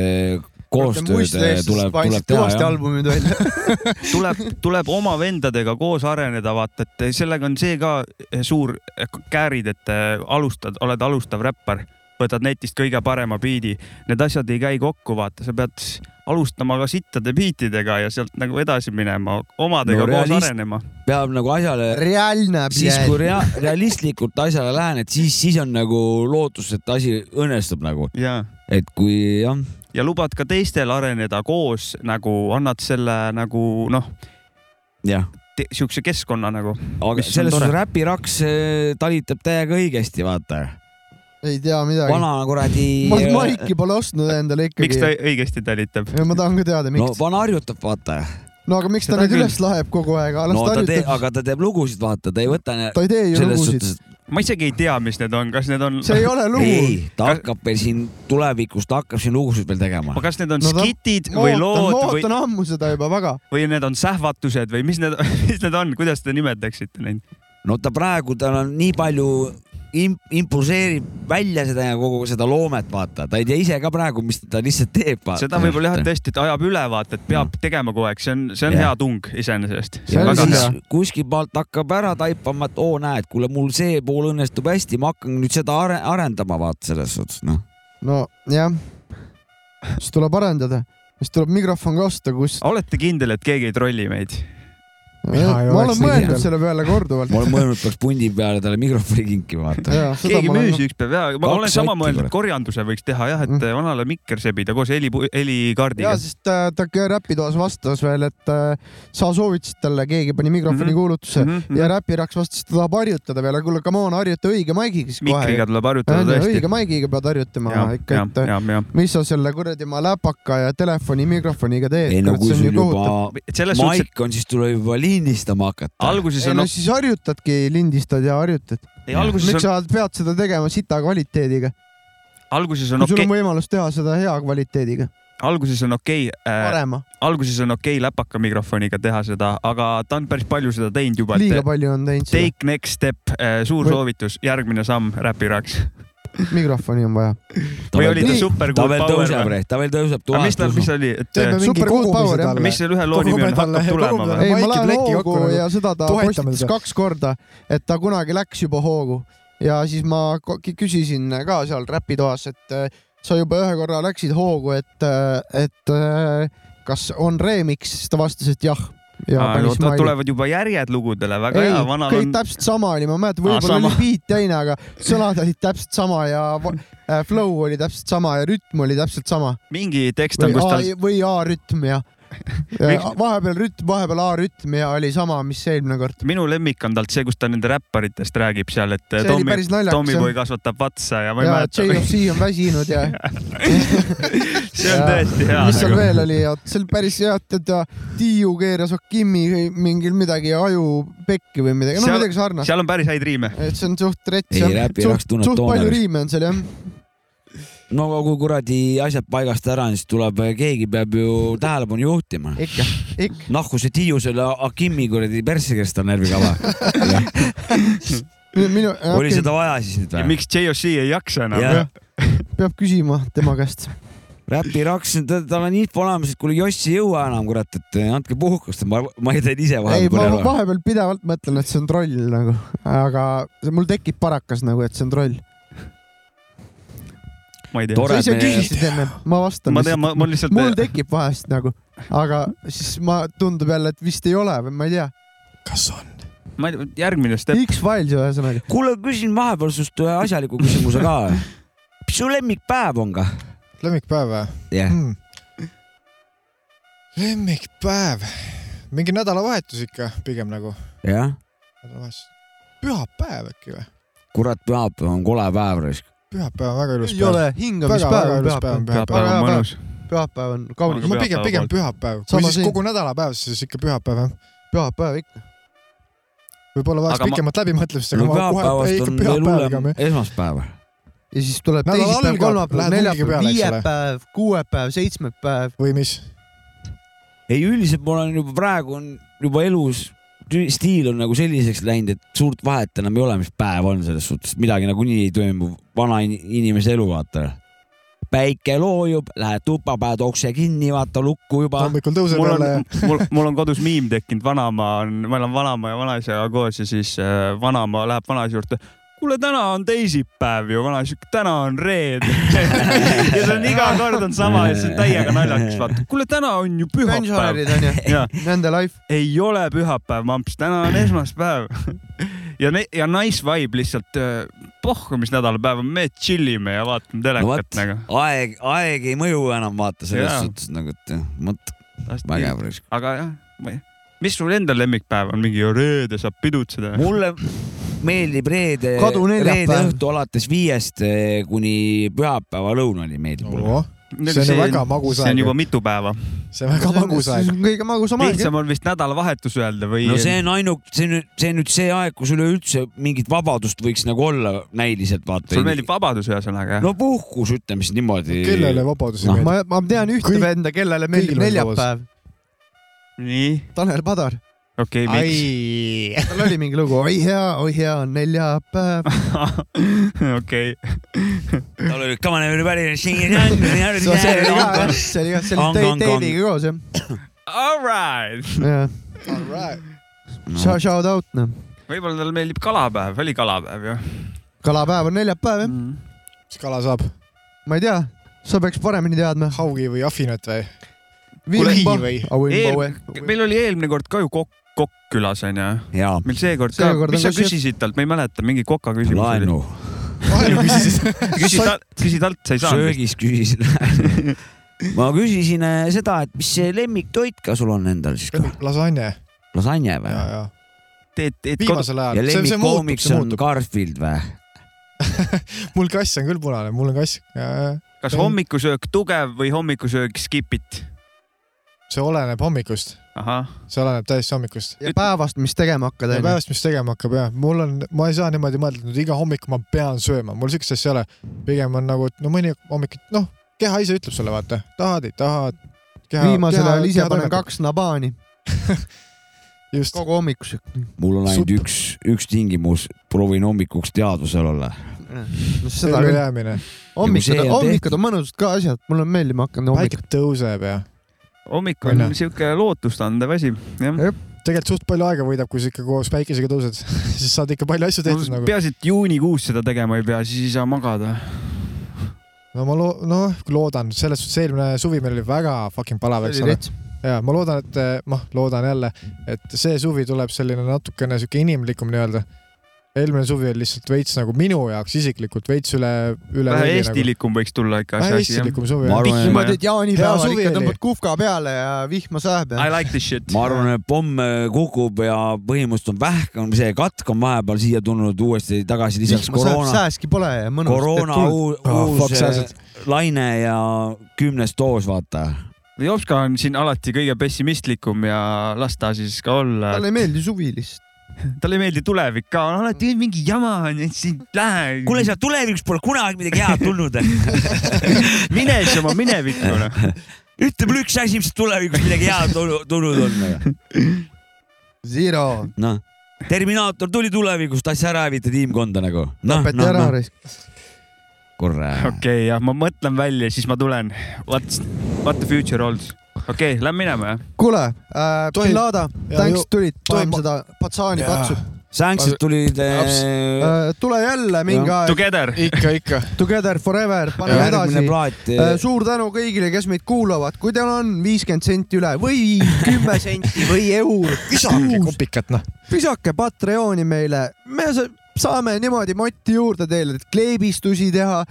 Speaker 2: koostööd eh, tuleb , tuleb teha
Speaker 1: kõvasti
Speaker 2: jah .
Speaker 1: albumid välja .
Speaker 3: tuleb , tuleb oma vendadega koos areneda , vaata , et sellega on see ka eh, suur käärid , et eh, alustad , oled alustav räppar , võtad netist kõige parema biidi , need asjad ei käi kokku , vaata , sa pead alustama ka sittade biitidega ja sealt nagu edasi minema , omadega
Speaker 2: No
Speaker 3: no, koos
Speaker 2: realist-
Speaker 3: arenema .
Speaker 2: peab nagu asjale .
Speaker 1: Realne
Speaker 2: siis kui rea
Speaker 1: pjääl.
Speaker 2: realistlikult asjale lähened , siis , siis on nagu lootus , et asi õnnestub nagu .
Speaker 3: Jaa.
Speaker 2: et kui jah ,
Speaker 3: ja lubad ka teistel areneda koos , nagu annad selle nagu noh ,
Speaker 2: jah .
Speaker 3: siukse keskkonna nagu .
Speaker 2: aga selles suhtes . räpiraks eh, talitab täiega õigesti , vaata .
Speaker 1: ei tea midagi .
Speaker 2: Vana kuradi-
Speaker 1: ma maiki pole ostnud endale
Speaker 3: miks ta
Speaker 1: ikkagi .
Speaker 3: õigesti talitab ?
Speaker 1: ma tahan ka teada ,
Speaker 2: no
Speaker 1: miks .
Speaker 2: vana harjutab , vaata .
Speaker 1: no aga miks ta
Speaker 2: Seda
Speaker 1: nüüd
Speaker 2: küll.
Speaker 1: üles laeb kogu aeg , las
Speaker 2: no
Speaker 1: ta
Speaker 2: ta teeb ,
Speaker 1: harjutab .
Speaker 2: aga ta teeb lugusid , vaata , ta ei võta .
Speaker 1: Ta ei tee ju lugusid. .
Speaker 3: ma isegi ei tea , mis need on , kas need on .
Speaker 1: See ei ole lugu.
Speaker 2: ei , ta hakkab veel siin tulevikus , ta hakkab siin lugusid veel tegema .
Speaker 3: kas need on no, skitid või lood
Speaker 1: ma
Speaker 3: või ,
Speaker 1: ootan ammu seda juba väga .
Speaker 3: või need on sähvatused või mis need , mis need on , kuidas te nimetaksite neid ?
Speaker 2: no ta praegu , tal on nii palju imp- , impulseerib välja seda ja kogu seda loomet , vaata , ta ei tea ise ka praegu , mis ta lihtsalt teeb .
Speaker 1: Ah,
Speaker 3: seda võib-olla jah , tõesti , et ajab ülevaadet , peab
Speaker 1: Mm.
Speaker 3: no. tegema kogu aeg , see on , see on
Speaker 2: Jah.
Speaker 3: hea tung iseenesest .
Speaker 2: ja siis kuskilt maalt hakkab ära taipama , et oo , näed , kuule , mul see pool õnnestub hästi , ma hakkan nüüd seda are- arendama , vaata selles suhtes , noh .
Speaker 1: no jah , siis tuleb arendada , siis tuleb mikrofon ka osta , kus .
Speaker 3: olete kindel , et keegi ei trolli meid ?
Speaker 1: ma
Speaker 2: ei
Speaker 1: olen
Speaker 2: oleks nii
Speaker 1: mõelnud
Speaker 2: kindel.
Speaker 1: selle peale korduvalt
Speaker 2: ma . olen mõelnud , peaks pundi peale talle mikrofoni kinkima , vaata .
Speaker 1: Jaa, seda
Speaker 3: keegi
Speaker 1: ma olen nagu-
Speaker 3: müüs
Speaker 1: ka-
Speaker 3: ükspäev ja ma
Speaker 2: Kaks
Speaker 3: olen sama
Speaker 2: sotti,
Speaker 3: mõelnud
Speaker 2: kurat. ,
Speaker 3: korjanduse võiks teha jah , et vanale mikker sebida koos heli , helikaardiga
Speaker 1: ja . Mm. siis ta , äh, ta ka Räpitoas vastas veel , et äh, sa soovitasid talle , keegi pani mikrofoni mm
Speaker 3: Mhm.
Speaker 1: -hmm. kuulutuse mm -hmm. ja Räpiraks vastas , et ta tahab harjutada veel , aga kuule , come on , harjuta õige maigiga siis kohe .
Speaker 3: Mikriga tuleb harjutada tõesti.
Speaker 1: õige maigiga pead harjutama ja,
Speaker 3: Jaa,
Speaker 1: ikka ,
Speaker 3: jaa, jaa, jaa.
Speaker 1: et mis sa selle kuradi oma läpaka ja telefoni mikrofoniga teed . nagu
Speaker 2: ei no kui sul juba
Speaker 3: selles suhtes,
Speaker 2: maik on , siis tuleb juba lindistama hakata .
Speaker 3: alguses
Speaker 1: ei no siis harjutadki , lindistad ja harjutad .
Speaker 3: Ei, alguses
Speaker 1: miks
Speaker 3: Nagu on-
Speaker 1: sa pead seda tegema sita kvaliteediga ,
Speaker 3: alguses
Speaker 1: kui
Speaker 3: on
Speaker 1: sul
Speaker 3: okei
Speaker 1: on , võimalus teha seda hea kvaliteediga ?
Speaker 3: alguses on äh, okei
Speaker 1: Parema. .
Speaker 3: alguses on okei läpaka mikrofoniga teha seda , aga ta on päris palju seda teinud juba .
Speaker 1: liiga palju on teinud seda ,
Speaker 3: Take next step , suur
Speaker 1: Või-
Speaker 3: soovitus , järgmine samm räpiraks .
Speaker 1: mikrofoni on vaja .
Speaker 3: või oli ta super
Speaker 2: ta veel tõuseb , ta veel tõuseb
Speaker 3: tuhat . mis ta , mis oli , et äh,
Speaker 1: Teeme mingi Super Cool kogumise Power, jah. talle.
Speaker 3: mis selle ühe loo
Speaker 1: Kogume
Speaker 3: nimi on ,
Speaker 1: talle-
Speaker 3: hakkab tulema või ?
Speaker 1: ei , ma lähen
Speaker 4: pleki
Speaker 1: hoogu
Speaker 4: kokku nagu.
Speaker 1: ja seda ta
Speaker 4: Toetame
Speaker 1: postitas
Speaker 4: teda.
Speaker 1: kaks korda , et ta kunagi läks juba hoogu ja siis ma ko- ki- küsisin ka seal räpitoas , et äh, sa juba ühe korra läksid hoogu , et , et äh, kas on remix , siis ta vastas , et jah . ja
Speaker 3: Aa,
Speaker 1: panis
Speaker 3: oota,
Speaker 1: smiley .
Speaker 3: tulevad juba järjed lugudele , väga
Speaker 1: ei
Speaker 3: hea , vanal
Speaker 1: kõik
Speaker 3: on .
Speaker 1: täpselt sama oli , ma ei mäleta ,
Speaker 3: Aa,
Speaker 1: võib-olla
Speaker 3: sama.
Speaker 1: oli beat teine , aga sõnad olid täpselt sama ja va- äh, flow oli täpselt sama ja rütm oli täpselt sama .
Speaker 3: mingi tekst on ,
Speaker 1: või
Speaker 3: kus
Speaker 1: A
Speaker 3: tal ,
Speaker 1: või A-rütm ja
Speaker 3: Miks-
Speaker 1: vahepeal rütm , vahepeal A-rütm ja oli sama , mis eelmine kord .
Speaker 3: minu lemmik on talt see , kus ta nende räpparitest räägib seal , et äh,
Speaker 1: See oli
Speaker 3: Tommy
Speaker 1: päris naljakas, ,
Speaker 3: Tommyboy
Speaker 1: jah.
Speaker 3: kasvatab vatsa ja ma ei
Speaker 1: ja
Speaker 3: mäleta .
Speaker 1: JFC on väsinud ja .
Speaker 3: see on tõesti hea .
Speaker 1: mis seal veel oli , see oli päris hea , et , et ta Tiiu keeras Okimi mingil midagi aju pekki või midagi , no midagi sarnast .
Speaker 3: seal on päris häid riime .
Speaker 1: et see on suht rets
Speaker 2: Ei,
Speaker 1: jah ,
Speaker 2: räpi oleks
Speaker 1: suht
Speaker 2: tulnud
Speaker 1: suht
Speaker 2: toona
Speaker 1: palju
Speaker 2: vist.
Speaker 1: riime on seal jah .
Speaker 2: no aga kui kuradi asjad paigast ära on , siis tuleb , keegi peab ju tähelepanu juhtima .
Speaker 1: ikka , ikka .
Speaker 2: nahku see Tiiu selle Akimi kuradi perssi , kes ta on närvikava .
Speaker 1: minu ,
Speaker 2: oli seda vaja siis nüüd või ?
Speaker 3: miks JOC ei jaksa enam ?
Speaker 2: Jah.
Speaker 1: peab küsima tema käest .
Speaker 2: Räpi Raks , tal on info olemas , et kuule Joss ei jõua enam , kurat , et eh, andke puhkust , ma , ma teen ise
Speaker 1: ei , ma
Speaker 2: vahepeal ära .
Speaker 1: vahepeal pidevalt mõtlen , et see on troll nagu , aga see- mul tekib parakas nagu , et see on troll .
Speaker 3: ma ei tea .
Speaker 1: sa ise küsisid enne , ma vastan .
Speaker 3: Ma tean, ma- mul lihtsalt-
Speaker 1: mul tekib vahest nagu , aga siis ma , tundub jälle , et vist ei ole või ma ei tea .
Speaker 3: kas on ? ma ei tea , järgmine step .
Speaker 1: X-Files ühesõnaga .
Speaker 2: kuule , küsin vahepeal sinust ühe asjaliku küsimuse ka . mis su lemmikpäev on ka ?
Speaker 4: lemmikpäev või ?
Speaker 2: jah yeah. .
Speaker 4: lemmikpäev , mingi nädalavahetus ikka pigem nagu .
Speaker 2: jah yeah. ,
Speaker 4: nädalavahetus , pühapäev äkki või ?
Speaker 2: kurat , pühapäev on kole päev raisk .
Speaker 4: pühapäev on väga ilus
Speaker 1: ei
Speaker 4: päev .
Speaker 1: ole , hingamispäev on pühapäev .
Speaker 4: pühapäev on mõnus .
Speaker 1: pühapäev on kaunis .
Speaker 4: ma pigem , pigem pühapäev . või
Speaker 1: Sama
Speaker 4: siis
Speaker 1: siin.
Speaker 4: kogu nädalapäev , siis ikka pühapäev jah .
Speaker 1: pühapäev ikka .
Speaker 4: võib-olla vajaks
Speaker 2: Aga ma-
Speaker 4: pikemat läbimõtlemist , aga
Speaker 2: no
Speaker 4: ma kohe , ei
Speaker 2: pühapäevast
Speaker 4: ikka
Speaker 2: on veel
Speaker 4: pühapäev ikka
Speaker 2: hullem
Speaker 4: me .
Speaker 2: esmaspäev .
Speaker 1: ja siis tuleb
Speaker 4: Nädal
Speaker 1: teisipäev ,
Speaker 4: algab,
Speaker 1: kolmapäev ,
Speaker 4: lähed hunniga
Speaker 1: neljapäev ,
Speaker 4: peale, eks ole.
Speaker 1: viiepäev , kuuepäev , seitsmepäev .
Speaker 4: või mis ?
Speaker 2: ei , üldiselt ma olen juba praegu on juba elus , stiil on nagu selliseks läinud , et suurt vahet enam ei ole , mis päev on selles suhtes , midagi nagunii ei toimu , vana in- inimese elu vaata päike loojub , lähed tuppa , paned ukse kinni , vaata lukku juba .
Speaker 4: hommikul tõuseb
Speaker 3: mul on
Speaker 4: jälle ,
Speaker 3: mul , mul on kodus miim tekkinud , vanaema on , ma elan vanaema ja vanaisaga koos ja siis äh, vanaema läheb vanaisa juurde . kuule , täna on teisipäev ju , vanaisa , täna on reede . ja see on iga kord on sama ja see on täiega naljakas , vaata . kuule , täna on ju
Speaker 1: pensionärid on ju
Speaker 3: pühapäev . Jah. ,
Speaker 1: nende life .
Speaker 3: ei ole pühapäev , mamps , täna on esmaspäev . ja , ja nice vibe lihtsalt , pohhu , mis nädalapäev on , me chill ime ja vaatame
Speaker 2: no
Speaker 3: telekat
Speaker 2: vot
Speaker 3: no, , nagu .
Speaker 2: aeg , aeg ei mõju enam vaata selles
Speaker 3: Jaa.
Speaker 2: suhtes nagu , et jah, vot
Speaker 3: Hästi.
Speaker 2: vägev raisk .
Speaker 3: aga jah , ma ei , mis sul endal lemmikpäev on , mingi reede saab pidutseda ?
Speaker 2: mulle meeldib reede ,
Speaker 1: Kadu neljapäev.
Speaker 2: reede õhtu alates viiest eh, kuni pühapäeva lõunani meeldib mulle .
Speaker 4: see on ju väga magus
Speaker 3: see on
Speaker 4: aeg
Speaker 3: juba
Speaker 4: ju.
Speaker 3: mitu päeva .
Speaker 4: see on väga magus aeg .
Speaker 1: kõige magusam aeg .
Speaker 3: lihtsam on vist nädalavahetus öelda või ?
Speaker 2: no see on ainuke , see nüüd , see nüüd see aeg , kus üleüldse mingit vabadust võiks nagu olla näiliselt vaata
Speaker 3: sulle . meeldib vabadus ühesõnaga jah
Speaker 2: no ? puhkus , ütleme siis niimoodi .
Speaker 4: kellele vabadus ei
Speaker 2: Noh,
Speaker 4: meeldi ?
Speaker 1: ma , ma tean ühte
Speaker 4: Kõik-
Speaker 1: venda , kellele meeldib
Speaker 4: kõigil on vabadus.
Speaker 1: neljapäev .
Speaker 3: nii ,
Speaker 1: Tanel Padar .
Speaker 3: okei , miks ?
Speaker 1: ai , tal oli mingi lugu , oi hea , oi hea on neljapäev .
Speaker 3: okei ,
Speaker 2: tal oli Come on everybody , sing it on .
Speaker 1: see oli ka
Speaker 2: noh.
Speaker 1: jah , see oli ka , see
Speaker 2: Ang-
Speaker 1: oli
Speaker 2: ang-
Speaker 1: Dave'iga koos jah .
Speaker 3: all right .
Speaker 1: jah ,
Speaker 2: No.
Speaker 1: shout out noh .
Speaker 3: võib-olla talle meeldib kalapäev , oli kalapäev Mm. ju ?
Speaker 1: kalapäev on neljapäev jah ,
Speaker 4: mis kala saab ?
Speaker 1: ma ei tea , sa peaks paremini teadma .
Speaker 4: haugi või afinat või ?
Speaker 1: Vimbo
Speaker 4: või? ,
Speaker 1: Vimbo
Speaker 3: Eel- meil oli eelmine kord ka ju kokk , kokk külas onju .
Speaker 2: jaa ,
Speaker 3: meil seekord ka
Speaker 1: Seekord , on
Speaker 3: mis sa
Speaker 1: ka see-
Speaker 3: küsisid talt , ma ei mäleta , mingi koka küsimus oli .
Speaker 2: laenu ,
Speaker 3: küsi talt , küsi talt , sa ei saanud .
Speaker 2: söögis küsisin . ma küsisin eh, seda , et mis see lemmiktoit ka sul on endal siis ka ?
Speaker 4: lasanje .
Speaker 2: lasanje
Speaker 4: ja ,
Speaker 2: või ?
Speaker 4: ja
Speaker 3: teed , teed kodus .
Speaker 4: viimasel
Speaker 2: ja
Speaker 4: ajal . see , see muutub ,
Speaker 2: lemmikkoomiks
Speaker 4: see
Speaker 2: on
Speaker 4: muutub .
Speaker 2: Garfield või ?
Speaker 4: mul kass on küll punane , mul on kass .
Speaker 3: kas hommikusöök tugev või hommikusöök skipit ?
Speaker 4: see oleneb hommikust . see oleneb täiesti hommikust .
Speaker 1: ja päevast , mis tegema hakkad ,
Speaker 4: ja
Speaker 1: onju .
Speaker 4: päevast , mis tegema hakkab ja mul on , ma ei saa niimoodi mõelda , et nüüd iga hommik ma pean sööma , mul siukest asja ei ole . pigem on nagu , et no mõni hommik , noh , keha ise ütleb sulle , vaata , tahad , ei taha .
Speaker 1: viimasel ajal ise panen . kaks nabaani .
Speaker 4: just .
Speaker 1: kogu hommikusöök .
Speaker 2: mul on ainult üks , üks tingimus , proovin hommikuks teadvusel olla .
Speaker 1: seda
Speaker 4: Ellu
Speaker 1: küll.
Speaker 4: jäämine.
Speaker 1: hommikud
Speaker 2: Ja kui see , on
Speaker 1: hommikud on mõnusad ka asjad , mulle meeldib hakata hommikul .
Speaker 4: päike tõuseb ja .
Speaker 3: hommik on
Speaker 4: Onju.
Speaker 3: siuke lootust andev asi , jah .
Speaker 4: tegelikult suht palju aega võidab , kui sa ikka koos päikesega tõused , siis saad ikka palju asju tehtud nagu .
Speaker 3: peaasi , et juunikuus seda tegema ei pea , siis ei saa magada .
Speaker 4: no ma loo- , noh , loodan , selles suhtes eelmine suvi meil oli väga fucking palav , eks
Speaker 1: See oli
Speaker 4: ole . ja ma loodan , et eh, noh , loodan jälle , et see suvi tuleb selline natukene sihuke inimlikum nii-öelda . eelmine suvi oli lihtsalt veits nagu minu jaoks isiklikult veits üle , üle .
Speaker 3: vähe eestilikum võiks tulla ikka
Speaker 4: nagu. Vähe eestilikum suvi, jah.
Speaker 1: niimoodi , et jaanipäeval
Speaker 4: suvi
Speaker 1: ikka
Speaker 4: oli.
Speaker 1: tõmbad kuhka peale ja vihma sajab ja .
Speaker 3: like this shit .
Speaker 2: ma arvan , et pomm kukub ja põhimõtteliselt on vähk , on see katk on vahepeal siia tulnud uuesti tagasi , lisaks
Speaker 1: vihma sajab ,
Speaker 2: koroona ,
Speaker 1: sääski pole ja mõnus .
Speaker 2: koroona uus,
Speaker 1: Ah,
Speaker 2: uus eh, laine ja kümnes doos , vaata .
Speaker 3: Jopska on siin alati kõige pessimistlikum ja las ta siis ka olla .
Speaker 1: talle ei meeldi suvi lihtsalt .
Speaker 3: talle ei meeldi tulevik ka , alati mingi jama on , et siin lähe . kuule ,
Speaker 2: sealt tulevikus pole kunagi midagi head tulnud .
Speaker 3: mine siis oma minevikku , noh .
Speaker 2: ütle mulle üks asi , mis tulevikus midagi head tul- tulnud on .
Speaker 1: Zero .
Speaker 2: noh , Terminaator tuli tulevikus , tahtis ära hävitada tiimkonda nagu .
Speaker 1: Tapeti ära, raisk. .
Speaker 2: korra .
Speaker 3: okei , jah , ma mõtlen välja , siis ma tulen . What , what the future holds . okei , lähme minema , jah ?
Speaker 1: kuule äh, ,
Speaker 3: Tohib-
Speaker 1: Bin Laden ,
Speaker 3: Jaa,
Speaker 1: thanks
Speaker 3: ju-
Speaker 1: tulid ,
Speaker 3: tohib-
Speaker 1: paneme seda patsaani
Speaker 3: Jaa.
Speaker 1: patsu .
Speaker 2: Thanks'id tulid
Speaker 1: Äh, tule jälle mingi
Speaker 2: Jah.
Speaker 1: aeg .
Speaker 2: Together.
Speaker 4: ikka , ikka .
Speaker 1: Together forever , paneme
Speaker 2: Ja järgmine
Speaker 1: Äh, edasi Äh,
Speaker 2: plaat, . eh.
Speaker 1: suur tänu kõigile , kes meid kuulavad , kui teil on viiskümmend senti üle või kümme senti või eur ,
Speaker 4: visake kopikat , noh .
Speaker 1: visake Patreoni meile , me sa- saame niimoodi moti juurde teile , et kleebistusi teha ,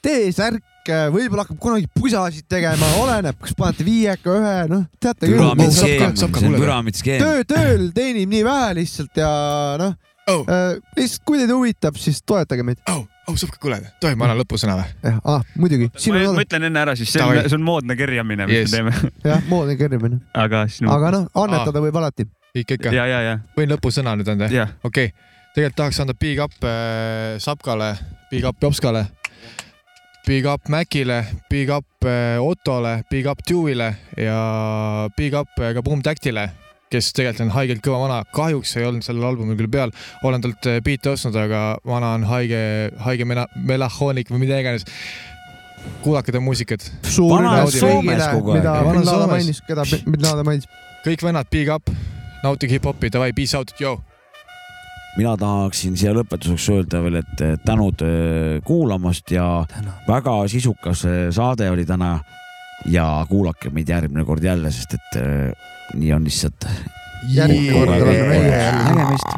Speaker 1: T-särke , võib-olla hakkab kunagi pusasid tegema , oleneb , kas panete viieka , ühe , noh , teate
Speaker 2: püramiidskeem , see on
Speaker 1: küll .
Speaker 2: püramiidskeem .
Speaker 1: töö , tööl teenib nii vähe lihtsalt ja noh
Speaker 4: oh. ,
Speaker 1: lihtsalt kui teid huvitab , siis toetage meid .
Speaker 4: au , au , saab ka kuulata . tohib , ma annan lõpusõna või ?
Speaker 1: jah , ah muidugi ,
Speaker 3: ma,
Speaker 1: sinu
Speaker 3: ma ütlen enne ära siis , see on ,
Speaker 1: Davai.
Speaker 3: see on moodne kerjamine , mis
Speaker 1: Yes.
Speaker 3: yes. me teeme .
Speaker 1: jah , moodne kerjumine .
Speaker 3: aga sinu .
Speaker 1: aga noh , annetada võib alati .
Speaker 4: ikka , ikka .
Speaker 3: ja , ja , ja .
Speaker 4: võin lõpusõna nüüd anda ,
Speaker 3: jah ?
Speaker 4: okei okay. , tegelikult tahaks anda big up äh, Sapkale , big up Jopskale , big up Mäkile , big up äh, Otole , big up Dewile ja big up äh, ka Boom Tactile , kes tegelikult on haigelt kõva vana , kahjuks ei olnud sellel albumil küll peal , olen talt äh, biite ostnud , aga vana on haige , haige mena- , melahoonik või mida iganes . kuulake ta muusikat .
Speaker 1: mida Bin Laden mainis , keda Bin- Bin Laden mainis .
Speaker 4: kõik vennad , big up , nautige hip-hopi , davai , peace out , joo .
Speaker 2: mina tahaksin siia lõpetuseks öelda veel , et tänud öö, kuulamast ja väga sisukas öö, saade oli täna ja kuulake meid järgmine kord jälle , sest et öö, nii on lihtsalt .
Speaker 1: järgmine kord oleme meie jälle .
Speaker 2: nägemist .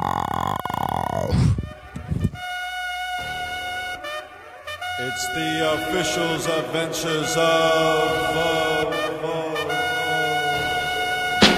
Speaker 15: It's the official's adventures of.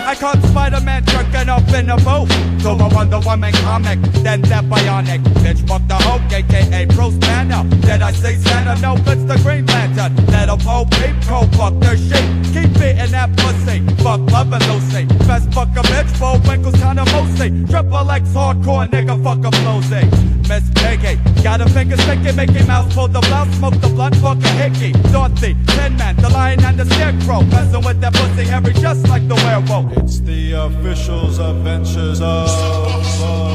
Speaker 16: I caught Spider-Man jerking off in a booth to a Wonder Woman comic, then that bionic bitch fucked the Hulk, aka Bruce Banner. Did I say Santa? No, it's the Green Lantern. Little Bo Peep, cold fuck their shit. Keep beating that pussy, fuck loving Lucy. Best fuck a bitch, Bo Winkle's kinda mosey. Triple X hardcore nigga, fuck a flosey. Miss Piggy, got a finger sticking, Mickey Mouse pulled the blouse, smoke the blunt, fuck a hickey. Dorothy, Tin Man, the lion and the scarecrow, messing with that pussy, Harry just like the werewolf.
Speaker 15: It's the official's adventures of.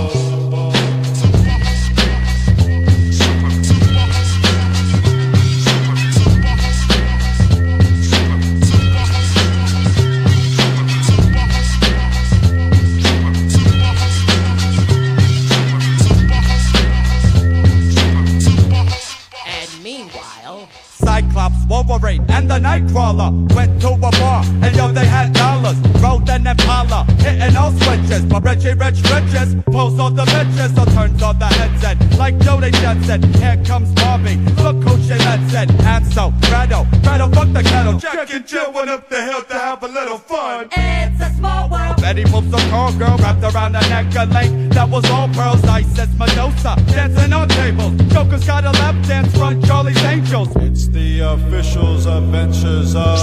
Speaker 16: And meanwhile, Cyclops, Wolverine, and the Nightcrawler went to a bar, and yo, they had dollars. Rolled an Impala, hitting all switches. But Richie Rich Riches pulls all the bitches, so turns on the headset. Like Jody Jetson, here comes Bobby. Look who she lets in. And so, Fredo, Fredo, fuck the kettle. Jack and Jill went up the hill to have a little fun. It's a small world. Betty moves a car girl wrapped around a neck a lake that was all pearls, Isis Medusa, dancing on tables. Joker's got a lap dance from Charlie's Angels.
Speaker 15: It's the official's adventures of.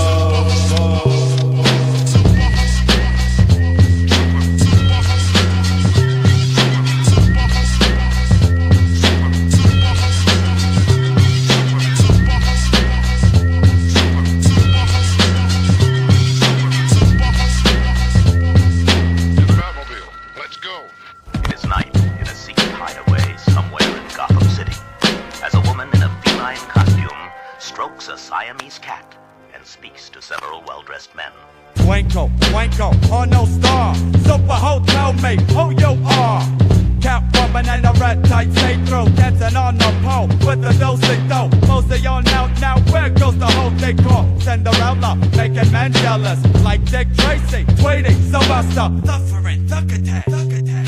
Speaker 17: Japanese cat and speaks to several well-dressed men.
Speaker 16: Wanko, wanko, or no star. Super hotel mate, who you are. Cat woman and a red tight say through. Dancing on the pole with a dosey though. Mostly on out now, where goes the whole decor? Cinderella, making men jealous. Like Dick Tracy, tweeting Sylvester. Suffering, thug attack, thug attack.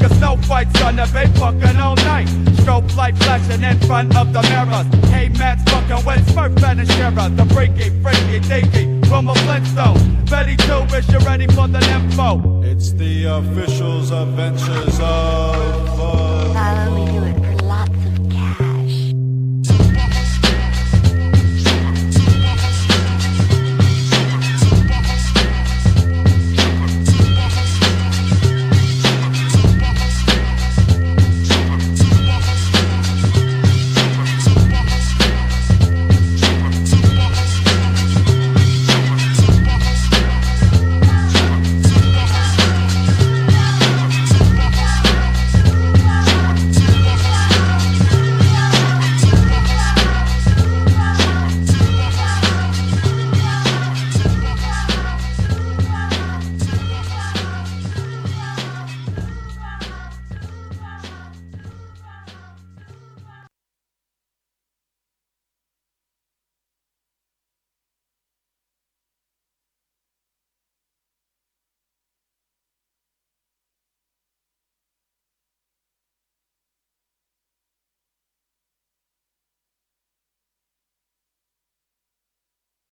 Speaker 16: Cause no fights on the bay fucking all night. Strobe light flashing in front of the mirrors. Hey, Matt's fucking with Smurf and a Shira. The freaky, freaky, dinky, Wilma Flintstone. Betty Two, wish you ready for the info.
Speaker 15: It's the official's adventures of. of-